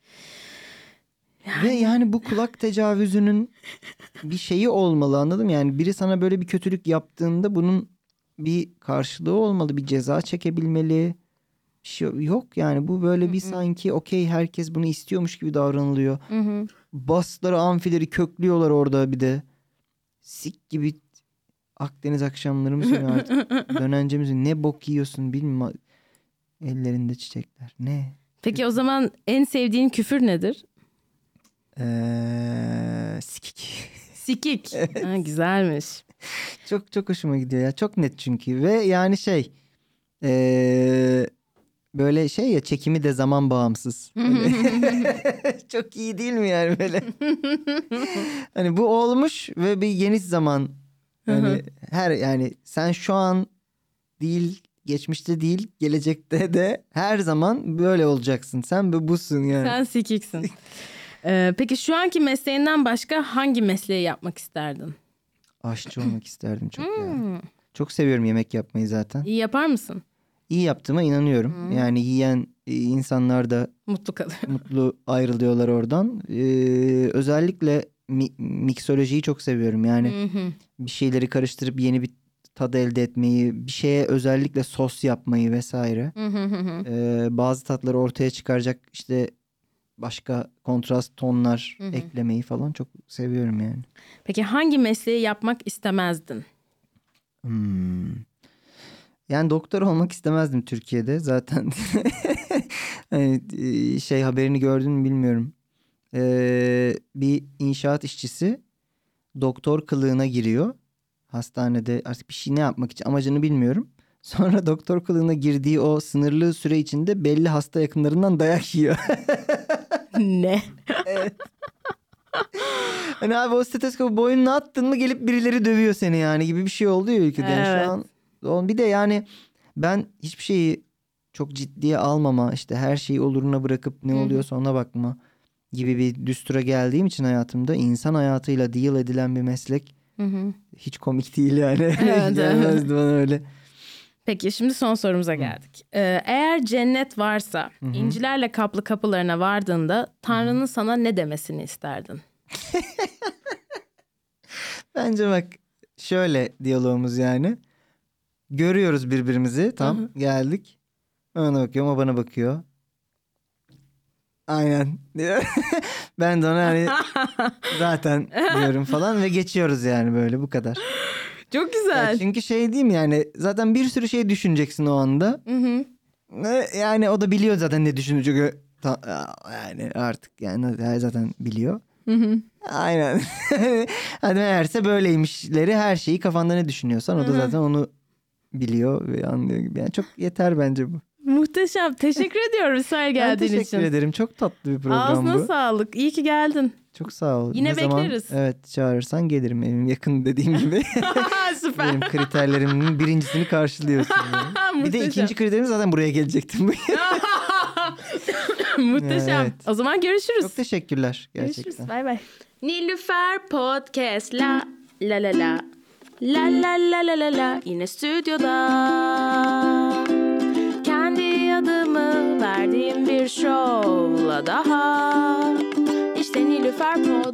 Speaker 2: Ve yani bu kulak tecavüzünün bir şeyi olmalı anladım. Yani biri sana böyle bir kötülük yaptığında bunun bir karşılığı olmalı. Bir ceza çekebilmeli. Bir şey yok yani bu böyle bir sanki okey herkes bunu istiyormuş gibi davranılıyor.
Speaker 1: Hı hı.
Speaker 2: Basları amfileri köklüyorlar orada bir de. Sik gibi Akdeniz akşamları mı sönüyor artık? Dönence mi sönüyor? Ne bok yiyorsun bilmiyorum. Ellerinde çiçekler. Ne?
Speaker 1: Peki o zaman en sevdiğin küfür nedir?
Speaker 2: Ee, sikik.
Speaker 1: Sikik. Ha, güzelmiş.
Speaker 2: çok çok hoşuma gidiyor ya. Çok net çünkü. Ve yani şey Ee, böyle şey ya çekimi de zaman bağımsız. Hani- Çok iyi değil mi yani böyle? hani bu olmuş ve bir geniş zaman.
Speaker 1: Hı
Speaker 2: Hani
Speaker 1: hı.
Speaker 2: her yani sen şu an değil, geçmişte değil, gelecekte de her zaman böyle olacaksın. Sen bu busun yani.
Speaker 1: Sen sikiksin. Ee, peki şu anki mesleğinden başka hangi mesleği yapmak isterdin?
Speaker 2: Aşçı olmak isterdim çok ya.
Speaker 1: Hmm,
Speaker 2: Çok seviyorum yemek yapmayı zaten.
Speaker 1: İyi yapar mısın?
Speaker 2: İyi yaptığıma inanıyorum.
Speaker 1: Hmm.
Speaker 2: Yani yiyen e, insanlar da
Speaker 1: Mutlu kalır.
Speaker 2: mutlu ayrılıyorlar oradan. Ee, özellikle mi- miksolojiyi çok seviyorum. Yani
Speaker 1: Hı hı.
Speaker 2: bir şeyleri karıştırıp yeni bir tadı elde etmeyi, bir şeye özellikle sos yapmayı vesaire.
Speaker 1: Hı hı hı hı.
Speaker 2: Ee, bazı tatları ortaya çıkaracak işte başka kontrast tonlar
Speaker 1: Hı hı.
Speaker 2: eklemeyi falan çok seviyorum yani.
Speaker 1: Peki hangi mesleği yapmak istemezdin?
Speaker 2: Hmm. Yani doktor olmak istemezdim Türkiye'de zaten. Hani, e, şey haberini gördün mü bilmiyorum. Ee, bir inşaat işçisi doktor kılığına giriyor. Hastanede artık bir şey ne yapmak için amacını bilmiyorum. Sonra doktor kılığına girdiği o sınırlı süre içinde belli hasta yakınlarından dayak yiyor.
Speaker 1: ne?
Speaker 2: hani abi o stetoskopu boynuna attın mı gelip birileri dövüyor seni yani gibi bir şey oldu ya ülkede. Yani
Speaker 1: Evet.
Speaker 2: Şu an Oğlum bir de yani ben hiçbir şeyi çok ciddiye almama işte her şeyi oluruna bırakıp ne
Speaker 1: Hı hı.
Speaker 2: oluyorsa ona bakma gibi bir düstura geldiğim için hayatımda insan hayatıyla deal edilen bir meslek
Speaker 1: Hı hı.
Speaker 2: hiç komik değil yani.
Speaker 1: evet.
Speaker 2: Gelmezdi bana öyle.
Speaker 1: Peki şimdi son sorumuza geldik. Ee, eğer cennet varsa
Speaker 2: hı.
Speaker 1: incilerle kaplı kapılarına vardığında Tanrı'nın sana ne demesini isterdin?
Speaker 2: Bence bak şöyle diyalogumuz yani. Görüyoruz birbirimizi tam
Speaker 1: Hı
Speaker 2: geldik. Ona bakıyor o bana bakıyor. Aynen. diyor. ben de ona hani zaten diyorum falan ve geçiyoruz yani böyle bu kadar.
Speaker 1: Çok
Speaker 2: Ya
Speaker 1: güzel.
Speaker 2: çünkü şey diyeyim yani zaten bir sürü şey düşüneceksin o anda.
Speaker 1: Hı hı.
Speaker 2: Ne- Yani o da biliyor zaten ne düşündüğünü. Ta- Yani artık yani zaten biliyor.
Speaker 1: Hı hı.
Speaker 2: Aynen. hani meğerse böyleymişleri her şeyi kafanda ne düşünüyorsan o da
Speaker 1: Hı hı.
Speaker 2: zaten onu biliyor ve anlıyor gibi. Yani çok yeter bence bu.
Speaker 1: Muhteşem. Teşekkür ediyorum İsmail
Speaker 2: Ben
Speaker 1: geldiğin
Speaker 2: teşekkür
Speaker 1: için.
Speaker 2: ederim. Çok tatlı bir program
Speaker 1: Ağzına
Speaker 2: bu.
Speaker 1: sağlık. İyi ki geldin.
Speaker 2: Çok sağ ol.
Speaker 1: Yine
Speaker 2: zaman-
Speaker 1: bekleriz.
Speaker 2: evet çağırırsan gelirim evim yakın dediğim gibi.
Speaker 1: Süper.
Speaker 2: Benim kriterlerimin birincisini karşılıyorsun. yani. Bir de
Speaker 1: Muhteşem.
Speaker 2: ikinci kriterim zaten buraya gelecektim.
Speaker 1: Muhteşem.
Speaker 2: Evet.
Speaker 1: O zaman görüşürüz.
Speaker 2: Çok teşekkürler gerçekten.
Speaker 1: Görüşürüz. Bay bay. Nilüfer Podcast la la la la. La la la la la la yine stüdyoda. Kendi adımı verdiğim bir şovla daha. İşte Nilüfer Podcast.